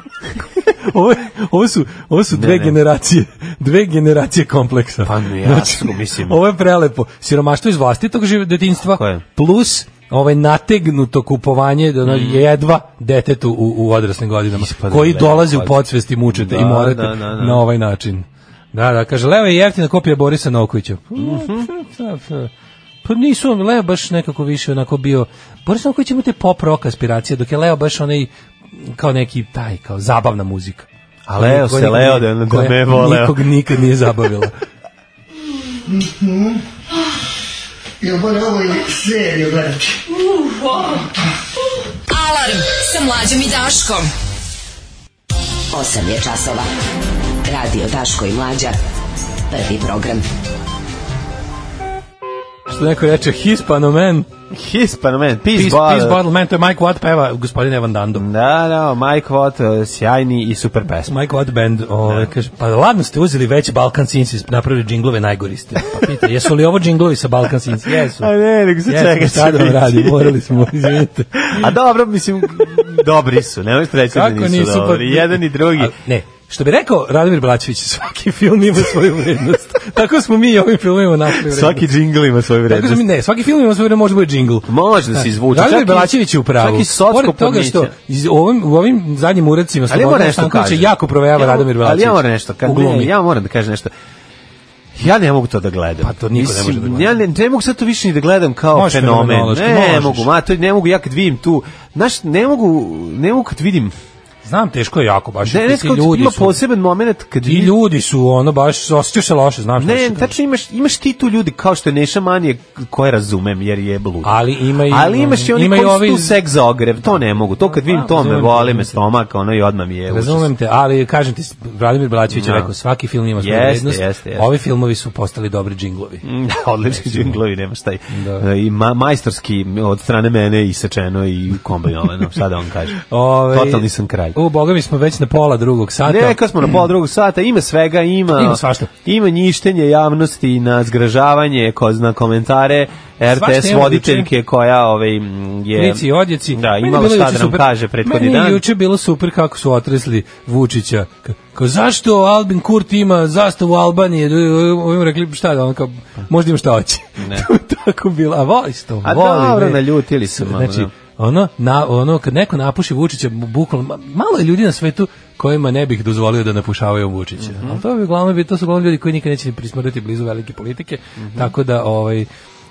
S6: Ovo, je- ovo su, ovo su dve
S5: ne.
S6: generacije, dve generacije kompleksa. Znači,
S5: Pa ne, jasno, mislim.
S6: Ovo je prelepo. Siromaštvo iz vlastitog živ- detinjstva
S5: Tako je.
S6: plus ovaj nategnuto kupovanje da ono, jedva detetu u, u odraslim godinama
S5: Ispada
S6: koji
S5: Mm. lepo,
S6: dolazi u
S5: pazi.
S6: podsvesti mučete i
S5: Da,
S6: morate
S5: da, da, da.
S6: na ovaj način. Da, da, kaže, Leo je jeftina kopija Borisa Novkovića. Pa nisu, on, Leo baš nekako više onako bio, Boris Novković ima te pop rock aspiracije, dok je Leo baš onaj kao neki taj, kao zabavna muzika.
S5: A Leo
S6: Koja
S5: se
S6: nikog
S5: Leo
S6: nije-
S5: da- da
S6: koja
S5: ne voleo.
S6: Nikog nikad nije zabavila.
S1: Ja moram ovo i seriju gledati.
S4: Alarm sa mlađom i Daškom.
S8: 8 je časova. Radio Daško i Mlađa. Prvi program.
S6: Što neko reče, pa Hispanoman,
S5: Hispano man, pa peace,
S6: Peace,
S5: bottle. Mm.
S6: Peace Bottle Man, to je Mike Watt peva, gospodin Evan Dando.
S5: Da, da, Mike Watt, e, sjajni i super pesma.
S6: Mike Watt Band, ovaj, kaže, pa ladno ste uzeli već Balkan Sins i napravili džinglove najgori ste. Pa pita, jesu li ovo džinglovi sa Balkan Sins? Jesu.
S5: A ne, nego se čeka
S6: šta da vam
S5: će
S6: radi,
S5: biti.
S6: morali smo, izvinite.
S5: A dobro, mislim, dobri su, ne možete reći da
S6: Kako
S5: nisu,
S6: nisu, pa-
S5: dobri. Jedan i drugi.
S6: A, ne, što bi rekao Radomir Blačević, svaki film ima svoju vrednost. Tako smo mi i ovim filmima našli vrednost.
S5: Svaki džingl ima svoju
S6: Tako
S5: vrednost.
S6: smo mi, ne, svaki film ima svoju vrednost, može biti džingl.
S5: Može da se izvuče.
S6: Radomir
S5: čak i-
S6: Belačević je u pravu.
S5: Čak i socko
S6: Pored toga što
S5: podmiće.
S6: iz ovim, u ovim zadnjim uradcima
S5: Ali ja
S6: Slobodana
S5: moram nešto
S6: Stankovića
S5: kažem.
S6: jako provejava
S5: Ja mo-
S6: Radomir Belačević.
S5: Ali ja moram nešto,
S6: u
S5: kad
S6: glumi.
S5: ne, ja moram da kažem nešto. Ja ne mogu to da gledam.
S6: Pa to niko ne može da gleda.
S5: Ja ne, ne mogu sad to više ni da gledam kao
S6: Možeš
S5: fenomen.
S6: fenomenološki,
S5: Ne,
S6: možeš.
S5: mogu, ma, to ne mogu ja kad vidim tu. Znaš, ne mogu, ne mogu kad vidim.
S6: Znam, teško je jako baš.
S5: Ne,
S6: Ti-
S5: ne,
S6: ti
S5: kao
S6: ljudi
S5: ima
S6: su-
S5: poseban moment kad
S6: Ti
S5: vidim-
S6: ljudi su ono baš, osjećaš se loše, znam šta
S5: Ne,
S6: ću ti kažem.
S5: tačno imaš, imaš ti tu ljudi kao što je Neša Manije koje razumem jer je blud.
S6: Ali ima i-
S5: Ali imaš i oni
S6: ima i
S5: koji su
S6: ovi-
S5: tu sek za ogrev, to ne mogu. To kad vidim
S6: A,
S5: to me
S6: razumem te,
S5: voli,
S6: razumem
S5: me
S6: te.
S5: stomaka, ono i odmah mi je. užas.
S6: Razumem te, ali kažem ti, Vladimir Belačević je
S5: Da.
S6: rekao, svaki film ima svoju
S5: Jeste,
S6: vrednost.
S5: jeste, jeste. Mm,
S6: Ovi filmovi su postali dobri džinglovi.
S5: Da, odlični džinglovi, nema šta. i-
S6: Da.
S5: I ma, majstorski od strane mene isečeno i kombinovano, ono, šta da vam kažem.
S6: Ovaj,
S5: Totalni sam kralj.
S6: U, boga mi smo već na pola drugog sata.
S5: Neka smo na pola drugog sata, ima svega, ima...
S6: Ima svašta.
S5: Ima njištenje javnosti na zgražavanje, ko zna komentare, RTS
S6: Svašta ima
S5: voditeljke koja ovaj, m, je...
S6: Klici i odjeci.
S5: Da,
S6: Meni je
S5: imala
S6: bilo
S5: šta
S6: juče
S5: da nam
S6: super-
S5: kaže prethodni
S6: Meni
S5: dan.
S6: je juče bilo super kako su otresli Vučića. Ka- Kao, zašto Albin Kurti ima zastavu Albanije? Ovim rekli, šta da on kao, možda ima šta hoće.
S5: Ne.
S6: To je tako bilo. A voliš to,
S5: A
S6: voli,
S5: dobro,
S6: ne.
S5: naljutili su malo,
S6: Znači,
S5: da.
S6: ono, na, ono, kad neko napuši Vučića, bu- bukvalno, ma- malo je ljudi na svetu kojima ne bih dozvolio da napušavaju Vučića.
S5: Mhm.
S6: Ali to bi uglavnom bi, to su uglavnom ljudi koji nikad neće ni prismrdati blizu velike politike,
S5: Mhm.
S6: tako da, ovaj,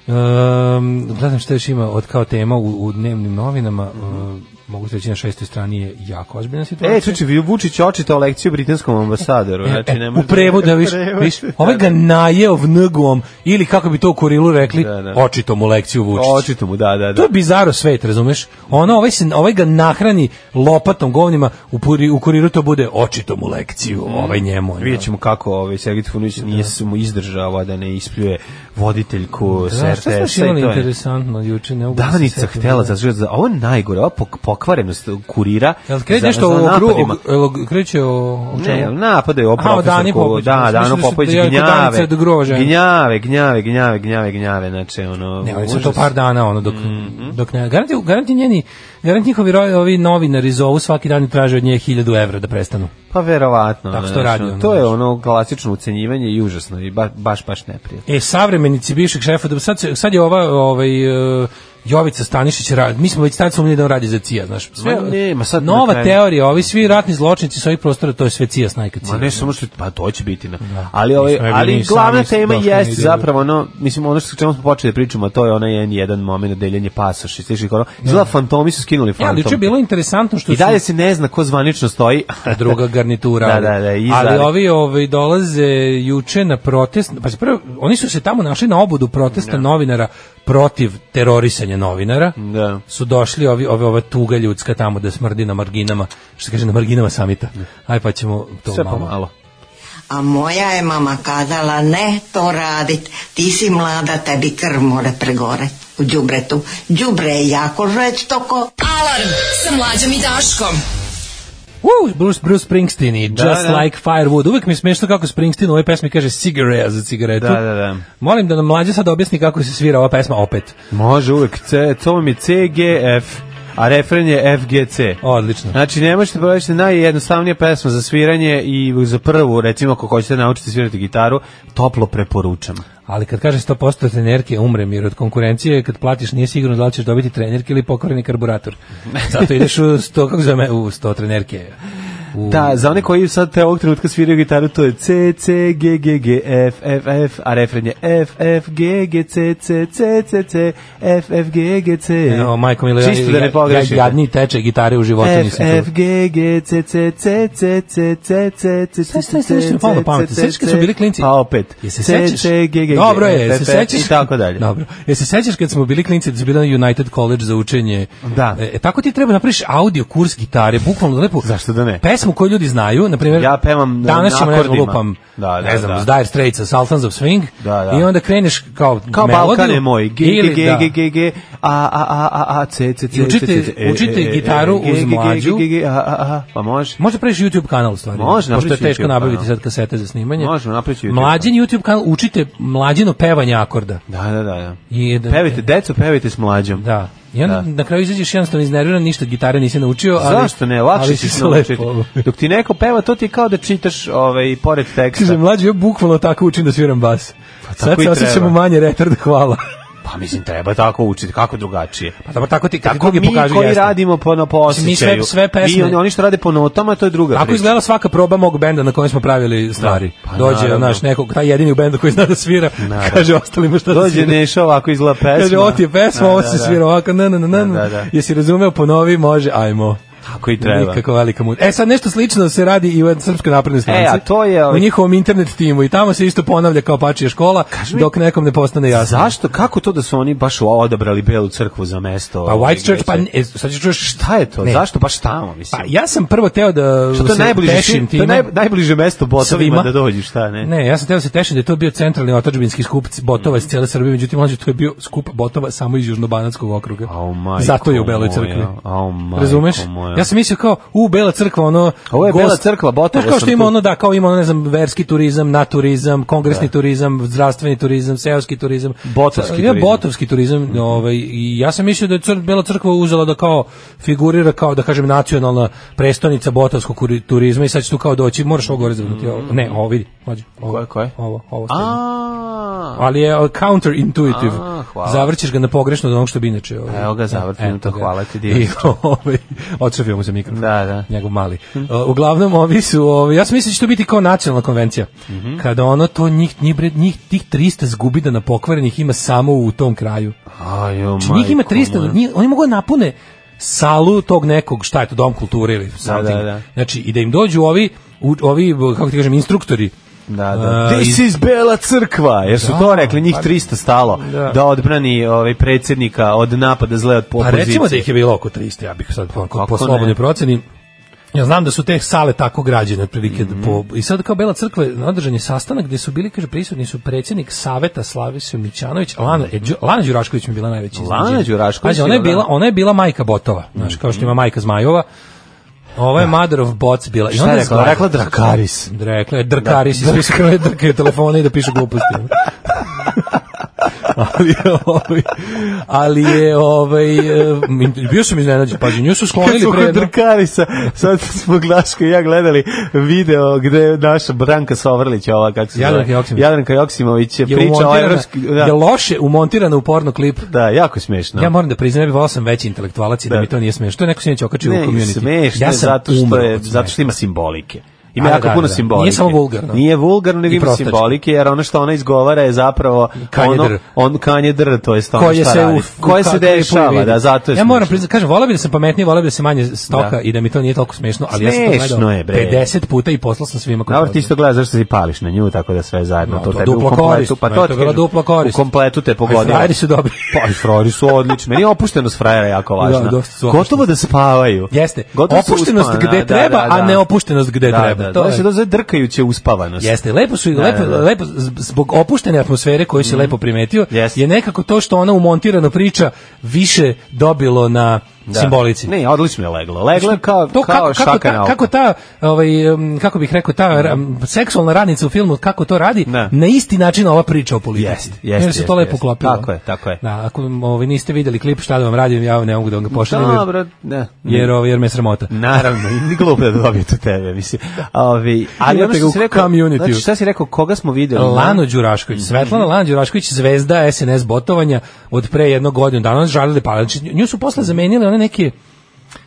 S6: um, ne znam šta još ima od kao tema u, u dnevnim novinama, um, mogu se reći na šestoj strani je jako ozbiljna situacija.
S5: Mhm. E, čuči, vi Vučić očitao lekciju britanskom ambasadoru.
S6: E,
S5: znači,
S6: e,
S5: ne
S6: u
S5: može-
S6: prevodu, viš,
S5: Prevod.
S6: viš, ovaj ga najeo vnugom, ili kako bi to u Kurilu rekli,
S5: Da, da.
S6: očito mu lekciju Vučić.
S5: Očito mu, da, da,
S6: To
S5: da.
S6: je bizaro svet, razumeš? Ono, ovaj, se, ovaj ga nahrani lopatom govnima, u, puri, u kuriru to bude očito mu lekciju, ovaj njemu. ono.
S5: Mm. Vidjet ćemo kako ovaj Sergej Trifunović nije se mu izdržava da ne ispljuje voditeljku da,
S6: Da, šta
S5: SRTS-a
S6: smo
S5: i
S6: imali
S5: to je.
S6: interesantno juče? Ne mogu da se
S5: Danica
S6: setim.
S5: htela za za ovo je najgore, ova pok- pokvarenost kurira.
S6: Jel kreće
S5: za-
S6: nešto
S5: za
S6: o gru,
S5: napadima.
S6: o- jel kreće o, o
S5: Ne,
S6: čemu?
S5: napadaju o
S6: Aha, o Dani
S5: profesorku,
S6: Popović.
S5: da,
S6: Mislim da
S5: Dano
S6: su-
S5: Popović
S6: da je kod
S5: gnjave,
S6: Danice do grova žena.
S5: gnjave, gnjave, gnjave, gnjave, gnjave, znači ono,
S6: Ne, oni su
S5: užas. Mhm.
S6: to par dana ono dok dok ne. Garanti garanti njeni garanti njihovi ro- ovi novinari zovu svaki dan i traže od nje 1000 evra da prestanu.
S5: Pa verovatno,
S6: Tako
S5: ono,
S6: što
S5: znači,
S6: radi ono,
S5: to je
S6: znači.
S5: ono klasično ucenjivanje i užasno i ba, baš, baš neprijatno.
S6: E, savremenici bivšeg šefa, da sad, se- sad je ova, ovaj, e, Jovica Stanišić, ra- mi smo već tad sumnjali da on radi za CIA, znaš.
S5: Ma ne, ma sad na
S6: nova
S5: kraju-
S6: teorija, ovi svi ratni zločinci s ovih prostora, to je sve CIA, snajka CIA.
S5: Ma ne samo što pa to će biti na. Ali
S6: Mi
S5: ovaj
S6: smo je bili
S5: ali
S6: i
S5: glavna
S6: sami
S5: tema
S6: došli
S5: jest
S6: negdje.
S5: zapravo ono mislim ono što čemu smo počeli da pričamo a to je onaj N1 moment deljenje pasoša i sličnih ono. Izgleda fantomi su skinuli
S6: E,
S5: fantom.
S6: ali juče je bilo interesantno što
S5: I dalje
S6: su
S5: se ne zna ko zvanično stoji.
S6: druga garnitura.
S5: Da,
S6: ali-
S5: da, da, i
S6: ali
S5: zade-
S6: ovi ovaj, dolaze juče na protest, pa prvo, oni su se tamo našli na obodu protesta novinara protiv terorisanja novinara.
S5: Da.
S6: su došli ovi, ovi, ova tuga ljudska tamo da smrdi na marginama, što se kaže na marginama samita. Aj pa ćemo to
S5: Sve
S6: malo.
S5: pomalo.
S9: A moja je mama kazala ne to radit, ti si mlada, tebi krv more pregore u đubretu. Đubre je jako žestoko.
S4: Alarm sa mlađom i Daškom.
S6: Uh, Bruce, Bruce Springsteen i Just
S5: da.
S6: Like Firewood. Uvijek mi je smiješno kako Springsteen u ovoj pesmi kaže cigarette za cigaretu.
S5: Da, da, da.
S6: Molim da nam mlađe sad objasni kako se svira ova pesma opet.
S5: Može uvek C, to mi je CGF, a refren je FGC.
S6: Odlično.
S5: Znači, ne možete provesti najjednostavnija pesma za sviranje i za prvu, recimo, ako hoćete naučiti svirati gitaru, toplo preporučam.
S6: Ali kad kaže 100% trenerke umrem jer od konkurencije kad platiš nije sigurno da li ćeš dobiti trenerke ili pokvareni karburator. Zato ideš u 100, kako se zove, u 100 trenerke. U,
S5: Da, za one koji sad te ovog trenutka sviraju gitaru, to je C, C, G, G, G, F, F, F, a refren je F, F, G, G, C, C, C, C, C, F, F, G, G, C.
S6: Evo, E, majko Milo, ja,
S5: Čisto da ne
S6: ja, ja,
S5: pogrešite.
S6: jadni teče gitare u životu
S5: F,
S6: nisam čuo.
S5: F, G, G, C, C, C, C, C, C, C, C, C,
S6: Šta ste sve što mi palo na pamet? Sećaš kad smo bili klinci?
S5: Pa opet.
S6: Je se sećaš?
S5: C, C, G, G, G,
S6: Dobro je,
S5: F,
S6: je se
S5: F,
S6: sećaš?
S5: I tako dalje.
S6: Dobro. Je se sećaš kad smo bili klinci da smo bili na United College za učenje?
S5: Da.
S6: E, tako ti treba napraviš audio kurs gitare, bukvalno lepo.
S5: Zašto da ne?
S6: Pesmu koju ljudi znaju, na primjer,
S5: Ja pevam na-
S6: danas
S5: na
S6: ćemo ne znam,
S5: akordima.
S6: lupam,
S5: Da, da,
S6: ne znam,
S5: da.
S6: s Dire Straits, Sultans of Swing,
S5: Da, da.
S6: i onda kreneš kao,
S5: Kao
S6: melodiju,
S5: Pa Balkane moj. G, G,
S6: ili-
S5: G,
S6: da.
S5: G, G, G, a, a, a, a, a, C, C, C,
S6: I učite-
S5: C, C, C, e,
S6: učite
S5: e, e,
S6: gitaru
S5: G,
S6: uz
S5: G, G, G,
S6: mlađu.
S5: G, G, a, a, a, pa može.
S6: Može praviš YouTube kanal u stvari.
S5: Može,
S6: Pošto je
S5: napraviću
S6: teško
S5: YouTube
S6: nabaviti
S5: kanal.
S6: sad kasete za snimanje.
S5: Može, napraviću YouTube
S6: Mlađin YouTube kanal učite mlađino pevanje akorda.
S5: Da, da, da, da.
S6: I da-
S5: Pevajte, deco, pevajte s mlađom.
S6: Da. I onda
S5: Da.
S6: na kraju izađeš jednostavno iznerviran, ništa od gitare nisi naučio, ali...
S5: Zašto ne, lakše
S6: ali
S5: si
S6: si
S5: se
S6: se
S5: naučiti.
S6: lepo-
S5: Dok ti neko peva, to ti je kao da čitaš ovaj, pored teksta.
S6: Kaže, mlađi, ja bukvalno tako učim da sviram bas. Sad
S5: Pa tako i
S6: se
S5: treba.
S6: osjećamo manje retard, hvala.
S5: Pa mislim, treba tako učiti, kako drugačije.
S6: Pa dobro, tako ti, kako
S5: Tako
S6: drugi
S5: mi
S6: pokažu
S5: koji
S6: jeste.
S5: radimo po, na, po
S6: Mislim, mi sve-
S5: osjećaju.
S6: sve pesme-
S5: oni, oni što rade po notama, to je druga
S6: Tako
S5: priča.
S6: izgleda svaka proba mog benda na kojem smo pravili stvari.
S5: pa
S6: Dođe
S5: naravno.
S6: naš nekog, taj jedini u bendu koji zna da svira, kaže ostalima šta da
S5: Dođe
S6: svira.
S5: Neša ovako izgleda pesma.
S6: Kaže, ovo ti je pesma,
S5: Da,
S6: ovo
S5: da,
S6: se
S5: da.
S6: svira ovako, na, na, na, na,
S5: Da, da, da.
S6: Jesi razumeo, ponovi, može, ajmo.
S5: Tako i treba.
S6: Nikako velika mut. E sad nešto slično se radi i u Srpskoj naprednoj stranci.
S5: E, a to je,
S6: u
S5: ovaj-
S6: njihovom internet timu i tamo se isto ponavlja kao pačija škola dok nekom ne postane jasno.
S5: Zašto? Kako to da su oni baš odabrali Belu crkvu za mesto?
S6: Pa
S5: ovaj,
S6: White Church, pa
S5: gde će-
S6: e, sad ću čuješ šta
S5: Šta je to?
S6: Ne.
S5: Zašto baš tamo, mislim?
S6: Pa ja sam prvo teo da
S5: Što to je
S6: se
S5: najbliže,
S6: tešim
S5: to je
S6: time.
S5: naj, najbliže mesto botovima
S6: Svima.
S5: da dođu, šta ne? Mm.
S6: Ne, ja sam teo da se tešim da je to bio centralni otačbinski skup c- botova iz cijele Srbije, međutim mlađe to je bio skup botova samo iz Južnobanatskog okruga.
S5: Au, majko
S6: Zato je u Beloj crkvi.
S5: moja, au, majko
S6: Razumeš?
S5: moja.
S6: Ja sam mislio kao, u, Bela crkva, ono...
S5: Ovo je Bela crkva, Botovo
S6: Znaš kao
S5: sam
S6: što ima
S5: tu.
S6: ono, da, kao ima ono, ne znam, verski turizam, naturizam, kongresni turizam, zdravstveni turizam, seoski turizam.
S5: Botovski
S6: Ja,
S5: turizam.
S6: botovski turizam, ovaj, i ja sam mislio da je cr, Bela crkva uzela da kao figurira kao, da kažem, nacionalna prestonica botovskog kuri- turizma i sad će tu kao doći, moraš ovo gore zavrnuti, ovo. Ne, ovo vidi, mlađe, ovo,
S5: Koje, koje?
S6: Ovo, ovo. stavljam.
S5: A,
S6: Ali je uh, counterintuitive.
S5: A, hvala.
S6: Zavrćeš ga na pogrešno od onog što bi inače. Ovaj.
S5: Evo ga, zavrtim,
S6: Eto
S5: to
S6: ga.
S5: hvala ti,
S6: I
S5: divno.
S6: ovaj, otrafio mu se mikrofon.
S5: Da, da.
S6: Njegov mali. Uh, Uglavnom, ovi su, ovaj, ja sam mislio da će to biti kao nacionalna konvencija.
S5: Mhm.
S6: Kada ono to njih, njih, bre- njih tih 300 zgubida na pokvarenih ima samo u tom kraju.
S5: ajo,
S6: Znači, njih ima 300, njih, oni mogu da napune salu tog nekog, šta je to, dom kulture ili something.
S5: da, da.
S6: Znači, i da im dođu ovi, u, ovi kako ti kažem, instruktori.
S5: Da, da.
S6: A,
S5: This
S6: i-
S5: is Bela crkva, jer su
S6: Da,
S5: to rekli, njih
S6: pa-
S5: 300 stalo
S6: Da.
S5: da, odbrani ovaj, predsjednika od napada zle od
S6: Pa
S5: opozicije.
S6: recimo da ih je bilo oko 300, ja bih sad po, po
S5: kako
S6: slobodnoj
S5: ne?
S6: proceni. Ja znam da su te sale tako građene otprilike
S5: Mhm.
S6: po i sad kao Bela crkva je održan je sastanak gde su bili kaže prisutni su predsjednik saveta Slaviša Mićanović, a Lana e, Đu- Lana Đurašković mi je bila najveći.
S5: Lana
S6: iznenađenje.
S5: Đurašković
S6: Pazi, ona je
S5: je, Mhm. da.
S6: bila ona je bila majka Botova, znaš, kao što ima majka Zmajova. Ova je Mother of Bots bila. I
S5: Šta
S6: onda
S5: je
S6: je
S5: rekla?
S6: zgla-
S5: Rekla Drakaris.
S6: Rekla je Drkaris, da. ispisala je drke telefone i da piše gluposti. ali, je, ovaj, ali je, ovaj, e, bio sam iznenađen, pazi, nju su
S5: Kad
S6: sklonili
S5: smo
S6: pre...
S5: kod
S6: jedno-
S5: Drkarisa, sad smo Glaško i ja gledali video gde je naša Branka Sovrlić, ova kako se
S6: Jadranka
S5: zove.
S6: Joksimović.
S5: Jadranka Joksimović je
S6: Je,
S5: priča o
S6: umontirana-
S5: evropski...
S6: je
S5: Da,
S6: loše umontirana u porno klip.
S5: da, jako smiješno.
S6: Ja moram da priznam, ja bih volao sam veći intelektualac i da,
S5: Da.
S6: mi to nije smiješno. To je neko sinoć okačio u
S5: ne,
S6: community.
S5: smešno
S6: ja
S5: je
S6: sam
S5: zato što
S6: umro
S5: je
S6: od
S5: zato što ima simbolike. Ima
S6: A, da,
S5: jako
S6: da,
S5: puno
S6: da.
S5: simbolike.
S6: Nije samo vulgarno.
S5: Nije vulgarno, nego
S6: I
S5: ima
S6: prostački.
S5: simbolike, jer ono što ona izgovara je zapravo
S6: Kanje
S5: ono,
S6: dr.
S5: on kanje dr, to je ono
S6: koje
S5: šta
S6: se
S5: radi.
S6: u,
S5: koje
S6: u-
S5: se
S6: kakvoj
S5: dešava,
S6: vidi.
S5: da, zato je
S6: Ja moram
S5: smešno.
S6: priznati, kažem, voleo bih da sam pametniji, voleo bih da se manje stoka
S5: Da.
S6: i da mi to nije toliko smešno, ali ja sam to
S5: Smešno
S6: gledao
S5: je, bre.
S6: 50 puta i poslao sam svima koji
S5: Dobro, ti isto gledaš zašto si pališ na nju, tako da sve zajedno
S6: No,
S5: to,
S6: to
S5: tebi
S6: duplo
S5: u kompletu,
S6: korist,
S5: pa
S6: no,
S5: to,
S6: to je
S5: ti
S6: bila
S5: kažem,
S6: duplo korist.
S5: U kompletu te pogodilo.
S6: frajeri su dobri.
S5: Pa i frajeri su odlični. Meni je opuštenost frajera jako važna.
S6: Da, dosta su opušteni.
S5: Gotovo da spavaju.
S6: Jeste.
S5: Gotovo su
S6: Opuštenost
S5: uspavani,
S6: gde
S5: da,
S6: treba,
S5: da, da.
S6: a ne opuštenost gde
S5: da,
S6: treba.
S5: Da,
S6: To
S5: to
S6: je-
S5: se dozove drkajuće uspavanost.
S6: Jeste, lepo su,
S5: Da,
S6: lepo,
S5: da, Mhm. da.
S6: lepo, zbog opuštene atmosfere koju si lepo primetio,
S5: Jeste.
S6: je nekako to što ona umontirana priča više dobilo na
S5: Da.
S6: simbolici.
S5: Ne, odlično je leglo. Leglo je kao,
S6: to
S5: kao
S6: kako, kako,
S5: šaka
S6: ta,
S5: na
S6: kako ta ovaj um, kako bih rekao ta um, seksualna radnica u filmu kako to radi
S5: Da.
S6: na isti način ova priča o politici
S5: Jeste, jeste,
S6: jer se
S5: jeste,
S6: to lepo
S5: jeste.
S6: klopilo
S5: Tako je, tako je.
S6: da, ako ovaj, niste videli klip šta da vam radim ja ne mogu da vam ga pošaljem jer-
S5: Dobro, ne.
S6: jer, ovaj, jer me je sramota
S5: Naravno, i ni glupo da dobije to tebe, mislim. Ovi, ali
S6: Imate
S5: ono
S6: ga
S5: što
S6: u
S5: si rekao,
S6: community-u.
S5: znači šta si rekao, koga smo videli?
S6: Lano
S5: Mhm.
S6: Đurašković, Svetlana Lano Đurašković, zvezda SNS botovanja od pre jednog godinu dana, ona je žalili Palanić. Nju su posle zamenili one neke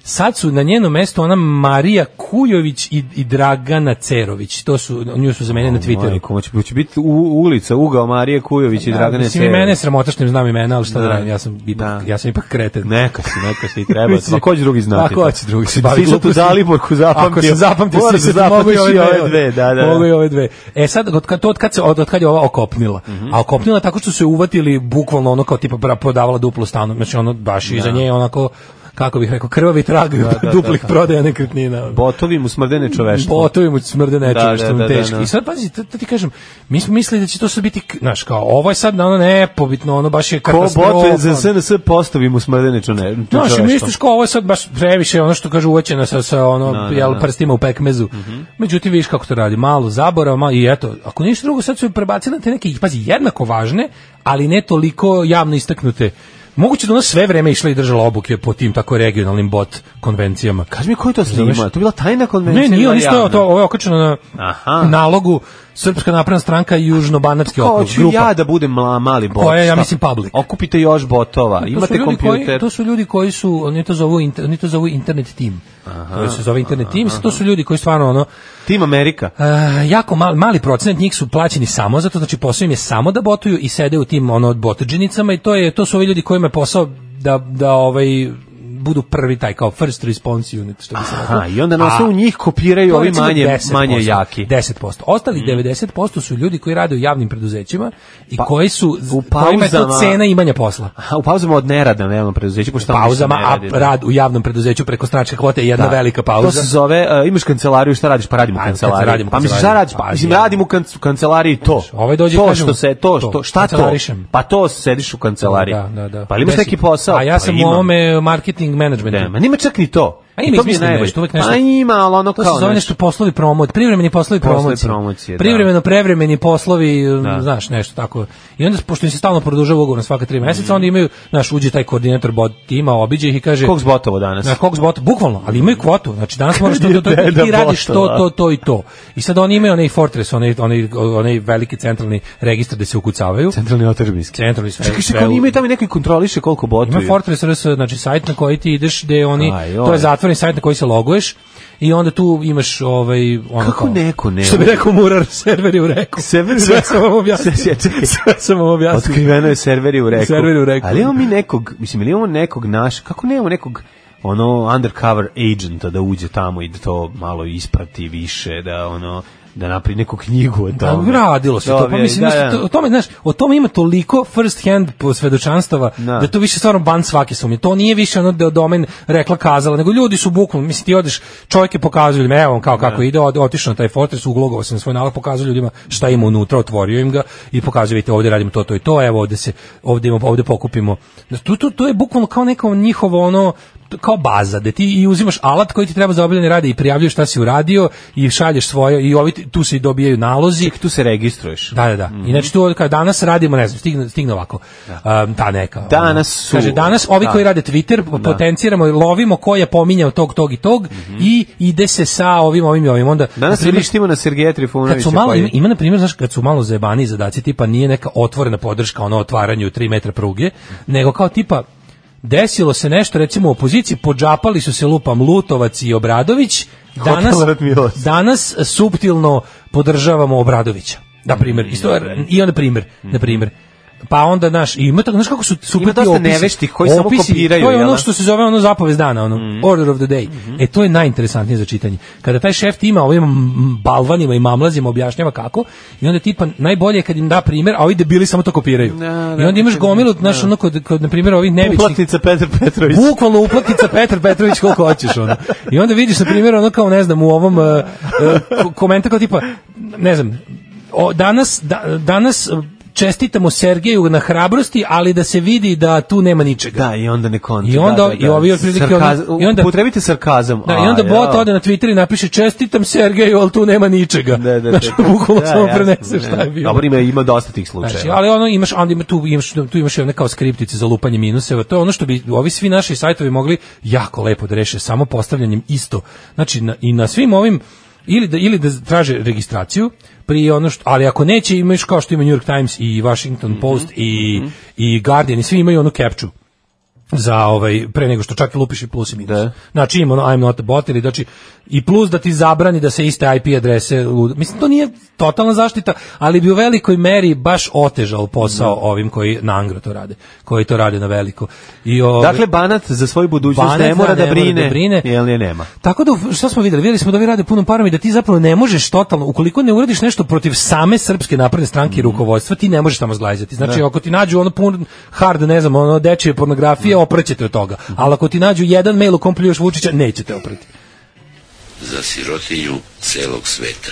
S6: Sad su na njeno mesto ona Marija Kujović i, i Dragana Cerović. To su, nju su zamenili na Twitteru.
S5: Majko, će, će biti u, ulica, ugao Marije Kujović i Dragane
S6: Mislim, i
S5: Sere.
S6: mene je sramota što im znam imena, ali šta da,
S5: Da.
S6: radim, ja sam ipak,
S5: Da.
S6: ja sam ipak kreten.
S5: Neka si, neka si, treba. ti. Ma ko će drugi znati?
S6: Ako
S5: to?
S6: hoće drugi se
S5: Svi
S6: bavi
S5: su tu
S6: glupostima.
S5: Daliborku zapamtio.
S6: Ako se zapamti,
S5: Moraš
S6: si
S5: da
S6: se
S5: zapamtiš
S6: mogu i ove dve.
S5: Da, da,
S6: Mogu i
S5: da.
S6: ove dve. E sad, od kad, to od kad, se, od, od kad je ova okopnila.
S5: Mhm.
S6: A okopnila tako što su se uvatili bukvalno ono kao tipa pra- prodavala duplo stanu. Znači ono baš iza nje onako kako bih rekao, krvavi trag duplih prodaja nekretnina. ono.
S5: Botovi mu smrdene čoveštvo.
S6: Botovi mu smrde nečim
S5: Da,
S6: što
S5: da,
S6: mu
S5: da, da,
S6: teški.
S5: da.
S6: I sad pazi, to, to ti kažem, mi smo mislili da će to sve biti, k- znaš, kao ovo je sad na ono nepobitno, ono baš je
S5: Ko
S6: katastrofa.
S5: botove za SNS postavi mu smrdene čone-
S6: Znaš, i
S5: čoveštvo.
S6: misliš kao ovo je sad baš previše ono što kaže uvećena sa, sa ono,
S5: Da, da,
S6: jel,
S5: da. Mhm.
S6: prstima u pekmezu. Međutim, vidiš kako to radi, malo zaborava, malo, i eto, ako ništa drugo, sad su je prebacili na te neke, pazi, jednako važne, ali ne toliko javno istaknute. Moguće da ona sve vreme išla i držala obuke po tim tako regionalnim bot konvencijama.
S5: Kaži mi ko je to
S6: Razumeš?
S5: snima? To je bila tajna konvencija.
S6: Ne, nije,
S5: ili
S6: oni što
S5: javna?
S6: to, ovo je okačeno na
S5: Aha.
S6: nalogu Srpska napredna stranka i Južnobanatski
S5: Ko
S6: okrug,
S5: hoću
S6: grupa.
S5: ja da budem mla, mali bot?
S6: Koja je, ja
S5: šta?
S6: mislim, public.
S5: Okupite još botova,
S6: To su
S5: imate
S6: ljudi Koji,
S5: kompjuter.
S6: to su ljudi koji su, oni to zovu, inter, oni to zovu internet team. to se zove internet team, to su ljudi koji stvarno ono,
S5: Tim Amerika.
S6: e, jako mali, mali procenat njih su plaćeni samo zato, znači posao im je samo da botuju i sede u tim ono, botadžinicama i to, je, to su ovi ljudi kojima je posao da, da ovaj, budu prvi taj kao first response unit što bi se reklo.
S5: Aha, i onda na
S6: A-
S5: osnovu njih kopiraju
S6: to
S5: ovi
S6: recimo
S5: manje,
S6: 10%,
S5: manje jaki. Mm.
S6: 10%. Ostali 90% su ljudi koji rade u javnim preduzećima i koji su
S5: Pa, u
S6: kojima je to
S5: pauzama-
S6: cena imanja posla.
S5: Aha, u pauzama od nerada na javnom preduzeću, pošto tamo
S6: pauzama,
S5: ništa ne
S6: a
S5: radi, da.
S6: rad u javnom preduzeću preko stranačke kvote je jedna
S5: Da.
S6: velika
S5: To
S6: pauza.
S5: se zove, uh, imaš kancelariju, šta radiš? Pa radim u
S6: Pa,
S5: kancelariji.
S6: radim u
S5: pa mislim, šta
S6: kancelariji.
S5: radiš?
S6: Pa,
S5: Pa, mislim,
S6: ja.
S5: radim u kanc- kancelariji to.
S6: ovaj dođe i
S5: to
S6: kaže mu,
S5: što se, to,
S6: to,
S5: što, šta to?
S6: kancelarišem.
S5: Pa to sediš u kancelariji.
S6: Da, da, da.
S5: Pa ili imaš
S6: Deset.
S5: neki posao?
S6: A ja sam
S5: pa
S6: u
S5: imam.
S6: ovome marketing managementu.
S5: Da, ma Mm. nima čak ni to.
S6: A ima
S5: I to mi je
S6: izmislimo
S5: najbolje.
S6: nešto, uvek nešto-
S5: Pa ima, ali ono
S6: To
S5: kao
S6: se zove nešto poslovi promot, privremeni poslovi
S5: Poslovi
S6: promocije.
S5: promocije, da.
S6: Privremeno prevremeni poslovi, um,
S5: Da.
S6: znaš, nešto tako. I onda pošto im se stalno produžava ugovor na svaka 3
S5: Mhm.
S6: meseca, onda imaju, znaš, uđe taj koordinator bot tima, obiđe ih i kaže
S5: Kog zbotovo danas?
S6: Na kog zbot, bukvalno, ali imaju kvotu. Znači danas možeš to, to, to,
S5: Kad je
S6: i ti
S5: deda
S6: radiš to,
S5: botova.
S6: to, to i to. I sad oni imaju onaj Fortress, onaj, onaj, onaj veliki centralni registar gde se ukucavaju.
S5: Centralni otržbinski.
S6: Centralni sve.
S5: Čekaj,
S6: sve
S5: čekaj, oni
S6: u-
S5: imaju tamo i neko i kontroliše koliko botuju.
S6: ima Fortress RS, znači sajt na koji ti ideš gde oni,
S5: Aj,
S6: to
S5: oj.
S6: je zatvoren sajt na koji se loguješ i onda tu imaš ovaj ono
S5: Kako neko ne
S6: Što bi
S5: logu-
S6: rekao Murar, server je u reku.
S5: Server je u
S6: Sve
S5: reku.
S6: sam vam objasnio.
S5: Sve- sve- čekaj.
S6: Sve sam vam objasnio.
S5: Otkriveno je serveri u reku.
S6: Serveri u reku.
S5: Ali imamo mi nekog, mislim, ili imamo nekog naš, kako nemamo nekog ono undercover agenta da uđe tamo i da to malo isprati više, da ono da napravi neku knjigu o
S6: Da,
S5: tome.
S6: radilo se to, pa
S5: Dobije,
S6: mislim,
S5: da,
S6: mislim,
S5: da.
S6: to- o tome, znaš, o tome ima toliko first hand po- svedočanstava
S5: Da.
S6: da to više stvarno ban svake sumnje. To nije više ono da domen rekla kazala, nego ljudi su bukvalno, mislim, ti odeš, čovjek je pokazuje ljudima, evo on kao kako ide, od, otišao na taj fortress, uglogovao se na svoj nalog, pokazuje ljudima šta ima unutra, otvorio im ga i pokazuje, vidite, ovdje radimo to, to i to, evo ovdje se, ovdje, imamo, ovdje pokupimo. Znaš, To, to, to je bukvalno kao neko njihovo ono, kao baza, da ti i uzimaš alat koji ti treba za obavljanje rada i prijavljuješ šta si uradio i šalješ svoje i ovi ti- tu se i dobijaju nalozi.
S5: Tu se registruješ.
S6: Da, da, da.
S5: Mhm.
S6: Inače tu kao danas radimo, ne znam, stigne stigne ovako. Um, ta neka. ono,
S5: Danas su-
S6: Kaže danas ovi
S5: da. Mhm.
S6: koji rade Twitter po- potenciramo i lovimo ko je pominjao tog tog i tog i ide se sa ovim ovim i ovim onda.
S5: Danas
S6: na primer,
S5: rištimo na Sergeja Trifunovića.
S6: Kad su malo,
S5: koji-
S6: ima, ima na primjer, znaš, kad su malo zajebani zadaci, tipa nije neka otvorena podrška ono otvaranju 3 metra pruge, nego kao tipa desilo se nešto, recimo u opoziciji, podžapali su se lupam Lutovac i Obradović, danas,
S5: Hotel Rat Miloš.
S6: danas suptilno podržavamo Obradovića. Na primjer, isto,
S5: Mm-hmm.
S6: je- i onda primjer, na primjer. Pa onda naš ima tako znaš kako su super
S5: Ima
S6: ti
S5: dosta
S6: opisi,
S5: neveštih koji samo
S6: opisi,
S5: kopiraju,
S6: To je
S5: jel
S6: ono
S5: da?
S6: što što se zove ono zapovest dana, ono
S5: Mhm.
S6: order of the day. E to je najinteresantnije za čitanje. Kada taj šef tima ovim mm, balvanima i mamlazima objašnjava kako i onda tipa najbolje je kad im da primer, a ovi debili samo to kopiraju.
S5: Da, da,
S6: I onda imaš
S5: da,
S6: gomilu, znaš, ono kod, kod na primjer ovih nevičnih
S5: Uplatnica Petar Petrović.
S6: Bukvalno uplatnica Petar Petrović koliko hoćeš ono. I onda vidiš na primjer ono kao ne znam u ovom uh, uh, ko- komentar kao tipa ne znam o, danas da, danas uh, čestitamo Sergeju na hrabrosti, ali da se vidi da tu nema ničega.
S5: Da, i onda ne konta.
S6: I onda-
S5: da, da, da.
S6: i ovi otprilike oni-
S5: Sarkaz-
S6: i onda-
S5: upotrebite sarkazam.
S6: Da,
S5: A,
S6: i onda bot
S5: ja.
S6: ode na Twitter i napiše čestitam Sergeju, ali tu nema ničega.
S5: Da, da,
S6: Znaš,
S5: da.
S6: Znači, bukvalno
S5: Da,
S6: samo
S5: jasno,
S6: prenese
S5: ne.
S6: šta je bilo.
S5: Dobro, ima, ima dosta tih slučajeva.
S6: Znači, ali ono imaš, onda ima tu imaš tu imaš i one kao skriptice za lupanje minuseva. To je ono što bi ovi svi naši sajtovi mogli jako lepo da reše samo postavljanjem isto. Znači na, i na svim ovim ili da ili da traže registraciju pri ono što, ali ako neće imaš kao što ima New York Times i
S5: Mhm,
S6: Washington Post i i Guardian i svi imaju onu captchu za ovaj pre nego što čak i lupiš i plus i minus.
S5: Da.
S6: Znači ima ono I'm not a bot ili znači i plus da ti zabrani da se iste IP adrese lud- mislim to nije totalna zaštita, ali bi u velikoj meri baš otežao posao ovim koji na Angro to rade, koji to rade na veliko. I ovaj,
S5: Dakle, Banat za svoju budućnost
S6: Banat,
S5: ne mora
S6: da,
S5: da,
S6: ne mora
S5: brine,
S6: da brine.
S5: Jel je nema?
S6: Tako da u- šta smo videli? Videli smo da vi rade punom parom i da ti zapravo ne možeš totalno ukoliko ne uradiš nešto protiv same srpske napredne stranke
S5: Mm.
S6: i rukovodstva, ti ne možeš tamo zglajzati. Znači ako ti nađu ono pun hard, ne znam, ono dečije pornografije, oprećete od toga.
S5: Mhm.
S6: Ali ako ti nađu jedan mail u kom pljuješ Vučića, nećete oprati.
S7: Za sirotinju celog sveta.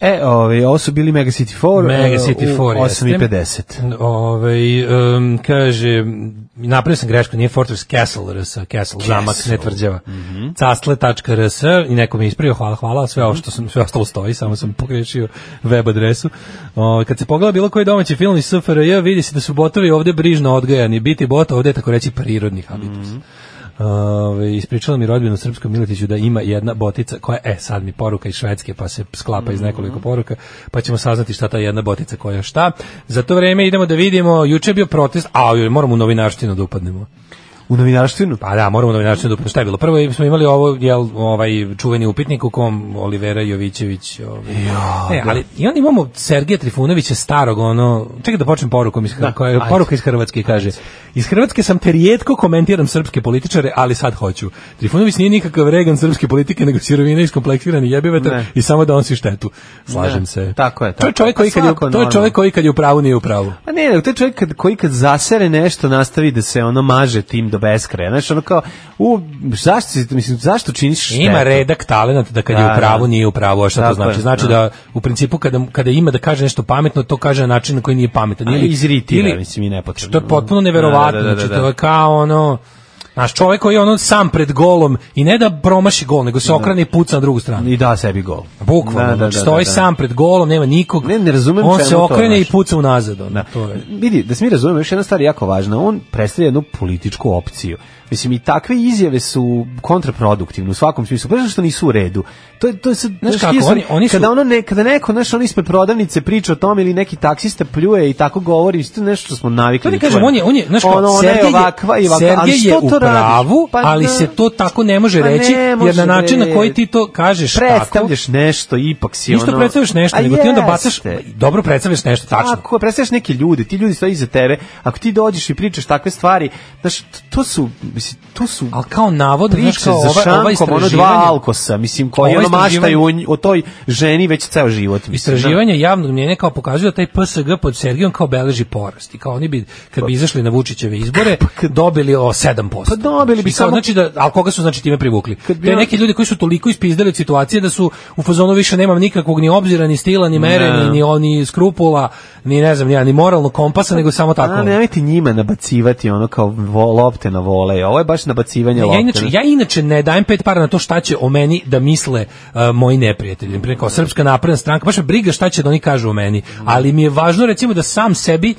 S5: E, ove, ovo su bili Mega City 4.
S6: Mega e, City 4, jeste.
S5: 8.50.
S6: Ovaj em, kaže m, napravio sam grešku, nije Fortress Castle RS, Castle, zamak ne tvrđava. Castle.rs i neko mi je ispravio, hvala, hvala, sve ovo što sam sve ostalo stoji, samo sam pogrešio web adresu. O, kad se pogleda bilo koji domaći film iz SFRJ, vidi se da su botovi ovde brižno odgajani, biti bot ovde je tako reći prirodni habitus. Ove, ispričala mi rodbina u Srpskom Miletiću da ima jedna botica koja, e sad mi poruka iz Švedske pa se sklapa iz nekoliko poruka pa ćemo saznati šta ta jedna botica koja šta za to vreme idemo da vidimo juče je bio protest, a joj, moramo u novinarštinu da upadnemo
S5: U novinarštvinu?
S6: pa da, moramo u novinarštinu da upadnemo, šta je bilo prvo smo imali ovo, jel, ovaj čuveni upitnik u kom Olivera Jovićević ovaj, e, ali, i onda imamo Sergeja Trifunovića starog ono, čekaj da počnem porukom iz, Hr- koja je
S5: ajde.
S6: poruka iz Hrvatske kaže iz Hrvatske sam te rijetko komentiram srpske političare, ali sad hoću. Trifunović nije nikakav regan srpske politike, nego sirovina iskompleksirani jebivata
S5: Ne.
S6: i samo da on si štetu. Slažem
S5: Ne,
S6: se.
S5: tako je,
S6: To je
S5: tako
S6: čovjek
S5: je.
S6: koji kad je,
S5: Svako
S6: to je
S5: normalno.
S6: čovjek koji kad je u pravu nije u pravu.
S5: Pa ne, nego to je čovjek kad, koji kad zasere nešto nastavi da se ono maže tim do beskraja. Znaš, ono kao, u, zašto, si- mislim, zašto činiš štetu?
S6: Ima redak talenat da kad je
S5: Da,
S6: u pravu
S5: da.
S6: nije u pravu, a šta
S5: Tako
S6: to znači?
S5: je,
S6: Znači
S5: da.
S6: da. u principu kada, kada ima da kaže nešto pametno, to kaže na način na koji nije pametan.
S5: A
S6: Ili,
S5: izritira,
S6: ili-
S5: mislim, i nepotrebno.
S6: Što je potpuno neverovatno,
S5: Da, da, da, da,
S6: znači
S5: da.
S6: to je kao ono... Znaš, čovjek koji je ono sam pred golom i ne da promaši gol, nego se okrene i puca na drugu stranu.
S5: I da sebi gol.
S6: Bukvalno,
S5: Da, da,
S6: znači,
S5: da,
S6: stoji
S5: da, da.
S6: sam pred golom, nema nikog.
S5: Ne, ne razumem
S6: On
S5: čemu
S6: se
S5: to,
S6: okrene i
S5: znaš.
S6: puca unazad. Ono,
S5: Da.
S6: to je.
S5: Vidi, da se mi razumemo, još jedna stvar je jako važna. On predstavlja jednu političku opciju. Mislim, i takve izjave su kontraproduktivne u svakom smislu, pa zato što nisu u redu. To, je- to je sad, znaš,
S6: kako,
S5: ti sam-
S6: oni- oni su-
S5: Kada, ono ne, kada neko, znaš, on ispred prodavnice priča o tome ili neki taksista pljuje i tako govori, mislim, to je nešto što smo navikli.
S6: To ti
S5: da
S6: kažem,
S5: čujemo.
S6: on je, on je, znaš kao,
S5: Ono, ona
S6: Sergej
S5: je
S6: je,
S5: ovakva i ovakva,
S6: Sergej
S5: ali što
S6: je u
S5: to radi?
S6: pravu,
S5: Pa
S6: ali
S5: da.
S6: se to tako ne može
S5: Pa ne
S6: reći, jer
S5: može,
S6: na način na
S5: bre.
S6: koji ti to kažeš tako,
S5: predstavljaš nešto, ipak si
S6: ništa
S5: ono...
S6: predstavljaš nešto,
S5: A
S6: nego ti onda bacaš,
S5: jeste.
S6: dobro predstavljaš nešto, tačno.
S5: Ako predstavljaš neke ljude, ti ljudi stoje iza tebe, ako ti dođeš i pričaš takve stvari, znaš, t- to su, mislim, to su
S6: Ali kao navod,
S5: priče
S6: znaš kao
S5: za
S6: ova, ova
S5: šankom, ono dva
S6: istraživanja,
S5: alkosa, mislim, koji
S6: Ovo
S5: ono maštaju o, nj-
S6: istraživanje-
S5: o toj ženi već ceo život. Mislim,
S6: istraživanja javnog mnjenja kao pokazuju da taj PSG pod Sergijom kao beleži porast i kao oni bi kad bi izašli na Vučićeve izbore dobili o 7%.
S5: Pa dobili bi
S6: I kao,
S5: samo-
S6: znači da al koga su znači time privukli.
S5: Kad bi
S6: to je
S5: on-
S6: neki ljudi koji su toliko ispizdali od situacije da su u fazonu više nemam nikakvog ni obzira ni stila ni mere
S5: Ne.
S6: ni ni oni skrupula ni ne znam ni ja, ni moralnog kompasa nego samo
S5: Tako.
S6: tako.
S5: A, nemojte njima nabacivati ono kao vo, lopte na vole. Ovo je baš nabacivanje
S6: Ne,
S5: lopte.
S6: ja inače
S5: ne?
S6: ja inače ne dajem pet para na to šta će o meni da misle uh, moji neprijatelji. Pre kao srpska napredna stranka, baš me briga šta će da oni kažu o meni, ali mi je važno recimo da sam sebi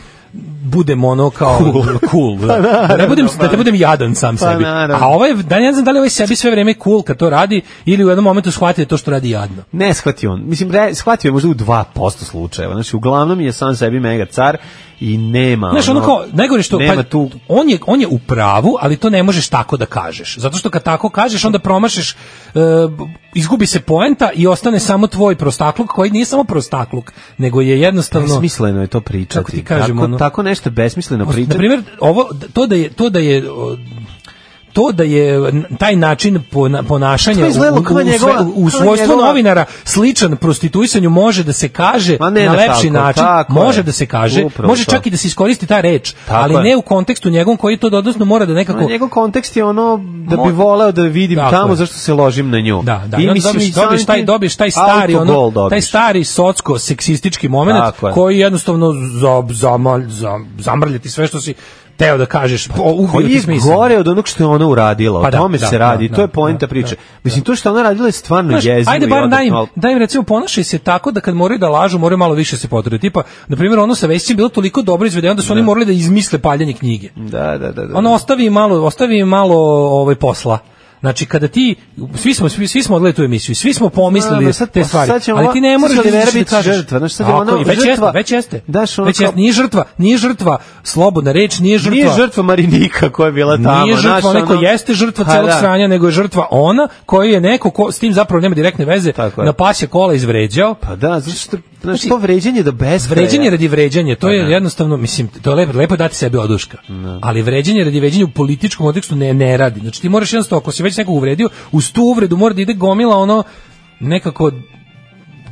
S6: budem ono kao cool, da. Da ne budem da te budem jadan sam
S5: Pa
S6: sebi.
S5: naravno.
S6: A ovaj da ne znam da li ovaj sebi sve vreme cool kad to radi ili u jednom momentu shvati da je to što radi jadno.
S5: Ne shvatio on. Mislim, re, shvatio je možda u 2% slučajeva. Znači, uglavnom je sam sebi mega car i nema...
S6: Znaš, ono kao, najgore što,
S5: Nema
S6: pa,
S5: tu...
S6: on, je, on je u pravu, ali to ne možeš tako da kažeš. Zato što kad tako kažeš, onda promašeš, e, b- izgubi se poenta i ostane samo tvoj prostakluk, koji nije samo prostakluk, nego je jednostavno...
S5: Besmisleno je to pričati.
S6: Kako ti kažem,
S5: tako,
S6: ono-
S5: tako nešto besmisleno
S6: Na
S5: pričati.
S6: primjer, ovo, to da je, to da je o, to da je n- taj način pona-
S5: To
S6: ponašanja
S5: je
S6: u,
S5: izgledalo
S6: u-
S5: kao
S6: u sve-
S5: njegova-
S6: u
S5: kao
S6: svojstvu
S5: njegova-
S6: novinara sličan prostituisanju može da se kaže
S5: Ma ne,
S6: na
S5: ne,
S6: lepši
S5: tako,
S6: način,
S5: tako
S6: može
S5: je.
S6: da se kaže,
S5: Upravo
S6: može
S5: to.
S6: čak i da se iskoristi ta reč,
S5: Tako
S6: ali
S5: je.
S6: ne u kontekstu njegovom koji to dodatno mora da
S5: Ma,
S6: nekako
S5: njegov kontekst je ono da bi
S6: Mo-
S5: voleo da je vidim
S6: Tako
S5: tamo
S6: je.
S5: zašto se ložim na nju.
S6: Da, da.
S5: I
S6: I, onda
S5: mislim,
S6: dobiješ,
S5: sam
S6: dobiješ taj,
S5: ti
S6: dobiješ taj stari, ono,
S5: autogol dobiješ.
S6: taj stari socko seksistički moment
S5: Tako je.
S6: koji jednostavno za, zamal- za- zamrlja ti sve što si teo da kažeš. Pa,
S5: koji je gore od onog što je ona uradila.
S6: Pa
S5: o
S6: da,
S5: tome
S6: da,
S5: se radi.
S6: da,
S5: to je
S6: da,
S5: poenta
S6: da,
S5: priče.
S6: da,
S5: Mislim, to što ona radila je stvarno
S6: Znaš,
S5: jezivo.
S6: ajde
S5: i
S6: bar
S5: odvratno,
S6: daj im,
S5: ali-
S6: daj im recimo ponašaj se tako da kad moraju da lažu moraju malo više se potrude. Tipa, na primjer, ono sa Vesićem bilo toliko dobro izvedeno da su oni morali da izmisle paljenje knjige.
S5: Da, da, da. da.
S6: Ono ostavi im malo, ostavi im malo ovaj posla. Znači kada ti svi smo svi, svi smo odgledali tu emisiju, svi smo pomislili
S5: Da, da, sad- pa
S6: te stvari.
S5: sad će
S6: ali
S5: ova-
S6: ti ne
S5: sad
S6: možeš
S5: će
S6: da
S5: Olivera
S6: izađeš da
S5: biti
S6: kažeš
S5: žrtva, znaš, sad je
S6: Tako
S5: ona
S6: je, već
S5: žrtva-
S6: jeste, već jeste.
S5: Daš ono
S6: već
S5: kao-
S6: jeste, nije žrtva, nije žrtva slobodna reč, nije žrtva.
S5: Nije žrtva Marinika koja je bila tamo.
S6: Nije žrtva,
S5: znaš,
S6: neko
S5: ono-
S6: jeste žrtva
S5: Pa
S6: celog
S5: da.
S6: sranja, nego je žrtva ona koju je neko ko s tim zapravo nema direktne veze
S5: Tako je.
S6: na pasje kola izvređao.
S5: Pa da, zato što, znaš, to vređenje do beskraja.
S6: Znači, Vređanje radi vređanja, to
S5: Pa
S6: je jednostavno, mislim, to je lepo, lepo je dati sebi oduška. Ali vređanje radi vređanja u političkom kontekstu ne, ne radi. Znači ti moraš jednostavno, ako si već nekog uvredio, uz tu uvredu mora da ide gomila ono nekako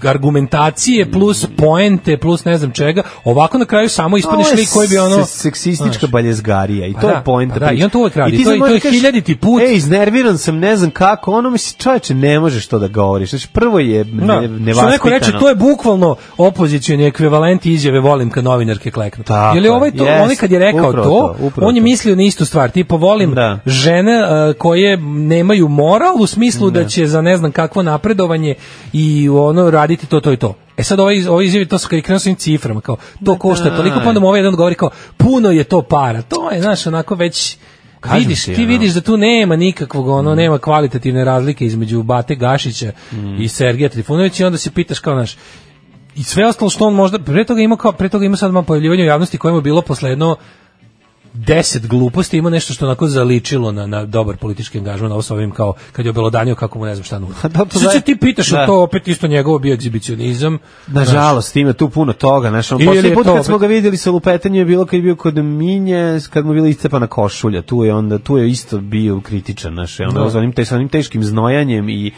S6: argumentacije plus poente plus ne znam čega ovako na kraju samo ispadneš
S5: Ovo je
S6: lik koji bi ono
S5: se- seksistička
S6: znaš.
S5: baljezgarija i
S6: Pa
S5: to
S6: da,
S5: je poenta
S6: pa da,
S5: priče.
S6: i on to uvek radi.
S5: ti
S6: To
S5: sad
S6: je-
S5: možeš
S6: to je
S5: kažeš,
S6: hiljaditi put.
S5: Ej, iznerviran sam, ne znam kako. Ono mi se čoveče ne možeš to da govoriš. Znači prvo je
S6: Da.
S5: ne,
S6: Što
S5: nevaspitano.
S6: neko reče, to je bukvalno opozicioni ekvivalent izjave volim kad novinarke kleknu.
S5: Tako
S6: Jel je
S5: je,
S6: ovaj to,
S5: jest,
S6: on je kad je rekao
S5: upravo
S6: to,
S5: to, upravo
S6: on je
S5: to.
S6: mislio na istu stvar, tipa volim
S5: Da.
S6: žene e, koje nemaju moral u smislu da će za ne znam kakvo napredovanje i ono raditi to, to i to. E sad ovaj, ovaj izjavi to sa kad je krenuo sa ovim ciframa, kao to košta toliko, pa onda mu ovaj jedan govori kao puno je to para, to je, znaš, onako već
S5: Kažem
S6: vidiš,
S5: ti,
S6: ti
S5: ono. Mm.
S6: vidiš da tu nema nikakvog, ono, nema kvalitativne razlike između Bate Gašića
S5: Mm.
S6: i Sergeja Trifunovića i onda se pitaš kao, naš, i sve ostalo što on možda, pre toga ima, kao, pre toga ima sad malo pojavljivanje u javnosti kojemu je bilo posle jedno deset gluposti, ima nešto što onako zaličilo na, na dobar politički angažman, ovo sa ovim kao, kad je obelodanio kako mu ne znam šta nudi.
S5: da, to
S6: Sad se
S5: da-
S6: ti pitaš, da.
S5: Pa da.
S6: to opet isto njegovo bio egzibicionizam,
S5: Nažalost, ima tu puno toga. Znaš, on
S6: Ili
S5: posljednji
S6: je
S5: put
S6: to
S5: kad smo
S6: opet-
S5: ga vidjeli sa lupetanjem je bilo kad je bio kod Minje, kad mu je bila iscepana košulja. Tu je onda, tu je isto bio kritičan, znaš, ono, s onim, te, sa onim teškim znojanjem i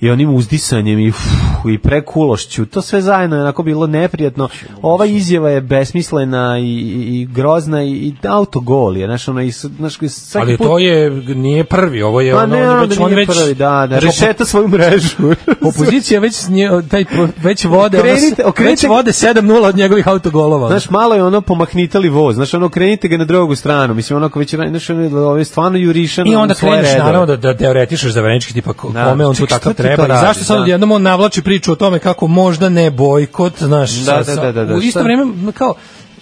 S5: i onim uzdisanjem i, fu, i prekulošću. To sve zajedno je onako bilo neprijatno. Ova izjava je besmislena i, i, i grozna i, i autogol je. Znaš, ono, i, s- znaš, svaki
S6: Ali
S5: put...
S6: to je, nije prvi, ovo je
S5: Pa
S6: ono,
S5: ne,
S6: on, je
S5: ono
S6: već,
S5: da
S6: on
S5: nije
S6: već,
S5: prvi, da, da,
S6: znači,
S5: rešeta svoju mrežu.
S6: Opozicija već s nje, taj već vode ono,
S5: Okrenite- okrenite-
S6: već vode 7:0 od njegovih autogolova.
S5: Znaš, malo je ono pomahnitali voz, znaš, ono, krenite ga na drugu stranu, mislim, ono, ako već, ra- znaš, ono, ovo je stvarno jurišano
S6: I onda
S5: na svoje
S6: kreneš
S5: redove.
S6: naravno da, da teoretišeš za Verenički tipa ko-
S5: Da.
S6: kome on tu
S5: Čekaj,
S6: tako
S5: šta ti to
S6: treba i
S5: radi,
S6: zašto sad
S5: da.
S6: odjednom on navlači priču o tome kako možda ne bojkot, znaš,
S5: Da,
S6: sa-
S5: da,
S6: sa-
S5: da, da, da,
S6: u isto
S5: šta?
S6: vrijeme m, kao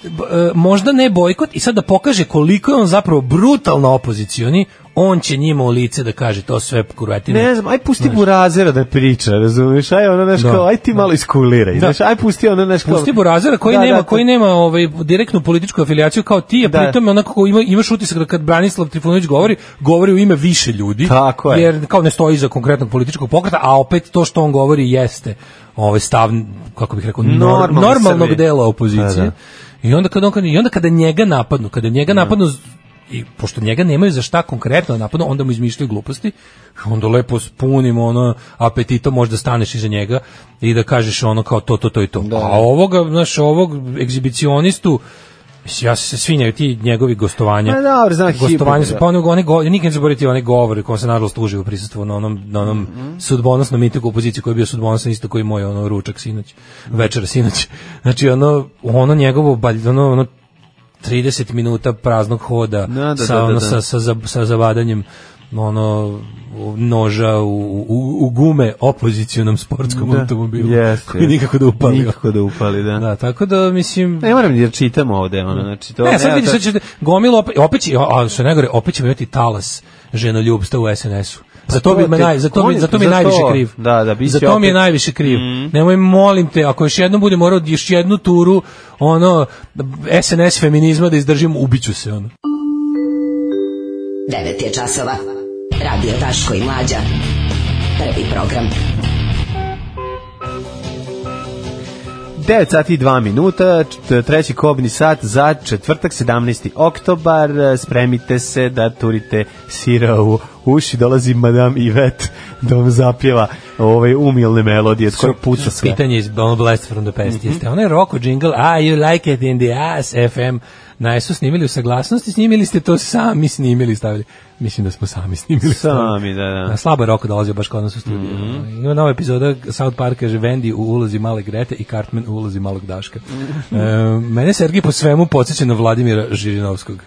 S6: b- e, možda ne bojkot i sad da pokaže koliko je on zapravo brutalno opozicioni, on će njima u lice da kaže to sve kurvetine.
S5: Ne znam, aj pusti Burazera da priča, razumiješ, aj ono, znaš,
S6: Da.
S5: kao, aj ti malo iskuliraj, znaš, aj pusti ono, znaš, kao...
S6: Pusti Burazera koji
S5: Da,
S6: nema
S5: da,
S6: koji
S5: to-
S6: nema ovaj direktnu političku afilijaciju kao ti, a
S5: Da.
S6: pritom je onako kao ima imaš utisak da kad Branislav Trifunović govori, govori u ime više ljudi.
S5: Tako je.
S6: Jer kao ne stoji iza konkretnog političkog pokreta, a opet to što on govori jeste ovaj stav kako bih rekao nor-
S5: Normalni
S6: normalnog
S5: Srbi.
S6: dela opozicije.
S5: Da, da.
S6: I onda kad on kad- i onda kada njega napadnu, kada njega napadnu z- i pošto njega nemaju za šta konkretno da napadnu, onda mu izmišljaju gluposti, onda lepo spunimo ono apetito možda staneš iza njega i da kažeš ono kao to, to, to i to. A ovoga, znaš, ovog egzibicionistu, mislim, ja se svinjaju ti njegovi gostovanja.
S5: Ma Pa dobro, znam,
S6: gostovanja
S5: hibrid,
S6: su,
S5: da.
S6: pa ono, one go, ja nikad neću zaboraviti one govore kojom se nažalost tužio u prisustvu na onom, na onom
S5: Mhm.
S6: sudbonosnom mitiku opozicije koji je bio sudbonosan isto koji moj ono ručak sinoć, večer sinoć. Znači ono, ono njegovo, balj- ono, ono 30 minuta praznog hoda
S5: Da, da,
S6: sa,
S5: da, da,
S6: ono,
S5: da.
S6: Sa, sa, za- sa zavadanjem ono noža u, u, u gume opozicionom sportskom automobilu
S5: Jeste,
S6: koji
S5: jeste.
S6: nikako da upali
S5: Nikako da upali, da.
S6: da, tako da mislim
S5: Ne moram jer čitam ovde, ono, znači to...
S6: ne, sad vidi,
S5: to-
S6: sad ćete gomilo, opet, opet će, a što ne gore, opet ćemo imati talas ženoljubstva u SNS-u. Za to,
S5: Pa to
S6: bi me
S5: te-
S6: naj, za to
S5: on
S6: mi,
S5: je-
S6: za to mi je
S5: za
S6: najviše
S5: to.
S6: kriv.
S5: Da, da, bit
S6: za
S5: će
S6: to mi je
S5: opet- Mhm.
S6: najviše kriv. Nemoj molim te, ako još jednom budem morao još jednu turu ono SNS feminizma da izdržim, ubiću se ono.
S8: 9 je časova. Radio Daško i Mlađa. Prvi program.
S5: 9 sati i 2 minuta, čet- treći kobni sat za četvrtak 17. oktobar. E, Spremite se da turite sira u uši. Dolazi Madame Ivet da vam zapjeva ove umilne melodije od koje puca sve. Mhm.
S6: Pitanje iz ono, Blast from the Past jeste Ono onaj Rocko jingle, ah, you like it in the ass, FM, na su snimili u saglasnosti, snimili ste to sami, snimili i stavili. Mislim da smo sami snimili. i stavili.
S5: Sami, da, da.
S6: Na slabo je Roko dolazio baš kod nas u studiju. Ima nova epizoda South Park kaže Wendy u ulozi male Grete i Cartman u ulozi malog Daška. e, mene Sergij po svemu podsjeća na Vladimira Žirinovskog.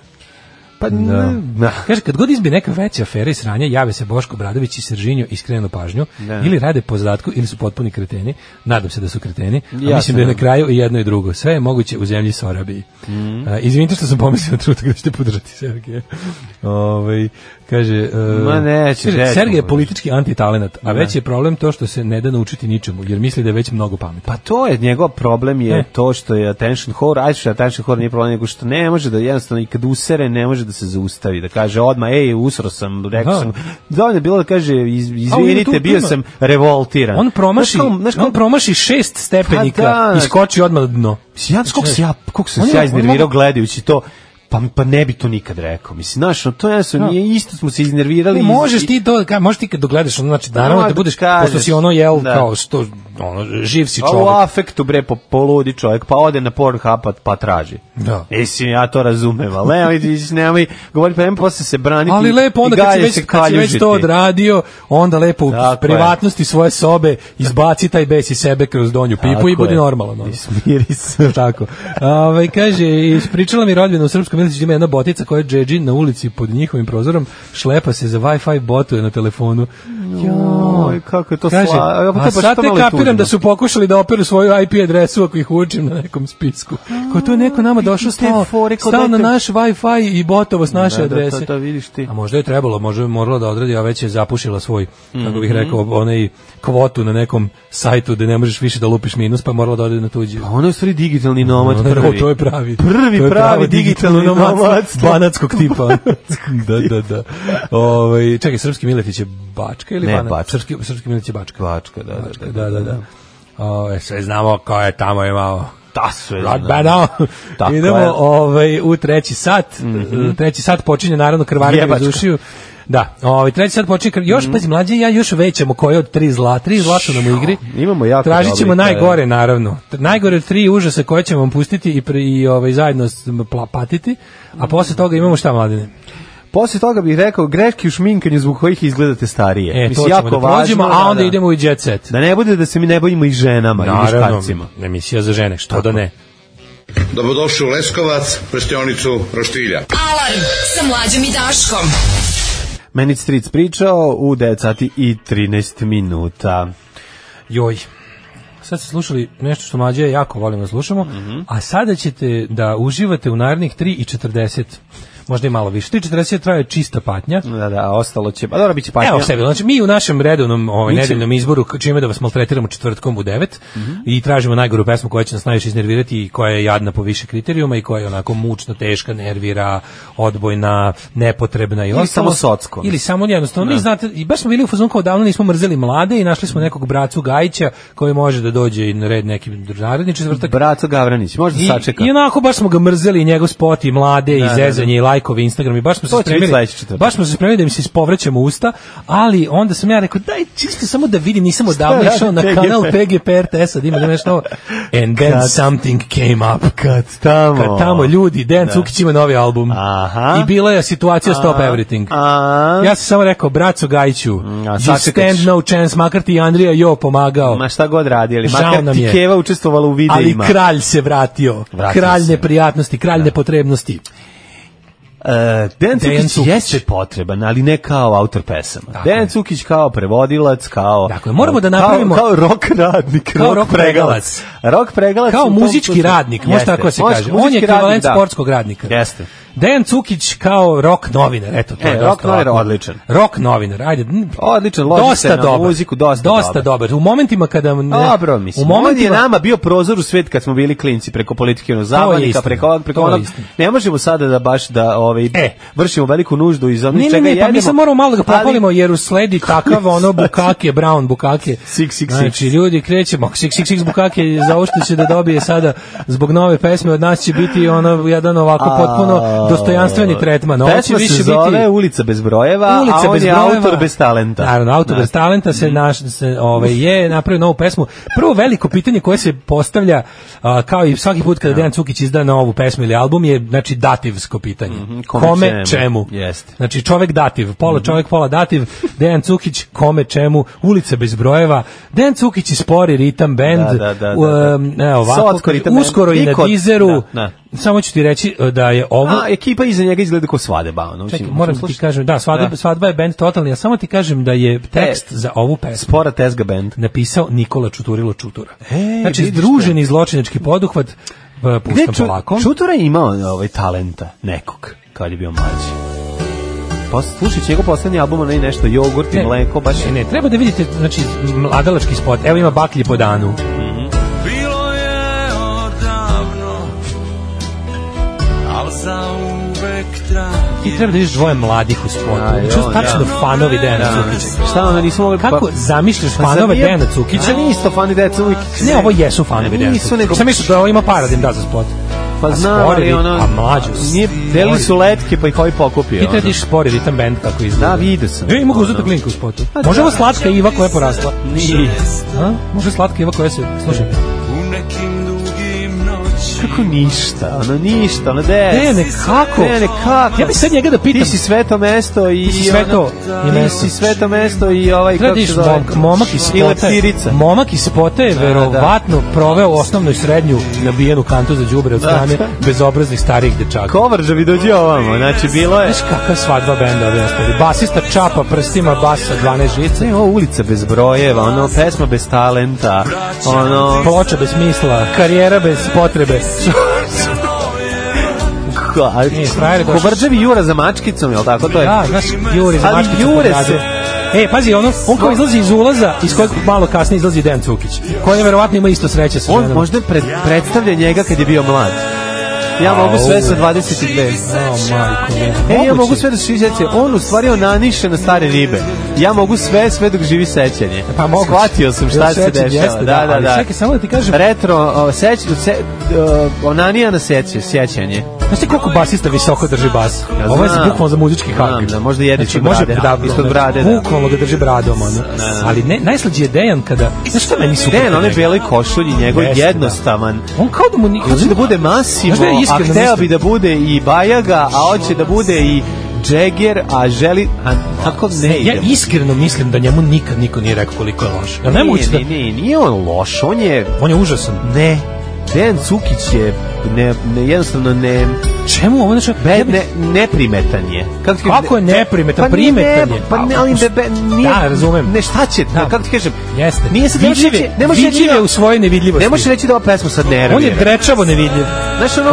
S5: Pa, da. da.
S6: Kaže, kad god izbi neka veća afera i sranja, jave se Boško Bradović i Sržinjo i skrenu pažnju, ili rade po zadatku, ili su potpuni kreteni, nadam se da su kreteni, a
S5: Ja se
S6: mislim da je na
S5: nadam.
S6: kraju i jedno i drugo. Sve je moguće u zemlji Sorabiji.
S5: Mhm.
S6: E, izvinite što sam pomislio na trenutak da ćete podržati Sergeja. Ovaj, kaže, e,
S5: Ma neće,
S6: kaže,
S5: neće
S6: Sergej je
S5: podržati.
S6: politički antitalenat, a već je problem to što se ne da naučiti ničemu, jer misli da je već mnogo pametan.
S5: Pa to je njegov problem je
S6: E.
S5: to što je attention whore, ajde što je attention whore nije problem nego što ne može da jednostavno i kad usere ne može da se zaustavi, da kaže odma ej usro sam, rekao
S6: Da.
S5: sam. Dovoljno je bilo da kaže iz,
S6: tu- tu
S5: izvinite, bio
S6: ima-
S5: sam revoltiran.
S6: On promaši,
S5: Znaš kao- znaš kao-
S6: on promaši šest stepenika
S5: Pa da.
S6: i skoči odmah na dno.
S5: Ja, koliko se ja, koliko sam
S6: On
S5: se
S6: je-
S5: ja
S6: on
S5: iznervirao
S6: mogu-
S5: gledajući to, pa, pa ne bi to nikad rekao. Mislim, znaš, no, to je jasno,
S6: Da.
S5: nije isto smo se iznervirali.
S6: Ne, možeš ti to, ka, možeš ti kad dogledaš, ono, znači naravno
S5: Ma,
S6: da budeš,
S5: kažeš,
S6: pošto si ono jel,
S5: da.
S6: kao što, ono, živ si
S5: A u
S6: čovjek.
S5: afektu, bre, po, poludi čovjek, pa ode na Pornhub pa, pa traži.
S6: Da.
S5: Mislim, ja to razumem, ali nemoj, ti- nemoj govoriti, pa nemoj posle se braniti.
S6: Ali lepo onda
S5: i
S6: kad si
S5: dalje
S6: već,
S5: se
S6: kad si već
S5: kaljužiti.
S6: to odradio, onda lepo u
S5: Tako je.
S6: privatnosti svoje sobe izbaci taj bes iz sebe kroz donju pipu
S5: Tako
S6: i budi
S5: je.
S6: normalan. ono.
S5: I smiri se.
S6: Tako. Ove, kaže, ispričala mi rodbina u Srpskom Miliću da ima jedna botica koja džedži na ulici pod njihovim prozorom, šlepa se za Wi-Fi botuje na telefonu.
S5: Oj, kako je to
S6: Kaže,
S5: sla- Evo, to je
S6: a
S5: baš
S6: sad
S5: to
S6: te
S5: malo
S6: kapiram
S5: tužno.
S6: da su pokušali da operu svoju IP adresu ako ih učim na nekom spisku. Ko to je neko nama došao
S5: te
S6: stao,
S5: fore, kao
S6: stao na
S5: dajte-
S6: naš Wi-Fi i botovo s naše
S5: Da, da,
S6: adrese.
S5: to- to vidiš ti.
S6: A možda je trebalo, možda je morala da odradi, a već je zapušila svoj, kako
S5: Mhm.
S6: bih rekao, onaj kvotu na nekom sajtu da ne možeš više da lupiš minus, pa je morala da odradi na tuđi.
S5: Pa ono je u stvari digitalni nomad
S6: Ono,
S5: prvi.
S6: To je pravi.
S5: Prvi
S6: To je
S5: pravi digitalno
S6: nomadstvo,
S5: nomadstvo.
S6: Banatskog tipa. da, da, da. Ovaj, čekaj, Srpski Miletić je Bačka ili
S5: Ne,
S6: Banat?
S5: Bačka.
S6: Srpski, srpski Miletić je Bačka.
S5: Bačka, da, da,
S6: Bačka,
S5: da,
S6: da, da, da. O, e, sve znamo ko je tamo imao
S5: Ta sve znam.
S6: Rodbano.
S5: Tako
S6: Idemo
S5: je. Mhm.
S6: ovaj, u treći sat. Treći sat počinje naravno krvarenje iz
S5: Jebačka. Mhm.
S6: ušiju. Da, ovaj treći sad počinje, kr- još pazi mlađe i ja još većamo koje od tri zla, tri zla su nam u igri.
S5: Imamo jako
S6: Tražit ćemo
S5: dobrih,
S6: najgore naravno. T- Najgore od tri užasa koje ćemo vam pustiti i pre, i ovaj zajedno s- pla- patiti. A posle toga imamo šta mladine?
S5: Posle toga bih rekao greške u šminkanju zbog kojih izgledate starije.
S6: E, to
S5: Mislim,
S6: ćemo da prođemo,
S5: važno,
S6: a onda
S5: da.
S6: idemo u jet set.
S5: Da pa ne bude da se mi ne bojimo i ženama i muškarcima.
S6: emisija za žene, što da ne.
S10: Dobrodošli u Leskovac, prštionicu Roštilja.
S4: Alarm sa mlađom i Daškom.
S5: Meni je stric pričao u 9 sati i 13 minuta.
S6: Joj. Sad ste slušali nešto što mlađe ja jako volimo da slušamo, a sada ćete da uživate u narednih 3 i 40. Možda i malo više. 3.40 traje čista patnja.
S5: Da, da, ostalo će... Pa dobro, bit će patnja.
S6: Evo sebi, znači mi u našem redovnom ovaj,
S5: Mi Mhm. ćemo-
S6: nedeljnom izboru k- čime da vas maltretiramo četvrtkom u 9 i tražimo najgoru pesmu koja će nas najviše iznervirati i koja je jadna po više kriterijuma i koja je onako mučno, teška, nervira, odbojna, nepotrebna i
S5: Ili
S6: ostalo.
S5: samo socko.
S6: Ili samo jednostavno. Mi znate, i baš smo bili u fazonu kao davno nismo mrzeli mlade i našli smo nekog bracu Gajića koji može da dođe i na red neki naredni četvrtak.
S5: Braco Gavranić, možda
S6: I,
S5: sačeka.
S6: I ono- onako baš smo ga mrzeli i njegov spot i mlade i
S5: da,
S6: zezanje i lajkovi Instagram i baš smo se
S5: To će biti
S6: spremili.
S5: sledeći četvrtak.
S6: Baš smo se spremili da mi se ispovraćamo usta, ali onda sam ja rekao daj čisto samo da vidim, nisam odavno
S5: radi
S6: išao na
S5: PGP?
S6: kanal PGP RTS-a, da ima da nešto novo. And then something came up.
S5: Kad tamo...
S6: Kad tamo ljudi, Dejan Cukić ima novi album.
S5: Aha.
S6: I bila je situacija Stop
S5: A,
S6: Everything.
S5: a. Mm,
S6: Ja sam samo rekao, braco Gajiću,
S5: a
S6: you
S5: sačekat ću.
S6: stand no chance, makar ti je Andrija Jo pomagao.
S5: Ma šta god radi, ali
S6: Žao
S5: makar
S6: nam
S5: ti
S6: je.
S5: Keva učestvovala u
S6: Ali
S5: videima.
S6: kralj se vratio.
S5: Vratio
S6: kralj
S5: se.
S6: neprijatnosti, kralj nepotrebnosti.
S5: E, Dejan
S6: Dejan
S5: Cukić
S6: Cukić.
S5: jeste potreban, ali ne kao autor pesama.
S6: Tako
S5: Dejan
S6: je.
S5: Cukić kao prevodilac, kao...
S6: Dakle, moramo da
S5: kao-
S6: napravimo-
S5: Kao, rock radnik,
S6: Kao
S5: rock,
S6: rock
S5: pregalac. Rock pregalac. u
S6: Kao
S5: tom
S6: muzički
S5: slučaju.
S6: radnik, može
S5: Jeste.
S6: tako se
S5: Može-
S6: kaže. On
S5: muzički
S6: je ekvivalent
S5: radnik, da.
S6: sportskog radnika.
S5: Jeste.
S6: Dejan Cukić kao rock novinar, eto to
S5: E,
S6: je
S5: rock
S6: dosta
S5: novinar
S6: ovako.
S5: odličan.
S6: Rock novinar, ajde. n-
S5: Odličan, loži se na muziku, dosta dobar.
S6: U momentima kada ne,
S5: Dobro, mislim.
S6: u
S5: On je
S6: momentima
S5: nama bio prozor u svet kad smo bili klinci preko politike ono zabavnika,
S6: istina,
S5: preko ovog, preko
S6: to je
S5: onog.
S6: istina.
S5: Ne možemo sada da baš da ovaj
S6: E.
S5: vršimo veliku nuždu iz onih
S6: Ne,
S5: čega
S6: ne, ne, pa mi
S5: jedemo,
S6: sad moramo malo da ga
S5: ali-
S6: pohvalimo jer usledi takav ono bukake, brown bukake.
S5: Six, six, six.
S6: Znači, ljudi krećemo, six, six, six bukake za ovo što će da dobije sada zbog nove pesme od nas će biti ono jedan ovako potpuno dostojanstveni tretman. Ovo će
S5: Pesma
S6: više
S5: se
S6: biti...
S5: zove Ulica bez brojeva,
S6: Ulica
S5: a on
S6: bez
S5: je
S6: brojeva.
S5: autor bez talenta.
S6: Naravno, autor
S5: Da. Mm.
S6: bez talenta se naš se ovaj je napravio novu pesmu. Prvo veliko pitanje koje se postavlja a, kao i svaki put kada Dejan Cukić izda novu pesmu ili album je znači dativsko pitanje.
S5: Mhm, kome čemu?
S6: kome, čemu?
S5: Jeste. Mhm.
S6: Znači čovek dativ, pola čovek pola dativ, Dejan Cukić kome čemu, ulica bez brojeva, Dejan Cukić i spori ritam bend.
S5: Da, da, da, da.
S6: um, evo, ovako,
S5: Socko ritam bend.
S6: uskoro i
S5: I
S6: na
S5: kod-
S6: Deezeru.
S5: da,
S6: Samo ću ti reći e, da je ovo
S5: A ekipa iza njega izgleda kao svadeba, ono.
S6: Čekaj,
S5: mislim,
S6: moram ti
S5: slušaj.
S6: kažem, da, svadba,
S5: Da. E,
S6: svadba je band totalni, a samo ti kažem da je tekst za ovu pesmu
S5: Spora Tezga band.
S6: napisao Nikola Čuturilo Čutura.
S5: E,
S6: znači,
S5: vidiš
S6: združeni zločinački poduhvat,
S5: Gde
S6: b- pustam
S5: Ču-
S6: polako.
S5: Čutura je imao ovaj talenta nekog kad je bio mlađi. Pa slušajući njegov poslednji album, onaj nešto jogurt i
S6: Ne,
S5: mleko, baš
S6: E, Ne, ne, treba da vidite, znači, mladalački spot. Evo ima baklje po danu.
S7: Bilo je odavno, al za uvek traje.
S6: Ti treba da vidiš dvoje mladih u spotu.
S5: A,
S6: Znači,
S5: jo,
S6: tačno
S5: da.
S6: fanovi Dejana
S5: Da.
S6: Cukića.
S5: Šta onda nismo mogli...
S6: Kako
S5: pa-
S6: zamišljaš
S5: Pa zar
S6: fanove
S5: nije-
S6: Dejana Cukića?
S5: A nisto fani deca uvijek...
S6: Ne, ovo jesu fanovi Dejana
S5: Nisu nego...
S6: Cukića. Sam mislio da ovo ima para da im da za spot.
S5: Pa
S6: A
S5: znam,
S6: spori
S5: ali
S6: rit-
S5: ono...
S6: a mlađo,
S5: Nije, delili su letke, pa ih ovi pokupio.
S6: Ti treba da ideš spori ritam band kako izgleda.
S5: Da, vidio sam.
S6: E, mogu uzeti klinku u spotu.
S5: Pa
S6: Može
S5: da.
S6: ovo slatka Iva koja je porasla?
S5: Nije.
S6: A? Može slatka Iva koja se... Slušaj.
S7: U nekim dugim noćima.
S5: Kako ništa, ono ništa, ono des.
S6: Dejane, kako?
S5: Dejane, kako?
S6: Ja bi sad njega da pitam.
S5: Ti si sveto mesto i...
S6: Ti si sveto
S5: ono-
S6: i
S5: Ti
S6: mesto.
S5: si sveto mesto i ovaj...
S6: Treba da
S5: kako se
S6: ideš
S5: zove?
S6: momak, momak iz
S5: I
S6: spota. je-
S5: leptirica.
S6: Momak iz spota je verovatno proveo osnovnu i srednju nabijenu kantu za đubre od strane bezobraznih starijih dečaka.
S5: Kovrđa bi dođe ovamo, znači bilo je...
S6: Znaš kakva svadba benda ovdje ostali. Basista čapa prstima basa 12 žice.
S5: Ne, ovo ulica bez brojeva, ono, pesma bez talenta, ono,
S6: Ploča bez smisla, karijera bez potrebe. Nije, frajer je došao.
S5: Kovrđevi jura za mačkicom, jel tako to je?
S6: Da, znaš, Jure za
S5: Ali
S6: mačkicu
S5: Jure
S6: pod
S5: se-
S6: radom. E, pazi, ono, on kao izlazi iz ulaza, iz kojeg malo kasnije izlazi Dejan Cukić, koji verovatno ima isto sreće sa
S5: On
S6: ženama.
S5: možda pred, predstavlja njega kad je bio mlad. Ja mogu sve sa 22.
S6: E, O, majko, mila.
S5: E, ja
S6: Moguće.
S5: mogu sve da živi sećanje. On u stvari onaniše na stare ribe. Ja mogu sve, sve dok živi sećanje.
S6: Pa moguće.
S5: Shvatio sam šta
S6: Jel
S5: se
S6: sećanje
S5: dešava.
S6: jeste,
S5: da,
S6: da,
S5: da,
S6: ali
S5: da.
S6: čekaj, samo da ti kažem-
S5: Retro, o, seć, se, o, onanija na sećanje, sjećanje.
S6: Znaš ti koliko basista visoko drži bas?
S5: Ja
S6: Ovo je
S5: znam.
S6: bukvalno za muzički hak. Znači,
S5: Znam, da, možda jede ispod
S6: može,
S5: brade,
S6: da, ono,
S5: ispod brade, da.
S6: Bukvalno ga drži bradom, ono. Ali ne, najslađi je Dejan kada... Znaš šta meni super?
S5: Den,
S6: kod
S5: onaj
S6: njega?
S5: beloj košulji, njegov
S6: Jeste, da.
S5: jednostavan.
S6: On kao da mu... ni-
S5: Hoće da bude Massimo,
S6: Znaš da je
S5: a
S6: iskreno
S5: hteo
S6: mislim?
S5: bi da bude i Bajaga, a hoće da bude i Jagger, a želi... A tako ne
S6: Ja
S5: ide.
S6: iskreno mislim da njemu nikad niko nije rekao koliko je loš. Ja ne mogu da...
S5: Nije, nije, nije on loš, on je...
S6: On je užasan.
S5: Ne. Dejan Cukić je ne, ne, jednostavno ne,
S6: Čemu ovo znači?
S5: be, ne, neprimetan je. Kako, ti kažem,
S6: Kako je neprimetan?
S5: Pa nije-
S6: Primetan je.
S5: Pa ne, ali be, be, nije,
S6: Da, razumem.
S5: Ne, šta će,
S6: Da.
S5: kako ti kažem?
S6: Jeste.
S5: Nije se, ne možeš
S6: Vidljiv je-
S5: reći, ne možeš reći,
S6: vidljiv je u svojoj nevidljivosti.
S5: ne možeš reći da ova pesma sad nervira.
S6: On je drečavo nevidljiv.
S5: Znaš, ono...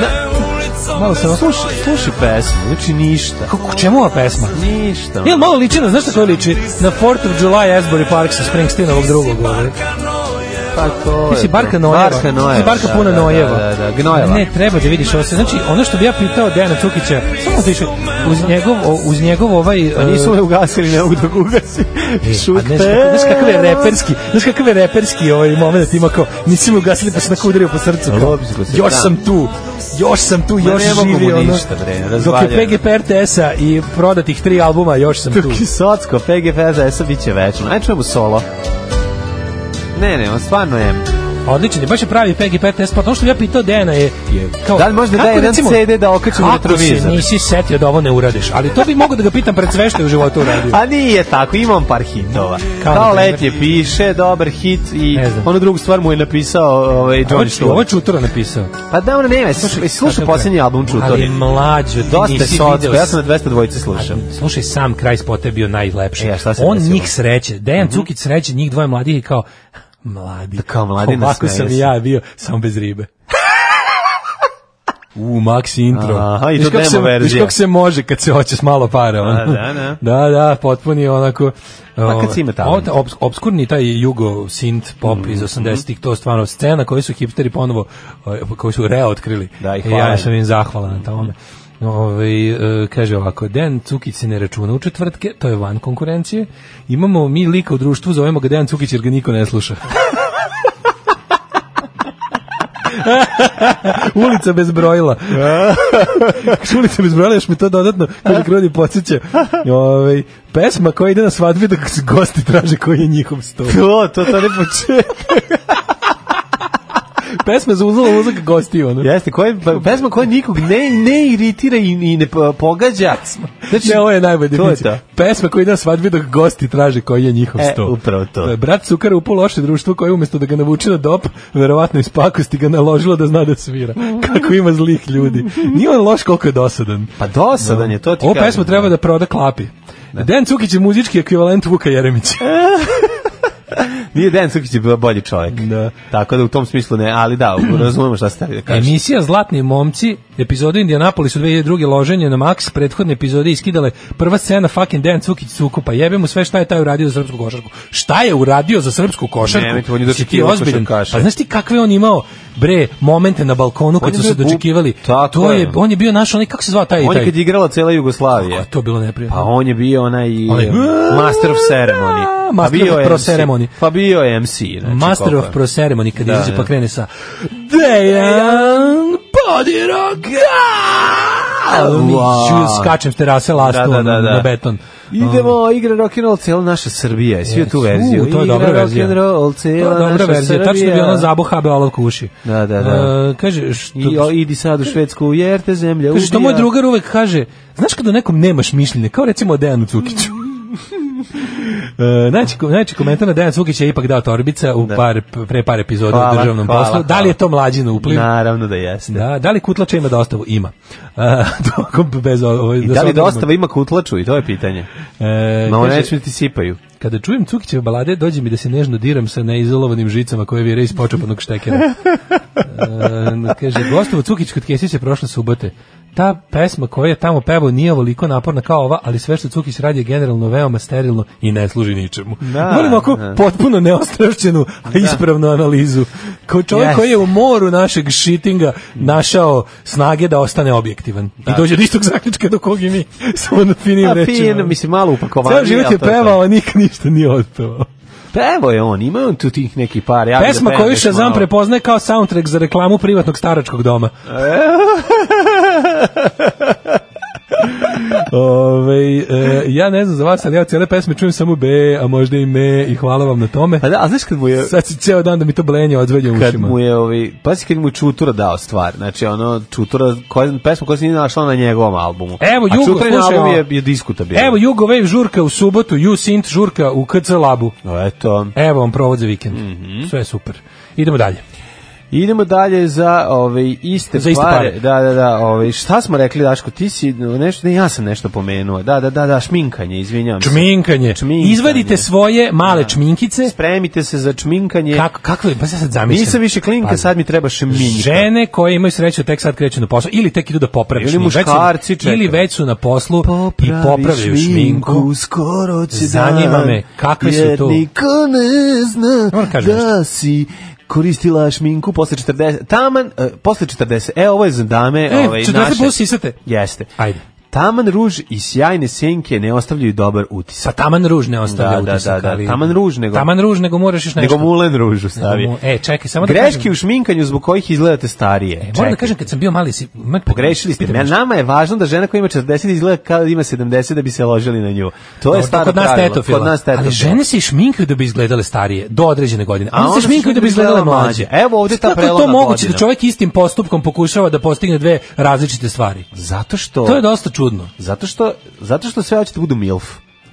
S5: Na,
S6: Malo sam-
S5: slušaj, slušaj pesmu, znači ništa.
S6: Kako, čemu ova pesma?
S5: Ništa.
S6: Nije li malo liči na, znaš šta to liči? Na 4th of July Asbury Park sa Springsteenovog drugog ovaj.
S5: Pa to
S6: Ti si
S5: je to.
S6: Barka Nojeva.
S5: Barka Nojeva.
S6: Ti si Barka
S5: da,
S6: puna
S5: da,
S6: Nojeva.
S5: Da, da, da, Gnojeva. Pa
S6: Ne, treba da vidiš ovo sve. Znači, ono što bi ja pitao Dejana Cukića, samo da više, uz njegov, o- uz njegov ovaj...
S5: Pa nisu
S6: e,
S5: me ugasili, ne mogu da ga ugasi.
S6: A znaš, kakav- znaš kakav je reperski, znaš kakav je reperski ovaj moment ima kao, nisi mi ugasili pa se tako udario po srcu. kao,
S5: Lopizgo se,
S6: još
S5: da.
S6: sam tu, još sam tu,
S5: Ma
S6: još
S5: ne mogu mu
S6: živi. ono.
S5: ništa, bre,
S6: Dok je
S5: razvaljeno.
S6: PGP RTS-a i prodatih tri albuma, još sam tu.
S5: Kisocko, PGF, ZS, bit će večno. Ajde čujemo solo. Ne, ne, on stvarno je...
S6: Odličan je, baš je pravi PGP test, pa ono što bi ja pitao Dejana je, je kao,
S5: Da li možda daje jedan CD da okačimo na
S6: Kako se
S5: retrovizor?
S6: nisi setio da ovo ne uradiš, ali to bi mogo da ga pitam pred sve što je u životu uradio.
S5: A nije tako, imam par hitova. Kao,
S6: Kao na primer?
S5: letje piše, dobar hit i
S6: Ne znam.
S5: onu drugu stvar mu je napisao ovaj,
S6: Ovo
S5: Johnny
S6: je Ču- Ovo je
S5: Stewart.
S6: Čutura napisao.
S5: Pa da, ono nema, slušaj, slušaj
S6: Kakav je?
S5: posljednji album Čutori.
S6: Ali mlađo, ti
S5: Dosta je
S6: nisi
S5: socko,
S6: video
S5: ja sam na 202 slušao.
S6: A, Slušaj, sam kraj spota je bio najlepši.
S5: E, a šta se
S6: On
S5: desilo? Mhm.
S6: njih sreće. Dejan Cukić sreće, njih dvoje mladih i kao, mladi. Da
S5: kao mladi
S6: Ovako
S5: nasmeju
S6: sam i
S5: se.
S6: ja bio, samo bez ribe. U, maxi intro.
S5: Aha, i to
S6: Znaš kako
S5: demo
S6: se- Znaš
S5: verzija.
S6: kako se može kad se hoće s malo para. ono.
S5: da, da.
S6: da, da, potpuni onako...
S5: Pa kad
S6: o,
S5: si ima talent.
S6: o, obs- obskurni taj jugo synth pop
S5: Mhm.
S6: iz 80-ih, to stvarno scena koju su hipsteri ponovo, o, koju su reotkrili. E,
S5: Da, i Mhm. hvala
S6: ja
S5: im.
S6: sam im zahvalan na tome. Ove, kaže ovako, Den Cukić se ne računa u četvrtke, to je van konkurencije. Imamo mi lika u društvu, zovemo ga Dejan Cukić jer ga niko ne sluša. Ulica bez brojila. Ulica bez brojila, još mi to dodatno kada grudi podsjeća. Ove, pesma koja ide na svadbi da gosti traže koji je njihov stol.
S5: To, to, to ne poče.
S6: Pesma za uzela ulazak gosti. Ono.
S5: Jeste, koja, pa, pesma koja nikog ne, ne iritira i, i ne po- pogađa. Znači,
S6: Ne, ovo je najbolja
S5: To je
S6: definicija.
S5: to.
S6: Pesma koja ide na svadbi dok gosti traže koji je njihov
S5: E,
S6: sto.
S5: upravo to.
S6: je Brat Cukara upao u loše društvo koje umjesto da ga navuče na dop, verovatno iz pakosti ga naložilo da zna da svira. Kako ima zlih ljudi. Nije on loš koliko je dosadan.
S5: Pa dosadan je, to ti
S6: Ovo
S5: kažem.
S6: pesma treba da proda klapi. Dejan Cukić je muzički ekvivalent Vuka Jeremića.
S5: Nije Dejan Cukić je bio bolji čovjek.
S6: Da. E,
S5: Tako da u tom smislu ne, ali da, razumemo šta ste da kažete.
S6: Emisija Zlatni momci, epizoda Indianapolis u 2002. loženje na Max, prethodne epizode iskidale prva scena fucking Dejan Cukić Cukupa, jebe mu sve šta je taj uradio za srpsku košarku. Šta je uradio za srpsku košarku?
S5: Nemojte, on je
S6: Si ti
S5: dočekivao
S6: ozbiljan?
S5: košarkaše.
S6: Pa znaš ti kakve je on imao, bre, momente na balkonu kad
S5: je
S6: su se
S5: bio bu-
S6: dočekivali?
S5: Tako
S6: to je,
S5: je.
S6: on je bio naš, onaj, kako se zvao taj?
S5: On je
S6: taj?
S5: kad je igrala cela
S6: A,
S5: Jugoslavija.
S6: to je bilo neprijatno.
S5: Pa on je bio onaj
S6: Onaj-
S5: Master of Ceremony. Pa
S6: Master
S5: bio
S6: of
S5: je
S6: Pro
S5: MC.
S6: Ceremony.
S5: Pa bio je MC. Znači,
S6: Master
S5: koliko
S6: of
S5: je.
S6: Pro Ceremony kad
S5: Da,
S6: izađe
S5: da.
S6: pa krene sa Dejan Podiroga
S5: Wow.
S6: Wow. Skačem s terase lastu
S5: Da, da, da, da.
S6: na beton.
S5: Idemo, igra rock and roll cela naša Srbija. je Svi je tu
S6: Yes.
S5: verziju.
S6: U, to je dobra
S5: Igra
S6: verzija.
S5: Rock and roll
S6: To je
S5: cela
S6: dobra
S5: naša
S6: verzija,
S5: Srbija.
S6: tačno bi ona zabuh habe olovku u uši.
S5: Da, da, da.
S6: E, kaže, što,
S5: I, o, idi sad u Švedsku, jer te zemlja ubija.
S6: kaže, što moj drugar uvek kaže, znaš kada o nekom nemaš mišljenje, kao recimo o Dejanu Cukiću. E, najči, najči komentar na Dejan Cukić je ipak dao torbica u par, pre par epizoda u
S5: Hvala,
S6: državnom
S5: hvala,
S6: poslu. Da li je to mlađino upliv?
S5: Naravno da jeste.
S6: Da, da li Kutlača ima dostavu? Ima. E, to, bez, ovo,
S5: I da li dostava ima kutlaču i to je pitanje.
S6: E,
S5: Ma
S6: kaže,
S5: neće ti sipaju.
S6: kada čujem Cukićeve balade, dođe mi da se nežno diram sa neizolovanim žicama koje vire iz počepanog štekera. E, kaže, gostovo Cukić kod Kesića prošle subote. Ta pesma koja je tamo pevao nije ovoliko naporna kao ova, ali sve što Cukić radi je generalno veoma sterilno i ne služi ničemu.
S5: Da,
S6: Molim oko
S5: da.
S6: potpuno neostrašćenu, a ispravnu analizu. Kao čovjek
S5: Yes.
S6: koji je u moru našeg šitinga našao snage da ostane objektivan. I dođe do istog zaključka do kog i mi. Samo na finim
S5: A
S6: rečima.
S5: fin, Pa mislim, malo upakovan.
S6: ono, Ceo život je pevao, a nikad ništa nije otpevao.
S5: Pevo Pa je on, ima on tu tih neki par. Ja bi da
S6: Pesma
S5: pevam
S6: koju
S5: još
S6: Shazam
S5: malo.
S6: prepoznaje kao soundtrack za reklamu privatnog staračkog doma. Ove, e, ja ne znam za vas, ali ja cijele pesme čujem samo B, a možda i me, i hvala vam na tome.
S5: A, Pa da, a znaš kad mu je...
S6: Sad si ceo dan da mi to blenje odzvelje u
S5: Kad
S6: ušima.
S5: mu je, ovaj, pazi kad mu je Čutura dao stvar, znači ono, Čutura, koja, pesma koja se nije našla na njegovom albumu.
S6: Evo,
S5: a
S6: Jugo,
S5: Čuturin
S6: slušaj
S5: album
S6: ovo.
S5: je, je diskutabilan.
S6: Evo Jugo Wave žurka u subotu, You Synth žurka u KC Labu.
S5: No, eto.
S6: Evo vam provod za vikend.
S5: Mhm.
S6: Sve je super. Idemo dalje.
S5: Idemo dalje za ove iste,
S6: Za iste
S5: pare.
S6: pare.
S5: Da, da, da. Ove, šta smo rekli, Daško? Ti si nešto, ne, ja sam nešto pomenuo. Da, da, da, da, šminkanje, izvinjavam se.
S6: Čminkanje.
S5: Čminkanje.
S6: Izvadite svoje male čminkice.
S5: Spremite se za čminkanje.
S6: Kako, Pa, kako je, pa sad zamišljam.
S5: Nisam više klinka,
S6: Pazi.
S5: sad mi treba šminka.
S6: Žene koje imaju sreću tek sad kreću na posao ili tek idu da poprave
S5: Ili
S6: šminku. Već su-
S5: muškarci čekaju.
S6: ili već su na poslu i popravljaju šminku.
S5: skoro će
S6: Zanima me, kakve su
S5: jer
S6: tu?
S5: niko ne zna
S6: Moram kažem
S5: da si koristila šminku posle 40, taman, e, posle 40, e, ovo je za dame,
S6: E,
S5: ovaj,
S6: 40
S5: naše.
S6: plus sisate.
S5: Jeste.
S6: Ajde.
S5: Taman ruž i sjajne senke ne ostavljaju dobar utisak.
S6: Pa taman ruž ne ostavlja
S5: Da, da,
S6: utisak,
S5: da, da,
S6: ali-
S5: taman ruž nego-
S6: Taman ruž nego moraš još nešto.
S5: nego mulen ružu stavi.
S6: Nego mu- E, čekaj, samo da
S5: Greške
S6: kažem-
S5: u šminkanju zbog kojih izgledate starije.
S6: E,
S5: Čekaj.
S6: Moram da kažem, kad sam bio mali, si, ima-
S5: Pogrešili ste.
S6: pitam
S5: Na
S6: nešto.
S5: nama je važno da žena koja ima 40 izgleda kao da ima 70 da bi se ložili na nju. To je
S6: Dobro,
S5: staro
S6: kod nas
S5: pravilo.
S6: tetofila.
S5: Kod nas tetofila.
S6: Ali žene se i šminkaju da bi izgledale starije, do određene godine. A,
S5: A
S6: one
S5: onda
S6: se
S5: su
S6: šminkaju da bi izgledale mlađe.
S5: Evo ovde ta
S6: Kako je
S5: prelomna
S6: to moguće
S5: godina?
S6: da čovjek istim postupkom pokušava da postigne dve različite stvari?
S5: Zato što
S6: To je dosta čudno.
S5: zato što zato što sve hoćete budu milf.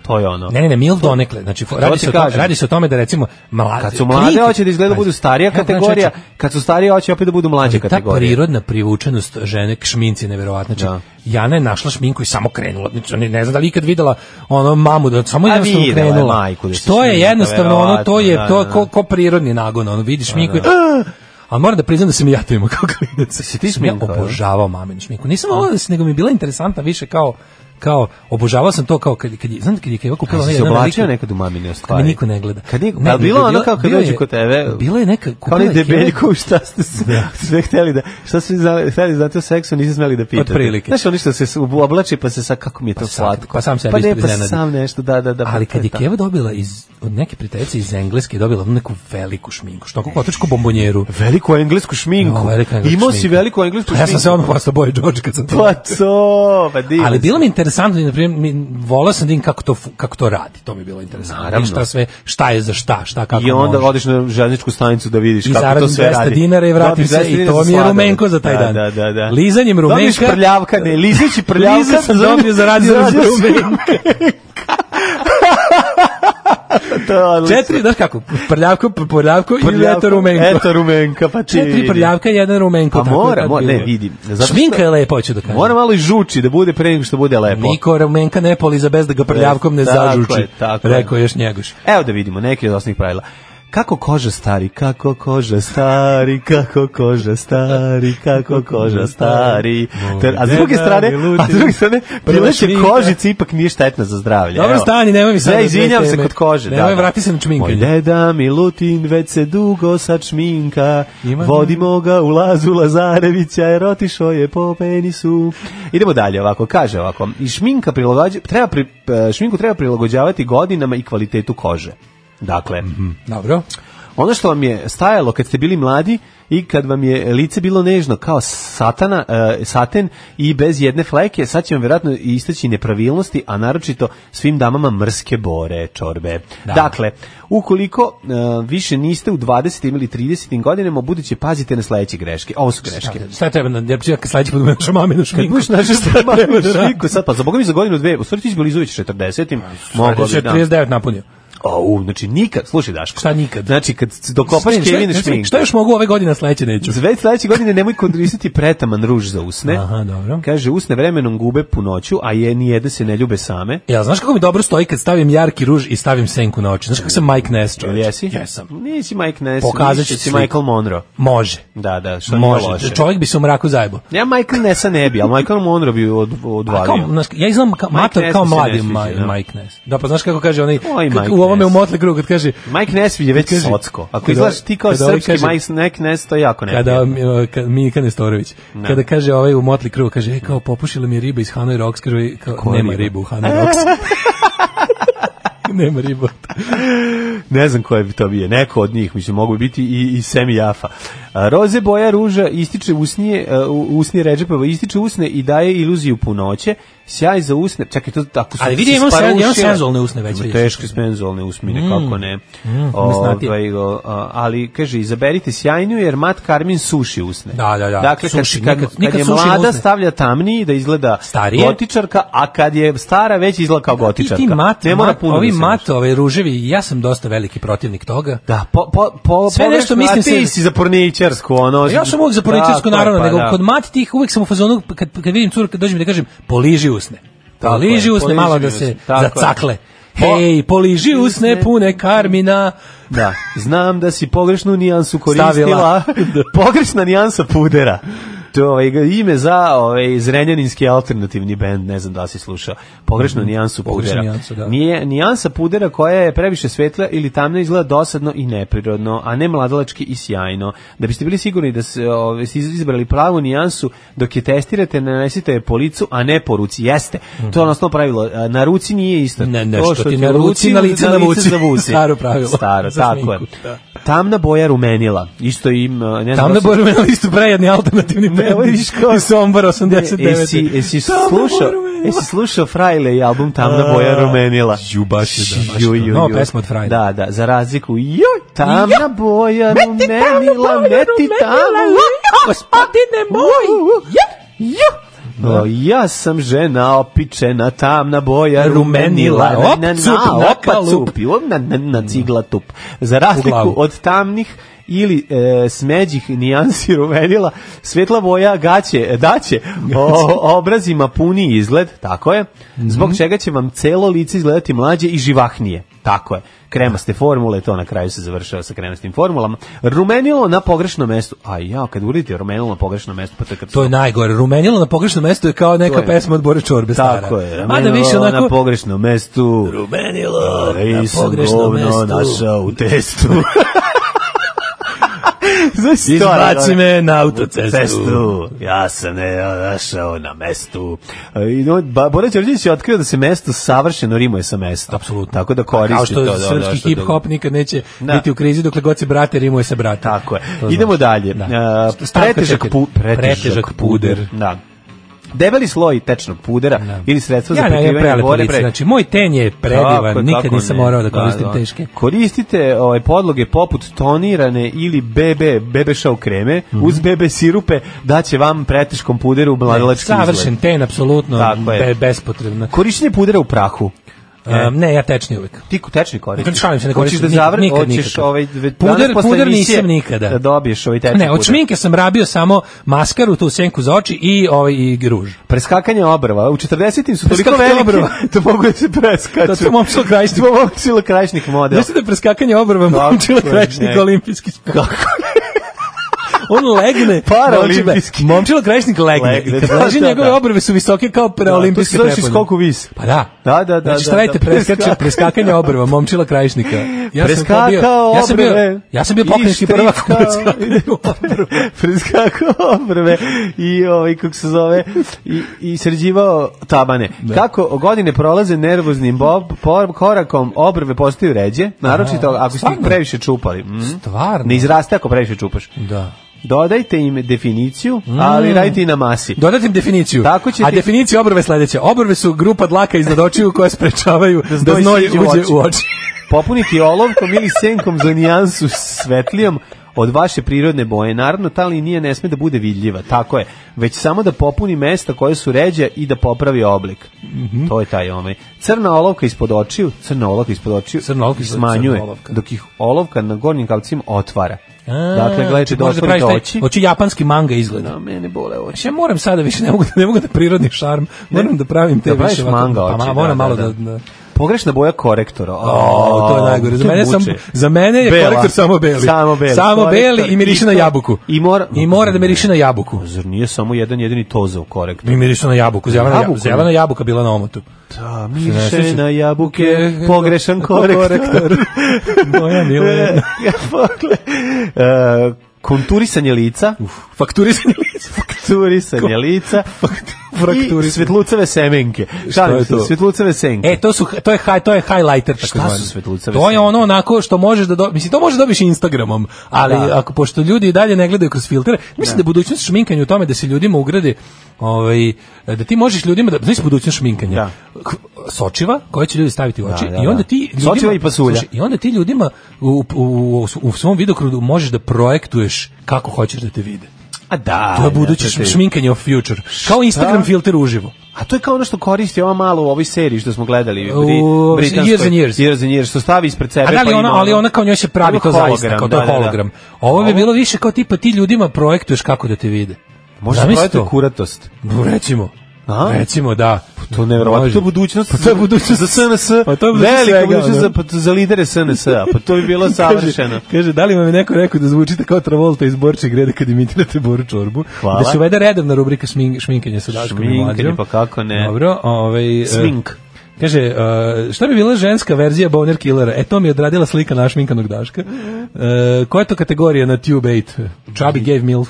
S5: To je ono.
S6: Ne, ne, ne, mil donekle. Znači, radi
S5: ti
S6: se, o tome,
S5: kažem.
S6: radi se o tome da recimo mlade...
S5: Kad su mlade
S6: klike-
S5: hoće da izgleda
S6: Pazi,
S5: budu starija
S6: evo, znači,
S5: kategorija,
S6: znači,
S5: kad su starije hoće opet da budu mlađe
S6: Ta
S5: kategorije.
S6: prirodna privučenost žene k šminci je neverovatna. Znači,
S5: Da.
S6: Jana je našla šminku i samo krenula. Znači, ne, ne znam da li ikad videla ono mamu da samo
S5: A
S6: jednostavno
S5: Pa videla je
S6: krenula.
S5: majku da se
S6: što je
S5: šminka,
S6: jednostavno ono to je
S5: verovatno,
S6: to
S5: da, da, Pa
S6: ko, ko prirodni nagon, ono vidiš šminku i "A!" Ali moram da priznam da sam i ja to imao kao klinac.
S5: Si ti
S6: Sam ja
S5: šminkao, je?
S6: obožavao maminu šminku. Nisam volao da se, nego mi je bila interesantna više kao kao obožavao sam to kao kad kad je- znam kad je Keva kupila
S5: Kad si
S6: onaj
S5: se
S6: jedan
S5: oblačio
S6: veliki-
S5: nekad u mamine
S6: kad
S5: stvari.
S6: me niko ne gleda.
S5: Kad niko,
S6: Ne,
S5: ne,
S6: nego
S5: bilo
S6: je
S5: ono kao kad
S6: bila
S5: dođe
S6: je-
S5: kod tebe.
S6: Bila je neka
S5: Kao onaj
S6: kupila je Keva-
S5: debeljko, šta ste se, sve hteli da, šta ste znali, hteli znate o seksu, niste smeli da pitate.
S6: Otprilike.
S5: Znaš, oni što se s- oblači pa se sa, kako mi je to
S6: sam-
S5: slatko.
S6: pa sam sebi
S5: Pa ne, pa
S6: iznenadi.
S5: sam nešto, da, da, da.
S6: ali
S5: pa to
S6: kad je
S5: tako.
S6: Keva dobila iz od neke prijateljice iz Engleske je dobila onu neku veliku šminku, što kako otočku bombonjeru.
S5: Veliku englesku šminku.
S6: No, velika engleska
S5: Imao si
S6: šminka.
S5: veliku englesku
S6: Pa
S5: šminku.
S6: Ja sam se odmah postao Boy George kad sam to.
S5: Pa to, pa divan
S6: Ali
S5: si.
S6: bilo mi interesantno, i, na primjer, mi, volao sam da vidim kako to, fu- kako to radi, to mi je bilo interesantno.
S5: Naravno.
S6: I Šta, sve, šta je za šta, šta kako
S5: I onda
S6: može.
S5: odiš na železničku stanicu da vidiš
S6: I
S5: kako to
S6: zaradim
S5: sve
S6: 200
S5: radi.
S6: dinara i vratim
S5: Dobiš
S6: se
S5: 200
S6: i
S5: dinara
S6: to
S5: za
S6: mi je
S5: sladoled.
S6: rumenko za taj
S5: Da,
S6: dan.
S5: Da, da, da.
S6: Lizanjem rumenka-
S5: Dobiš prljavka, ne, lizeći prljavka.
S6: Lizao sam dobio za rad za rumenka. Četiri, znaš kako, prljavko, pr- prljavko i eto rumenko.
S5: Eto rumenka, pa ti
S6: Četiri
S5: vidi.
S6: prljavka, jedan rumenko.
S5: A
S6: tako je
S5: mora,
S6: tad
S5: mora,
S6: bilo.
S5: ne, vidim. Zato što-
S6: Šminka je lepa, hoću da kažem.
S5: Mora malo i žuči da bude pre nego što bude lepo.
S6: Niko rumenka ne poli za bez da ga prljavkom ne
S5: Tako
S6: zažuči.
S5: je, tako je.
S6: Rekao je još njegoš.
S5: Evo da vidimo neke od osnovnih pravila. Kako koža stari, kako koža stari, kako koža stari, kako koža stari. Ter- A s druge strane, a s druge strane, prileće
S6: šminka.
S5: kožici ipak nije štetna za zdravlje.
S6: Dobro,
S5: Evo.
S6: stani, nemoj mi sad
S5: Ne,
S6: na
S5: izvinjam
S6: dve
S5: se
S6: teme.
S5: kod kože.
S6: Nemoj, vrati se na čminkanje.
S5: Moj deda Milutin već se dugo sa čminka,
S6: Ima-
S5: vodimo ga u lazu Lazarevića jer otišao je po penisu. Idemo dalje ovako, kaže ovako, i šminka prilagođa, treba pri, e, šminku treba prilagođavati godinama i kvalitetu kože. Dakle,
S6: Dobro.
S5: ono što vam je stajalo kad ste bili mladi i kad vam je lice bilo nežno kao satana, e, saten i bez jedne fleke, sad će vam vjerojatno istaći nepravilnosti, a naročito svim damama mrske bore, čorbe.
S6: Da.
S5: Dakle, ukoliko e, više niste u 20. ili 30. godinama, budući pazite na sledeće greške. Ovo su greške.
S6: Šta treba na djepčija kad sledeći put budeš maminu šminku?
S5: Kad budeš naša
S6: Šta
S5: strana
S6: treba da radi?
S5: šmiku, sad pa za boga mi za godinu dve, u stvari ti si bilizoveć 40. Mogu
S6: Mogu bi,
S5: da.
S6: 39 napunio.
S5: Au, znači nikad, slušaj Daško.
S6: Šta nikad?
S5: Znači kad dokopaš
S6: Šta- šta-
S5: Kevin
S6: šta-
S5: šminku.
S6: Šta još mogu ove godine, a sledeće neću?
S5: Znači, Već sledeće godine nemoj koristiti pretaman ruž za usne.
S6: Aha, dobro.
S5: Kaže, usne vremenom gube punoću, a je ni jede se ne ljube same.
S6: Ja, znaš kako mi dobro stoji kad stavim jarki ruž i stavim senku na oči? Znaš kako sam Mike Ness
S5: Jel
S6: čovječ?
S5: jesi?
S6: Jesam.
S5: Nisi Mike Ness,
S6: Pokazat ću
S5: nisi si
S6: sliku.
S5: Michael Monroe.
S6: Može.
S5: Da, da, što nije
S6: Može.
S5: loše.
S6: Čovjek bi se u mraku zajebo.
S5: Ja Michael Nessa ne bi, ali Michael Monroe bi od,
S6: A kao,
S5: odvalio.
S6: znaš, ja izgledam kao,
S5: Mike
S6: mator
S5: Ness
S6: kao
S5: mi se ne
S6: mladi
S5: sviđa,
S6: Ma-
S5: da.
S6: Mike Ness. Da, pa znaš kako kaže onaj,
S5: Oj,
S6: kak-
S5: Mike
S6: u ovome u
S5: Ness.
S6: Motley Crue, kad kaže,
S5: Mike Ness je već
S6: Kaže-
S5: socko. Ako
S6: kada-
S5: izgledaš ti kao
S6: kada ovaj
S5: srpski
S6: kaže-
S5: Mike Ness, to je jako ne.
S6: kada mi- kad Mika Nestorović kada kaže ovaj u Motley Crue kaže e, kao popušila mi je riba iz Hanoi Rocks kaže kao, nema
S5: riba?
S6: ribu u Hanoi Rocks nema riba
S5: ne znam koje bi to bio, neko od njih, mislim, mogu biti i, i Semi Jafa. A, Roze boja ruža ističe usnije, a, u- usnije Ređepova, ističe usne i daje iluziju punoće, sjaj za usne, čekaj, to tako su
S6: Ali vidi, imam sen-
S5: sparušile.
S6: imam senzualne usne već,
S5: Ima
S6: vidiš.
S5: Teške senzualne usmine,
S6: Mm.
S5: kako ne.
S6: Mm, mesnatije.
S5: ovaj, o, a, ali, kaže, izaberite sjajnju jer Mat Karmin suši usne.
S6: Da, da, da.
S5: Dakle, kad,
S6: Suši,
S5: kad,
S6: nikad-
S5: kad
S6: nikad
S5: je
S6: suši
S5: mlada
S6: usne.
S5: stavlja tamniji da izgleda
S6: Starije. Pa
S5: gotičarka, a kad je stara već izgleda kao
S6: Ti,
S5: gotičarka.
S6: ti mat,
S5: ne mora
S6: mat-
S5: puno
S6: ovi
S5: da se
S6: mat, ove ruževi, ja sam dosta veliki protivnik toga.
S5: Da, po, po, po,
S6: Sve nešto
S5: pogrešno,
S6: mislim
S5: a ti
S6: se-
S5: si za porničarsku, ono.
S6: Ja sam uvijek za porničarsku,
S5: Tako je,
S6: naravno,
S5: pa
S6: nego
S5: da.
S6: kod mat tih uvijek sam u fazonu, kad, kad vidim curu, kad dođem da kažem, poliži usne.
S5: Tako je,
S6: Poliži usne,
S5: poliži
S6: malo da
S5: usne,
S6: se
S5: tako je.
S6: zacakle.
S5: Po-
S6: Hej, poliži usne, pune karmina.
S5: Da, znam da si pogrešnu nijansu koristila.
S6: Stavila.
S5: Pogrešna nijansa pudera. To je ovaj, ime za ovaj, zrenjaninski alternativni bend, ne znam da li si slušao. Pogrešnu nijansu
S6: Mhm. pogrešnu
S5: pudera.
S6: nijansu, da.
S5: Nije, nijansa pudera koja je previše svetla ili tamna izgleda dosadno i neprirodno, a ne mladalački i sjajno. Da biste bili sigurni da se, ovaj, ste izbrali pravu nijansu, dok je testirate, nanesite je po licu, a ne po ruci. Jeste.
S6: Mhm.
S5: To je ono osnovno pravilo. A, Na ruci nije isto.
S6: Ne, ne,
S5: To
S6: što ti na ruci, na lice navuci. Staro pravilo.
S5: Staro,
S6: Za
S5: tako je.
S6: šminku, da.
S5: Tamna boja rumenila. Isto im... uh, Ne znam
S6: Tam
S5: da
S6: da
S5: li si-
S6: borim na listu prejedni alternativni
S5: ovo je
S6: bend
S5: viš kao-
S6: iz Sombora 89.
S5: E, Jesi, jesi slušao, jesi slušao Frajle i album Tamna boja
S6: A,
S5: rumenila?
S6: ju, baš je da, baš
S5: Ju,
S6: je to.
S5: ju,
S6: Nova
S5: ju.
S6: pesma od Frajle.
S5: Da, da, za razliku. Joj, tamna
S6: Jo,
S5: boja rumenila, ne ti tamna.
S6: Gospodine
S5: moj,
S6: Jo!
S5: O, ja sam žena opičena, tamna boja rumenila,
S6: Rumenila,
S5: na, na, na,
S6: opcup, nakalup.
S5: opacup, ju, na, na, na cigla tup. Za razliku
S6: glavu.
S5: od tamnih ili e, smeđih nijansi rumenila, svetla boja gaće, daće, o, obrazima puni izgled, tako je,
S6: Mhm.
S5: zbog čega će vam celo lice izgledati mlađe i živahnije, tako je. Kremaste formule, to na kraju se završava sa kremastim formulama. Rumenilo na pogrešnom mestu. A ja, kad uradite rumenilo na pogrešnom mestu, pa to je
S6: To je najgore. Rumenilo na pogrešnom mestu je kao
S5: To
S6: neka
S5: je.
S6: pesma od Bore Čorbe stara.
S5: Tako je. ono
S6: Mada više
S5: na
S6: onako...
S5: pogrešnom mestu.
S6: Rumenilo
S5: Ej, sam govno našao u testu. Znaš,
S6: Izbaci
S5: to,
S6: me na
S5: na
S6: autocestu.
S5: testu. Ja sam ne našao na mestu. E, I no, ba, Bora Đorđević je otkrio da se mesto savršeno rimuje sa mestom.
S6: Apsolutno.
S5: Tako da koristi
S6: Kao što
S5: to. da, da,
S6: srpski
S5: što
S6: hip
S5: da-
S6: hop nikad neće
S5: Da.
S6: biti u krizi dokle god se brate rimuje sa bratom.
S5: Tako je.
S6: To
S5: Idemo
S6: znači.
S5: dalje.
S6: Da.
S5: E,
S6: Stavka
S5: pretežak,
S6: četiri.
S5: pu, pretežak,
S6: Pretežak puder.
S5: Da. Debeli sloj tečnog pudera ili sredstvo za
S6: Ja ne, ja
S5: prekrivanje
S6: prelepo
S5: bore
S6: lice.
S5: pre-
S6: Znači, moj ten je
S5: Tako je,
S6: predivan, nikad
S5: kako
S6: nisam
S5: ne.
S6: morao da
S5: Da,
S6: koristim
S5: da.
S6: teške.
S5: Koristite ovaj podloge poput tonirane ili BB BB šau kreme
S6: Mhm.
S5: uz BB sirupe da će vam preteškom puderu mladalački izgled.
S6: Savršen ten, apsolutno,
S5: Tako je. E.
S6: be, bespotrebno.
S5: Korišćenje pudera u prahu.
S6: Um, ne, ja tečni uvek.
S5: Ti ku- tečni
S6: Ne,
S5: koristiš.
S6: Znači, šalim se, ne koristim.
S5: Hoćeš da zavr,
S6: Nikad,
S5: hoćeš
S6: nikako.
S5: ovaj ve-
S6: Puder-
S5: danas posle
S6: puder
S5: emisije
S6: nisam nikada.
S5: Da dobiješ ovaj tečni
S6: Ne, od
S5: puder.
S6: šminke sam rabio samo maskaru, tu senku za oči i ovaj i ruž.
S5: Preskakanje obrva. U 40-im su toliko
S6: Preskakanje
S5: velike
S6: obrva.
S5: da mogu da se preskaču.
S6: To je momčilo krajišnik.
S5: To je momčilo krajišnik model.
S6: Da se da je preskakanje obrva
S5: Tako
S6: momčilo
S5: je,
S6: krajišnik
S5: ne.
S6: olimpijski sport. On legne,
S5: Paraolimpijski.
S6: na oči- momčilo krajišnik legne,
S5: Legne,
S6: i kad
S5: da,
S6: leži
S5: da,
S6: njegove
S5: da.
S6: obrve su visoke kao
S5: Da, to se
S6: paraolimpijske prepone.
S5: završi skok u vis.
S6: Pa da.
S5: Da, da, da,
S6: Znači šta
S5: da,
S6: radite,
S5: da.
S6: preskače,
S5: Preskak-
S6: preskakanje obrva, momčila krajišnika. Ja sam kao bio,
S5: Preskakao
S6: ja sam bio,
S5: obrve.
S6: ja sam bio pokrenjski
S5: I
S6: prvak u
S5: štrikao.
S6: preskakanju obrva.
S5: preskakao obrve i ovaj kako se zove i i sređivao tabane. Kako godine prolaze nervoznim bob por- korakom obrve postaju ređe, naročito ako ste ih
S6: stvarno?
S5: previše čupali. Mm.
S6: Stvarno?
S5: Ne izraste ako previše čupaš.
S6: Da.
S5: Dodajte im definiciju,
S6: Mm.
S5: ali radite i na masi.
S6: Dodatim definiciju.
S5: Tako će
S6: A
S5: ti-
S6: definicija obrve je sledeća. Obrve su grupa dlaka iznad očiju koja sprečavaju da znoj,
S5: znoj siđe u
S6: uđe
S5: oči.
S6: u oči.
S5: Popuniti olovkom ili senkom za nijansu svetlijom od vaše prirodne boje. Naravno, ta linija ne sme da bude vidljiva, tako je. Već samo da popuni mesta koje su ređa i da popravi oblik.
S6: Mhm.
S5: To je taj omej. Crna olovka ispod očiju, crna olovka ispod očiju
S6: Crna olovka
S5: ih
S6: ispod-
S5: smanjuje,
S6: crna olovka.
S5: dok ih olovka na gornjim kapcima otvara.
S6: A,
S5: dakle, gledajte da
S6: možeš
S5: otvorite
S6: praviš taj-
S5: oči.
S6: Oči japanski manga izgleda.
S5: Na mene bole oči.
S6: Ja moram sada više ne mogu da ne mogu da prirodni šarm. Moram da pravim te
S5: Da praviš
S6: više ovako-
S5: manga oči,
S6: Pa, ma-
S5: da,
S6: moram
S5: da,
S6: malo
S5: da.
S6: da, da,
S5: Pogrešna boja korektora.
S6: O, to je najgore. Za
S5: to
S6: mene, sam,
S5: muče.
S6: za mene je
S5: Bela.
S6: korektor samo beli.
S5: Samo beli.
S6: Samo
S5: Korektor
S6: beli i miriše na
S5: to-
S6: jabuku.
S5: I mora,
S6: I mora da miriše na jabuku.
S5: Zar nije samo jedan jedini tozov korektor?
S6: I miriše na jabuku. Zelena, jabuka,
S5: Jabuku.
S6: zelena jabuka bila na omotu.
S5: Da,
S6: Sve
S5: miše
S6: se-
S5: na jabuke, pogrešan korektor.
S6: Moja milena.
S5: Dakle, e, konturisanje lica,
S6: Fakturisanje lica.
S5: fakturisanje lica, I svetlucave semenke. Šalim
S6: je
S5: se,
S6: to?
S5: svetlucave senke.
S6: E, to, su, to, je, high, to je highlighter. Šta
S5: su svetlucave
S6: To je
S5: senke?
S6: ono onako što možeš da do, mislim, to možeš da dobiš Instagramom, ali
S5: Da.
S6: ako, pošto ljudi i dalje ne gledaju kroz filtere, mislim da, je budućnost šminkanja u tome da se ljudima ugradi ovaj, da ti možeš ljudima, da, znaš budućnost šminkanja,
S5: Da.
S6: K- sočiva koje će ljudi staviti u oči
S5: da,
S6: i onda
S5: da.
S6: ti ljudima,
S5: Sočiva i pasulja.
S6: Slušaj, I onda ti ljudima u, u, u, u svom vidokrugu možeš da projektuješ kako hoćeš da te vide.
S5: A da.
S6: To je buduće
S5: ne, to ti-
S6: šminkanje of future. Kao Instagram filter uživo.
S5: A to je kao ono što koristi ova malo u ovoj seriji što smo gledali. U
S6: U
S5: Britanskoj.
S6: Years and Years.
S5: Years and Years, što stavi ispred sebe.
S6: A da li
S5: pa
S6: ona,
S5: ima
S6: ali
S5: ono-
S6: ona kao njoj se pravi
S5: Ima
S6: to zaista,
S5: hologram,
S6: kao to je
S5: da, da, da.
S6: hologram. Ovo bi bilo više kao tipa ti ljudima projektuješ kako da te vide.
S5: Možda
S6: Zamisli
S5: projektuje
S6: to.
S5: kuratost.
S6: Bu, Recimo.
S5: A? Pa
S6: Recimo, da.
S5: To je nevjerovatno.
S6: Može.
S5: To je budućnost.
S6: Pa to je budućnost
S5: za SNS.
S6: Pa to je budućnost
S5: Velika
S6: svega,
S5: budućnost
S6: ono.
S5: za, pa to- za lidere SNS-a. Pa to bi bilo savršeno.
S6: Kaže, kaže, da li vam je neko rekao da zvučite kao Travolta iz Borčeg reda kad imitirate Boru Čorbu?
S5: Hvala.
S6: Da se uvede redovna rubrika šmink, šminkanje sa Daškom i
S5: Šminkanje,
S6: Mlađom.
S5: pa kako ne.
S6: Dobro, ovaj... e,
S5: Smink.
S6: Kaže, e, šta bi bila ženska verzija Boner Killera? E, to mi je odradila slika našminkanog Daška. E, koja je to kategorija na Tube 8? Chubby gave milf.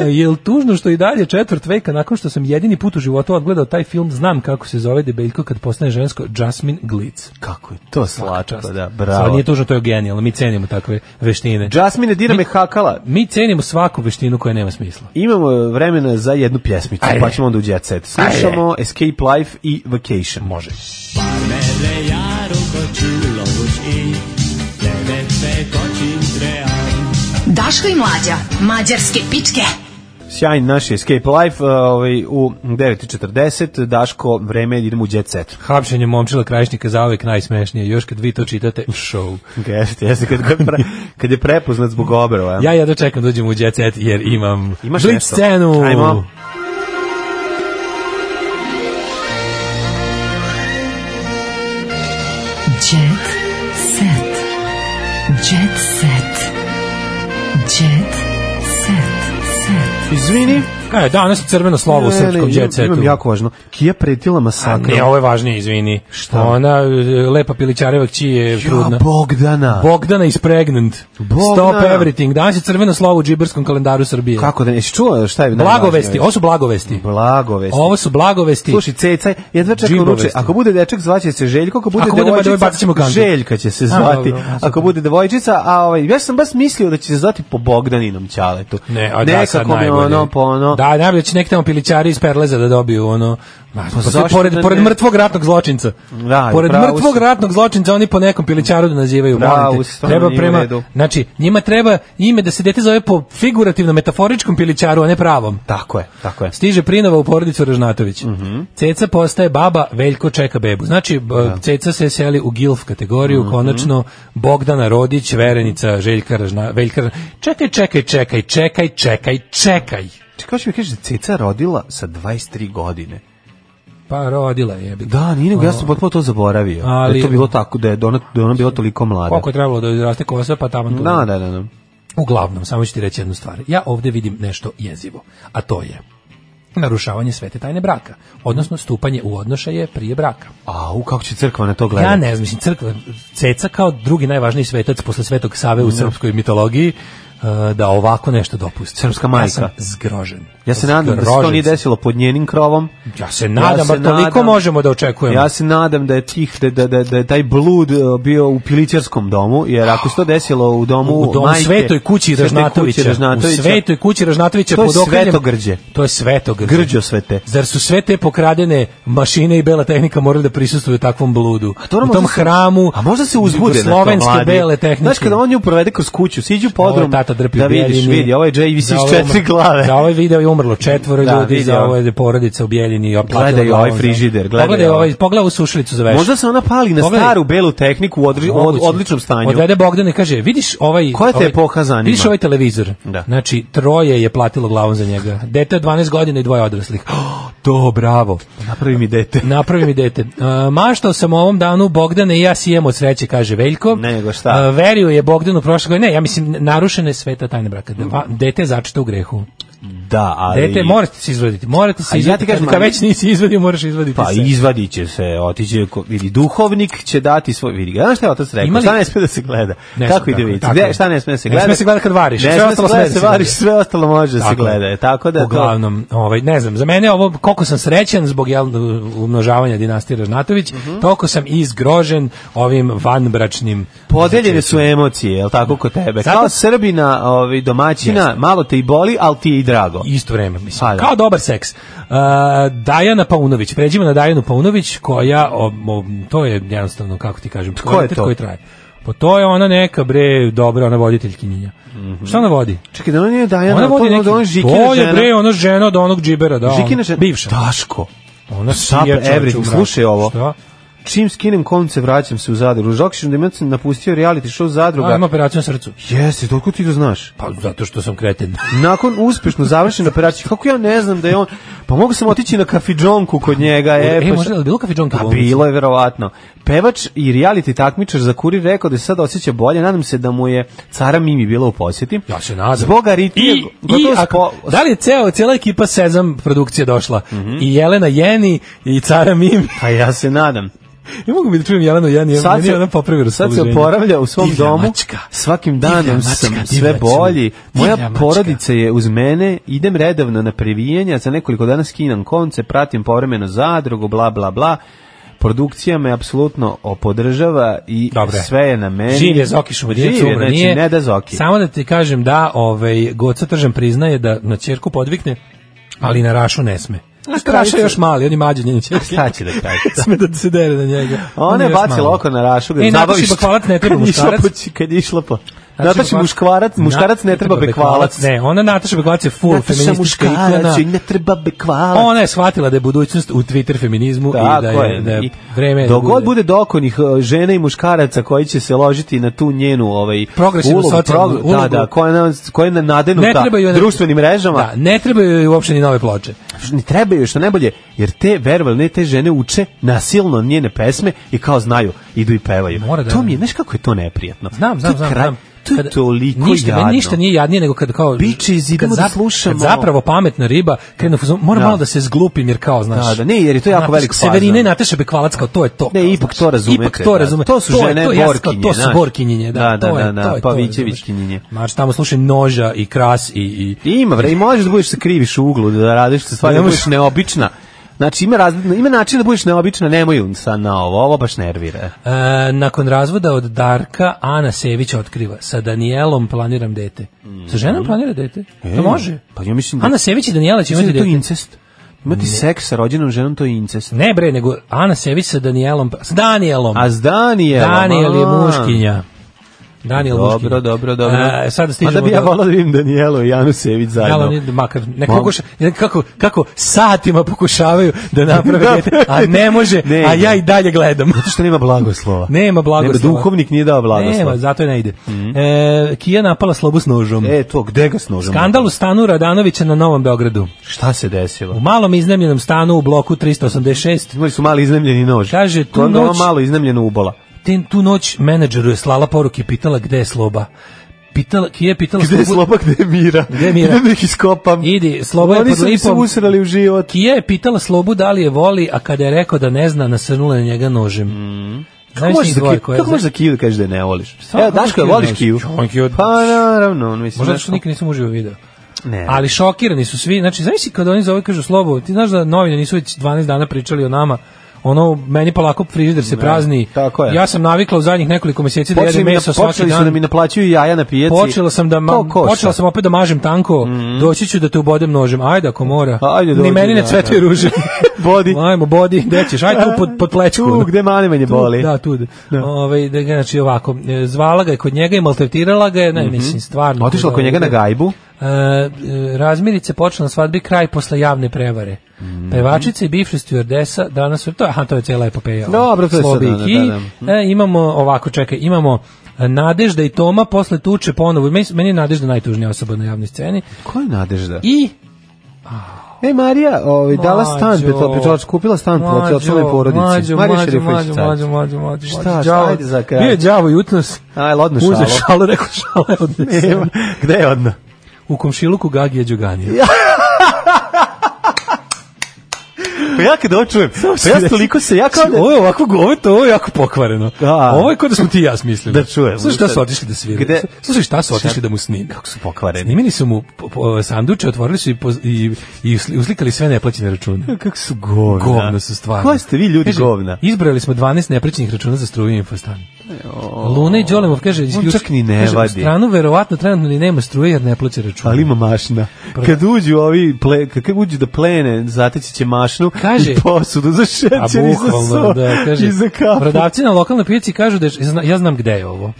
S6: E, je li tužno što i dalje četvrt veka, nakon što sam jedini put u životu odgledao taj film, znam kako se zove debeljko kad postane žensko Jasmine Glitz.
S5: Kako je to slatko,
S6: Čast.
S5: Pa da,
S6: Sad
S5: bravo.
S6: nije tužno, to je genijalno. Mi cenimo takve veštine.
S5: Jasmine, dira me hakala.
S6: Mi cenimo svaku veštinu koja nema smisla.
S5: Imamo vremena za jednu pjesmicu,
S6: Ajde.
S5: pa ćemo onda u Jet Set. Slušamo Escape Life i Vacation. Može.
S4: Daško i Mlađa, mađarske pičke.
S5: Sjajn naš je Escape Life uh, ovaj, u 9.40. Daško, vreme je da idemo u Jet Set.
S6: Hapšenje momčila krajišnika zaovek najsmešnije, još kad vi to čitate u show.
S5: Jeste, jeste, kad, kad, pre, kad je prepoznat zbog obrova.
S6: Ja jedno čekam da uđem u Jet Set jer imam
S5: Imaš
S6: Blitz
S5: nešto?
S6: scenu.
S5: Ajmo.
S4: Jet set. Jet set. Jet set. set.
S5: Izvini,
S6: E, danas je crveno slovo u
S5: Ne, ne,
S6: srpskom
S5: imam-
S6: Jet Setu.
S5: Imam jako važno. Kija pretila
S6: A
S5: masakrom.
S6: ne, ovo je važnije, izvini.
S5: Šta?
S6: Ona, e, lepa pilićareva kći je trudna.
S5: Ja, Bogdana.
S6: Bogdana is pregnant.
S5: Bogdana.
S6: Stop everything. Danas je crveno slovo u džiberskom kalendaru Srbije.
S5: Kako da ne, jesi čuo šta je najvažnije?
S6: Blagovesti, ovo su blagovesti.
S5: Blagovesti.
S6: Ovo su blagovesti.
S5: Slušaj, cecaj, jedva čekam
S6: Džibovesti.
S5: ruče. Ako bude dečak, zvaće se Željko, ako bude
S6: Ako bude
S5: devojčica,
S6: devojčica, bacit ćemo kantu.
S5: Željka će se
S6: A,
S5: zvati.
S6: dobro, a,
S5: ako bude devojčica, a ovaj, ja sam baš mislio da će se zvati po Bogdaninom Ćaletu.
S6: Ne, a da, sad
S5: Nekako mi
S6: najbolje.
S5: ono, po ono...
S6: Da, najbolje će nek tamo pilićari iz Perleza da dobiju ono... Ma, pa
S5: zašto
S6: to je pored,
S5: da
S6: pored
S5: ne?
S6: mrtvog ratnog zločinca.
S5: Da, i
S6: pored
S5: pravo
S6: mrtvog
S5: si.
S6: ratnog zločinca oni po nekom pilićaru da nazivaju.
S5: Pravo
S6: molim te.
S5: si, stvarno
S6: treba
S5: nije u
S6: prema,
S5: redu.
S6: znači, njima treba ime da se dete zove po figurativno metaforičkom pilićaru, a ne pravom.
S5: Tako je, tako je.
S6: E. Stiže prinova u porodicu Ražnatović.
S5: Mhm.
S6: Ceca postaje baba, Veljko čeka bebu. Znači, b- Ceca se seli u GILF kategoriju,
S5: Mhm.
S6: konačno Bogdana Rodić, Verenica, Željka Ražna, Veljka Ražna- Čekaj, čekaj, čekaj, čekaj, čekaj, čekaj.
S5: Čekaj, što mi kažeš da ceca rodila sa 23 godine.
S6: Pa rodila je. jebi ga.
S5: Da, nije nego, ja sam potpuno to zaboravio. Ali, da
S6: Ali-
S5: je to bilo tako, da je ona, da je ona bila toliko mlada.
S6: Koliko je trebalo da izraste kosa, pa tamo tu.
S5: Da, da, da. da.
S6: Uglavnom, samo ću ti reći jednu stvar. Ja ovdje vidim nešto jezivo, a to je narušavanje svete tajne braka, odnosno stupanje u odnošaje prije braka.
S5: Au, kako će crkva na to gledati?
S6: Ja ne znam, mislim, crkva, ceca kao drugi najvažniji svetac posle Svetog Save
S5: Mhm.
S6: u srpskoj mitologiji, uh, da ovako nešto dopusti.
S5: Srpska majka.
S6: Ja sam zgrožen.
S5: Ja se nadam da se to
S6: Zgrožen
S5: nije
S6: sam.
S5: desilo pod njenim krovom.
S6: Ja se nadam,
S5: se
S6: bar toliko možemo da očekujemo.
S5: Ja se nadam da je tih da, da, da, da je taj blud e, bio u pilićarskom domu, jer ako se to desilo u domu
S6: u domu
S5: majke,
S6: Svetoj kući
S5: Svetoj
S6: Ražnatovića.
S5: kući Ražnatovića,
S6: U Svetoj kući Ražnatovića
S5: To je
S6: pod okriljem-
S5: svetogrđe.
S6: To je svetogrđe.
S5: Grđo svete.
S6: Zar su sve te pokradene mašine i bela tehnika morali da prisustuju takvom bludu?
S5: A to ono
S6: u tom
S5: možda se-
S6: hramu.
S5: A možda se uzbude na to
S6: Slovenske
S5: mladi.
S6: bele tehnike.
S5: Znaš, kada on nju provede kroz kuću, siđu u
S6: Ovo je
S5: podrum,
S6: tata drpi
S5: da
S6: u
S5: vidiš,
S6: Bjeljini.
S5: vidi, ovo je JVC
S6: Za
S5: s
S6: ovo je
S5: četiri
S6: umr-
S5: glave.
S6: Za ovaj video je umrlo četvoro
S5: Da,
S6: ljudi,
S5: vidi
S6: za
S5: ovo.
S6: ovo je porodica u Bjeljini. i oplatila
S5: Gledaj ovaj
S6: glavom.
S5: frižider, gledaj
S6: Pogledaj
S5: ovaj.
S6: ovaj, pogledaj ovu sušlicu za veš.
S5: Možda se ona pali na
S6: Pogledaj.
S5: staru belu tehniku u odri- od-
S6: Moguće.
S5: odličnom stanju.
S6: Odvede Bogdan i kaže, vidiš ovaj...
S5: Koja te
S6: ovaj-
S5: epoha zanima?
S6: Vidiš ovaj televizor?
S5: Da.
S6: Znači, troje je platilo glavom za njega. Dete od 12 godina i dvoje odraslih. Oh, to, bravo.
S5: Napravi mi dete.
S6: Napravi mi dete. E, maštao sam o ovom danu Bogdane i ja sijem od sreće, kaže Veljko.
S5: Ne, nego šta?
S6: E, verio je Bogdanu prošle godine. Ne, ja mislim, narušena je sveta tajna braka. Dva- Dete je začeto u grehu.
S5: Da, ali...
S6: Dete, morate se izvaditi, morate
S5: A
S6: se
S5: ja
S6: izvaditi.
S5: ti kažem,
S6: kad, kad
S5: ali-
S6: već nisi izvadio, moraš izvaditi
S5: Pa
S6: se.
S5: izvadit će se, otiće, ko- vidi, duhovnik će dati svoj, vidi ga, znaš šta je otac rekao,
S6: Ima li-
S5: šta ne sme da se gleda,
S6: Ne
S5: kako
S6: sme,
S5: ide
S6: tako,
S5: vidjeti,
S6: tako
S5: Gde-
S6: je.
S5: šta ne sme da se
S6: Ne
S5: gleda,
S6: sme se gleda kad variš,
S5: ne
S6: sve
S5: sme
S6: ostalo
S5: se gleda
S6: sme da
S5: se
S6: se
S5: variš,
S6: gleda.
S5: sve ostalo može da se
S6: Tako je.
S5: gleda, je, tako da, to,
S6: Uglavnom, ovaj, ne znam, za mene ovo, koliko sam srećan zbog jel, umnožavanja dinastije Ražnatović,
S5: Mhm.
S6: toliko sam izgrožen ovim vanbračnim...
S5: Podeljene su emocije, jel tako, kod tebe.
S6: Zato-
S5: Kao Srbina, ovaj, domaćina, malo te i boli, ali ti je i drago.
S6: Isto vreme, mislim.
S5: Pa da.
S6: Kao dobar seks. Uh, Dajana Paunović, pređimo na Dajanu Paunović, koja, o, o, to je jednostavno, kako ti kažem,
S5: je
S6: kvalitet
S5: to?
S6: koji traje. Pa to je ona neka, bre, dobra, ona voditeljkinja. Šta ona vodi?
S5: Čekaj, da on nije Dajana, ali
S6: Ona
S5: Mhm. to
S6: vodi
S5: je
S6: neki...
S5: da on
S6: to
S5: Žikina
S6: je,
S5: žena.
S6: bre, ona žena od onog džibera, da.
S5: Žikina
S6: ona-
S5: žena.
S6: Bivša.
S5: Daško,
S6: Ona
S5: Sap
S6: sija čoveče
S5: everything,
S6: u mraku.
S5: slušaj ovo.
S6: Šta?
S5: čim skinem konce, vraćam se u Zadru. Žokšić da sam napustio reality show Zadruga.
S6: A, ima operaciju na srcu.
S5: Jesi, toliko ti to znaš.
S6: Pa zato što sam kreten.
S5: Nakon uspešno završene operacije, kako ja ne znam da je on... Pa mogu sam otići na kafidžonku kod njega.
S6: E,
S5: E, pa
S6: možda je li bilo kafiđonka u
S5: A
S6: bolnici?
S5: bilo je verovatno. Pevač i reality takmičar za kurir rekao da se sada osjeća bolje, nadam se da mu je cara Mimi bila u posjeti.
S6: Ja se nadam.
S5: Zbog aritmije,
S6: I, i
S5: gotovo
S6: ako,
S5: spo-
S6: da li je ceo, cijela ekipa Sezam produkcije došla?
S5: Mhm.
S6: I Jelena Jeni, i Cara Mimi.
S5: Pa ja se nadam.
S6: Ja mogu bi da čujem Jelenu Jeni, ja
S5: Sad
S6: meni je
S5: se,
S6: ona popravi
S5: sad se
S6: raspoloženje.
S5: oporavlja u svom
S6: Divlja
S5: domu.
S6: mačka.
S5: Svakim
S6: Divlja
S5: danom
S6: mačka,
S5: sam
S6: divlja
S5: sve
S6: ću.
S5: bolji. Moja
S6: Divlja mačka.
S5: porodica je uz mene, idem redovno na previjanja, za nekoliko dana skinam konce, pratim povremeno zadrugu, bla, bla, bla. Produkcija me apsolutno podržava i
S6: Dobre.
S5: sve je na meni.
S6: Živ je Zoki Šumadinac,
S5: Živ je,
S6: umro
S5: znači,
S6: nije.
S5: ne da Zoki.
S6: Samo da ti kažem da ovaj, Goca Tržan priznaje da na čerku podvikne, ali na Rašu ne sme. Raša je još mali, on je mađe njene čerke.
S5: Šta će da kaže?
S6: Sme da se dere na njega.
S5: Ona je
S6: još
S5: bacila
S6: mali.
S5: oko na rašu, ga
S6: E, Nataši
S5: zabaviš.
S6: Bakvalac ne treba
S5: Kad je išla
S6: muškarac.
S5: po- Kad je išla po... Nataši
S6: Bakvalac-
S5: muškvarac, muškarac ne treba bekvalac.
S6: Ne, ona Nataša Bekvalac je full
S5: Nataša
S6: feministička ikona.
S5: muškarac, ne treba bekvalac.
S6: Ona je shvatila da je budućnost u Twitter feminizmu i da je, da je
S5: I
S6: vreme... da
S5: Dok god bude dokonih e, žena i muškaraca koji će se ložiti na tu njenu ovaj
S6: Progresivnu
S5: ulogu,
S6: socijalnu
S5: prog-
S6: ulogu.
S5: da, da, koja je na, koja je na
S6: Ne
S5: nadenuta
S6: trebaju ona-
S5: društvenim mrežama,
S6: Da, ne trebaju joj uopšte ni nove ploče.
S5: ni trebaju što najbolje, jer te verovali ne te žene uče nasilno njene pesme i kao znaju, idu i pevaju.
S6: Mora da-
S5: to mi je, znaš kako je to neprijatno?
S6: Znam,
S5: To
S6: znam,
S5: je
S6: znam.
S5: kraj-
S6: znam.
S5: To je
S6: Kada-
S5: toliko
S6: ništa, meni
S5: jadno.
S6: Ništa nije jadnije nego kad kao...
S5: Bitches, idemo
S6: kad
S5: da
S6: zap-
S5: slušamo.
S6: Kad zapravo pametna riba, krenu, fuzon, moram
S5: Da.
S6: malo da se zglupim jer kao, znaš...
S5: Da, da, ne, jer je to jako
S6: Onako,
S5: velik fazon.
S6: Severine i Nataša Bekvalac kao to je to.
S5: Ne,
S6: kao,
S5: ipak
S6: znaš.
S5: to razumete,
S6: Ipak to
S5: da.
S6: razume.
S5: To su žene
S6: je, ja sam kao,
S5: borkinje,
S6: To su
S5: znaš.
S6: borkinjinje, da.
S5: Da, da,
S6: to je-
S5: da, da,
S6: to je to,
S5: Pavićevićkinjinje.
S6: razumeš. Mač, tamo slušaj noža i kras i... i
S5: I Ima, bre, i možeš da budeš se kriviš u uglu, da radiš se stvari, da
S6: Ne možeš-
S5: budeš neobična. Znači, ima, razli- ima način da budeš neobična, nemoj sad na ovo, ovo baš nervira.
S6: E, nakon razvoda od Darka, Ana Sević otkriva, sa Danielom planiram dete. Sa ženom planira dete? to može.
S5: Mm. Pa ja mislim da...
S6: Ana Sević i Danijela će
S5: mislim
S6: imati
S5: da je to
S6: dete.
S5: incest. Imati seks sa rođenom ženom, to je incest.
S6: Ne bre, nego Ana Sević sa Danielom, Pa, s Danielom.
S5: A s Danijelom...
S6: Daniel je
S5: a.
S6: muškinja. Daniel
S5: Dobro,
S6: muškinja.
S5: dobro, dobro.
S6: E, sada
S5: A da
S6: stižemo
S5: bi ja
S6: do-
S5: volao da vidim Danijelu i Janu Sević zajedno.
S6: Jel, oni makar ne
S5: Mom-
S6: pokuša, ne, kako, kako satima pokušavaju da naprave
S5: Da,
S6: dete, a ne može,
S5: Ne
S6: a
S5: ide.
S6: ja i dalje gledam.
S5: Zato što nema blagoslova.
S6: Nema blagoslova.
S5: Nema, duhovnik nije dao blagoslova. Mhm.
S6: Nema, zato i ne ide. E, Kija napala slobu s nožom.
S5: E, to, gde ga snožemo?
S6: Skandal u stanu Radanovića na Novom Beogradu.
S5: Šta se
S6: U
S5: desilo?
S6: malom iznemljenom stanu u bloku 386
S5: Imali su mali iznemljeni nož.
S6: Kaže, tu
S5: Onda ova
S6: noć-
S5: malo iznemljena ubola.
S6: Ten tu noć menadžeru je slala poruke i pitala gde je sloba. Pitala, Kija je pitala
S5: Gde je sloba, gde je mira?
S6: Gde je mira?
S5: Idem da ih iskopam.
S6: Idi, sloba je
S5: Oni
S6: pod
S5: su mi se
S6: lipom.
S5: usrali u život.
S6: Kija je pitala slobu da li je voli, a kada je rekao da ne zna, nasrnula je na njega nožem.
S5: Mm. Kako
S6: Znaš
S5: možeš
S6: njih
S5: za
S6: dvoje
S5: kiju,
S6: koje-
S5: kako možeš za kiju da kažeš da je ne voliš?
S6: Stvarno,
S5: Evo,
S6: kako
S5: Daško, je
S6: Kiju
S5: voliš
S6: ne
S5: kiju?
S6: voliš? On Kiju-
S5: Pa, naravno, on mislim.
S6: Možda zato
S5: znaš,
S6: što nikad nisam uživo video.
S5: Ne.
S6: Ali šokirani su svi, znači znaš i kada oni zove kažu slobu, ti znaš da novine nisu već 12 dana pričali o nama, ono, meni polako frižider se prazni.
S5: tako je.
S6: Ja sam navikla u zadnjih nekoliko mjeseci da
S5: Počeli,
S6: jedem
S5: mi na,
S6: meso svaki
S5: počeli su
S6: dan.
S5: da mi naplaćuju jaja na pijaci.
S6: Počela sam da ma,
S5: To košta.
S6: počela sam opet da mažem tanko. Doći ću da te ubodem nožem. Ajde ako mora.
S5: Pa, Ajde, dođi,
S6: Ni meni ne
S5: da,
S6: cvetuje
S5: da.
S6: ruže.
S5: Bodi.
S6: Ajmo bodi, gde ćeš? Ajde tu pod pod plećku.
S5: Tu, gde mane manje
S6: Tu,
S5: boli.
S6: Da, tu. Da. Ovaj da ga, znači ovako, e, zvala ga je kod njega i maltretirala ga je, ne mislim stvarno.
S5: Mhm. Otišla kod njega na gajbu.
S6: E, e, razmirice počela na svadbi kraj posle javne prevare.
S5: Mhm.
S6: Pevačica i bivša stewardesa danas to aha to je cela epopeja.
S5: Dobro, to je sad,
S6: Slobi i
S5: da,
S6: Ki.
S5: da, da.
S6: E, imamo ovako, čekaj, imamo e, Nadežda i Toma posle tuče ponovo. Meni, meni je Nadežda najtužnija osoba na javnoj sceni.
S5: Ko je nadežda?
S6: I
S5: E, Marija, ovaj, dala stan,
S6: Mlađo,
S5: petla, petla, kupila stan petla,
S6: mlađo,
S5: od porodici.
S6: Mlađo,
S5: Marija
S6: mlađo,
S5: Šerifović
S6: mlađo,
S5: Carić.
S6: mlađo, mlađo, mlađo.
S5: Šta,
S6: mlađo,
S5: šta,
S6: đavo.
S5: ajde za kraj.
S6: Bio je đavo jutnos.
S5: Aj, ladno šalo.
S6: Uze šalu, rekao šala je odnesena.
S5: Nema. Gde je odna?
S6: U komšiluku Gagija Đuganija.
S5: ja kad ovo čujem, pa ja toliko se, ja kao da-
S6: Znači, Ovo je ovako, ovo je, to, ovo je jako pokvareno.
S5: Da.
S6: Ovo je kod da smo ti i ja smislili.
S5: Da čujemo.
S6: Slušaj šta su otišli da svire.
S5: Gde-
S6: Slušaj šta su otišli
S5: Šta-
S6: da mu snime.
S5: Kako su pokvareni.
S6: Snimili su mu po- po- sanduče, otvorili su i, poz- i, i usli- uslikali sve neplaćene račune.
S5: Kako su govna.
S6: Govna su stvarno.
S5: Ko ste vi ljudi
S6: Kaže,
S5: govna?
S6: Izbrali smo 12 neprećenih računa za struju i infostan. Luna i Đolemov kaže, isključ-
S5: čak ni ne
S6: kaže, u
S5: vadi.
S6: stranu verovatno trenutno ni nema struje jer ne plaća račun.
S5: Ali ima mašna. Kad uđu ovi, ple, kad uđu da plene, zateći će mašnu
S6: Kaže-
S5: i posudu za
S6: A
S5: šećer i za
S6: bukvalno,
S5: so
S6: da, kaže.
S5: i za kafu.
S6: Prodavci na lokalnoj pijaci kažu da je, zna- ja znam gde je ovo.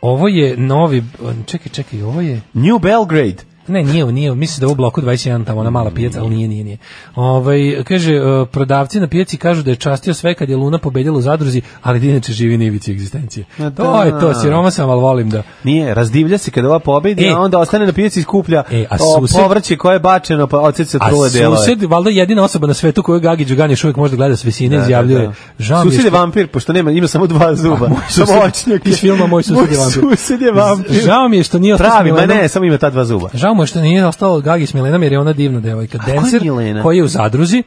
S6: Ovo je novi, čekaj, čekaj, ovo je,
S5: New Belgrade.
S6: ne, nije, ovo, nije, ovo, mislim da je u bloku 21 tamo, ona mala pijaca, ali nije, nije, nije. Ovaj, kaže, e, prodavci na pijaci kažu da je častio sve kad je Luna pobedjela u zadruzi, ali da inače živi na ivici egzistencije.
S5: Ma
S6: To je to,
S5: da.
S6: siroma sam, ali volim da...
S5: Nije, razdivlja se kada ova pobedi,
S6: E.
S5: a onda ostane na pijaci i skuplja
S6: E, a
S5: o,
S6: sused-
S5: povrće koje je bačeno, pa oceca
S6: A
S5: trule delove.
S6: sused, valjda jedina osoba na svetu koju Gagi Đugani još uvijek može da gleda s visine,
S5: Da, da,
S6: izjavljuje.
S5: da.
S6: Žao mi je
S5: Sused je
S6: što- Pa
S5: vampir, pošto nema, ima samo dva zuba.
S6: moj
S5: Samo
S6: sused-
S5: očnjak.
S6: iz filma Moj sused je vampir.
S5: Moj sused je vampir.
S6: Žao mi je što nije ostao s
S5: Pravi, ma
S6: Milenom.
S5: ne, samo ima ta dva zuba.
S6: Pa Žao mu je što nije ostalo Gagi s Milenom jer je ona divna devojka.
S5: je
S6: Dencer
S5: Milena? Mhm.
S6: koji je u zadruzi,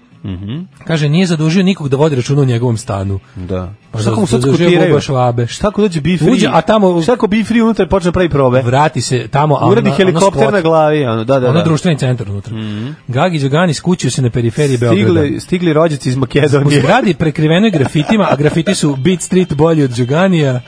S6: kaže nije zadužio nikog da vodi računa u njegovom stanu.
S5: Da.
S6: Pa
S5: šta
S6: da-
S5: ako mu sad
S6: da žive
S5: skutiraju?
S6: Boba Švabe.
S5: Šta ako dođe Bifri?
S6: Uđe, a tamo-
S5: Šta ako Bifri unutra počne pravi probe?
S6: Vrati se tamo, a
S5: Uradi
S6: ona-
S5: helikopter
S6: ona spot.
S5: na glavi, ono, da, da,
S6: Ono
S5: da. Mhm.
S6: društveni centar unutra. Gagi Đogani skućio se na periferiji Beograda.
S5: Stigli, stigli rođaci iz
S6: U
S5: Makedonije.
S6: zgradi prekrivenoj grafitima, a grafiti su Beat Street bolji od Đuganija,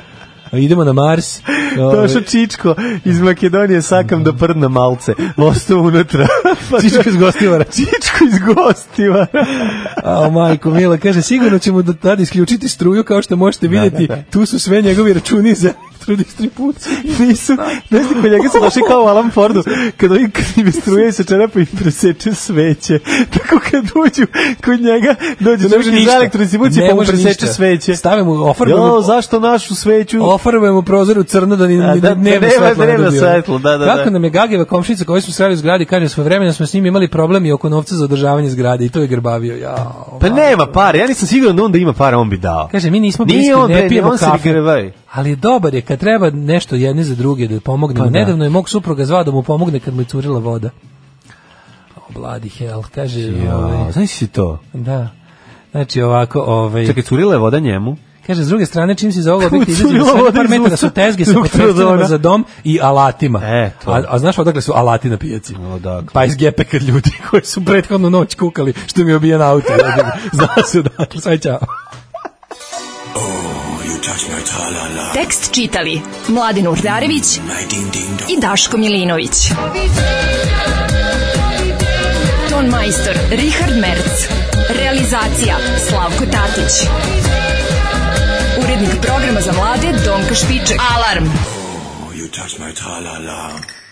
S6: idemo na Mars. Ovaj.
S5: Došao Čičko iz Makedonije, sakam da prdna malce. Ostao unutra. Pa
S6: Čičko iz Gostivara.
S5: Čičko iz gostiva.
S6: A majko Mila kaže sigurno ćemo do tada isključiti struju kao što možete vidjeti tu su sve njegovi računi za elektrodistribuciju.
S5: Nisu, ne znam kod Pa njega se došli kao u Alan Fordu, kad ovi krivi struje se čarapa i preseče sveće. Tako kad uđu kod njega, dođe
S6: Ne može
S5: čovjek iz
S6: ništa.
S5: elektrodistribucije
S6: Ne
S5: pa mu
S6: može
S5: preseče
S6: ništa.
S5: sveće.
S6: Stave mu- ofarbe mu-
S5: Jo, zašto našu sveću?
S6: Ofarbujemo prozor u crno da ni
S5: A,
S6: ni
S5: da, da nema
S6: dnevno svetlo ne
S5: dnevno
S6: dobijemo.
S5: svetlo, da, da,
S6: Kako
S5: da.
S6: nam je Gageva komšinica koju smo sreli u zgradi, kaže svojevremeno smo s njim imali problem i oko novca za održavanje zgrade i to je grbavio. Ja.
S5: Pa nema para, ja nisam siguran da onda ima para, on bi dao.
S6: Kaže mi nismo
S5: Nije
S6: bliski,
S5: on, bre,
S6: Pa ne pijemo
S5: on se
S6: kafu.
S5: grvaj.
S6: Ali dobar je kad treba nešto jedni za druge da pomognemo.
S5: Pa da.
S6: Nedavno je mog supruga zvao da mu pomogne kad mu je curila voda. O, bloody hell, kaže. ovaj,
S5: Ja, znaš si to?
S6: Da. Znači ovako, ovaj
S5: Čekaj, curila je voda njemu.
S6: kaže s druge strane čim si za ovog objekta izađe na
S5: curila
S6: svega
S5: voda
S6: par
S5: iz
S6: metara
S5: usta.
S6: su tezge sa
S5: Zbog
S6: potrepštinama
S5: trozona.
S6: za dom i alatima.
S5: E, to.
S6: a, a znaš odakle su alati na pijaci?
S5: Odakle?
S6: Pa iz gepeka ljudi koji su prethodnu noć kukali što mi je obijen auto. jebi ga. Zna se odakle, sve ćao.
S4: Tekst čitali Mladin Urdarević i Daško Milinović. Ton majstor Richard Merc. Realizacija Slavko Tatić. Urednik programa za mlade Donka Špiček. Alarm!
S7: Oh, you touch my tra-la-la.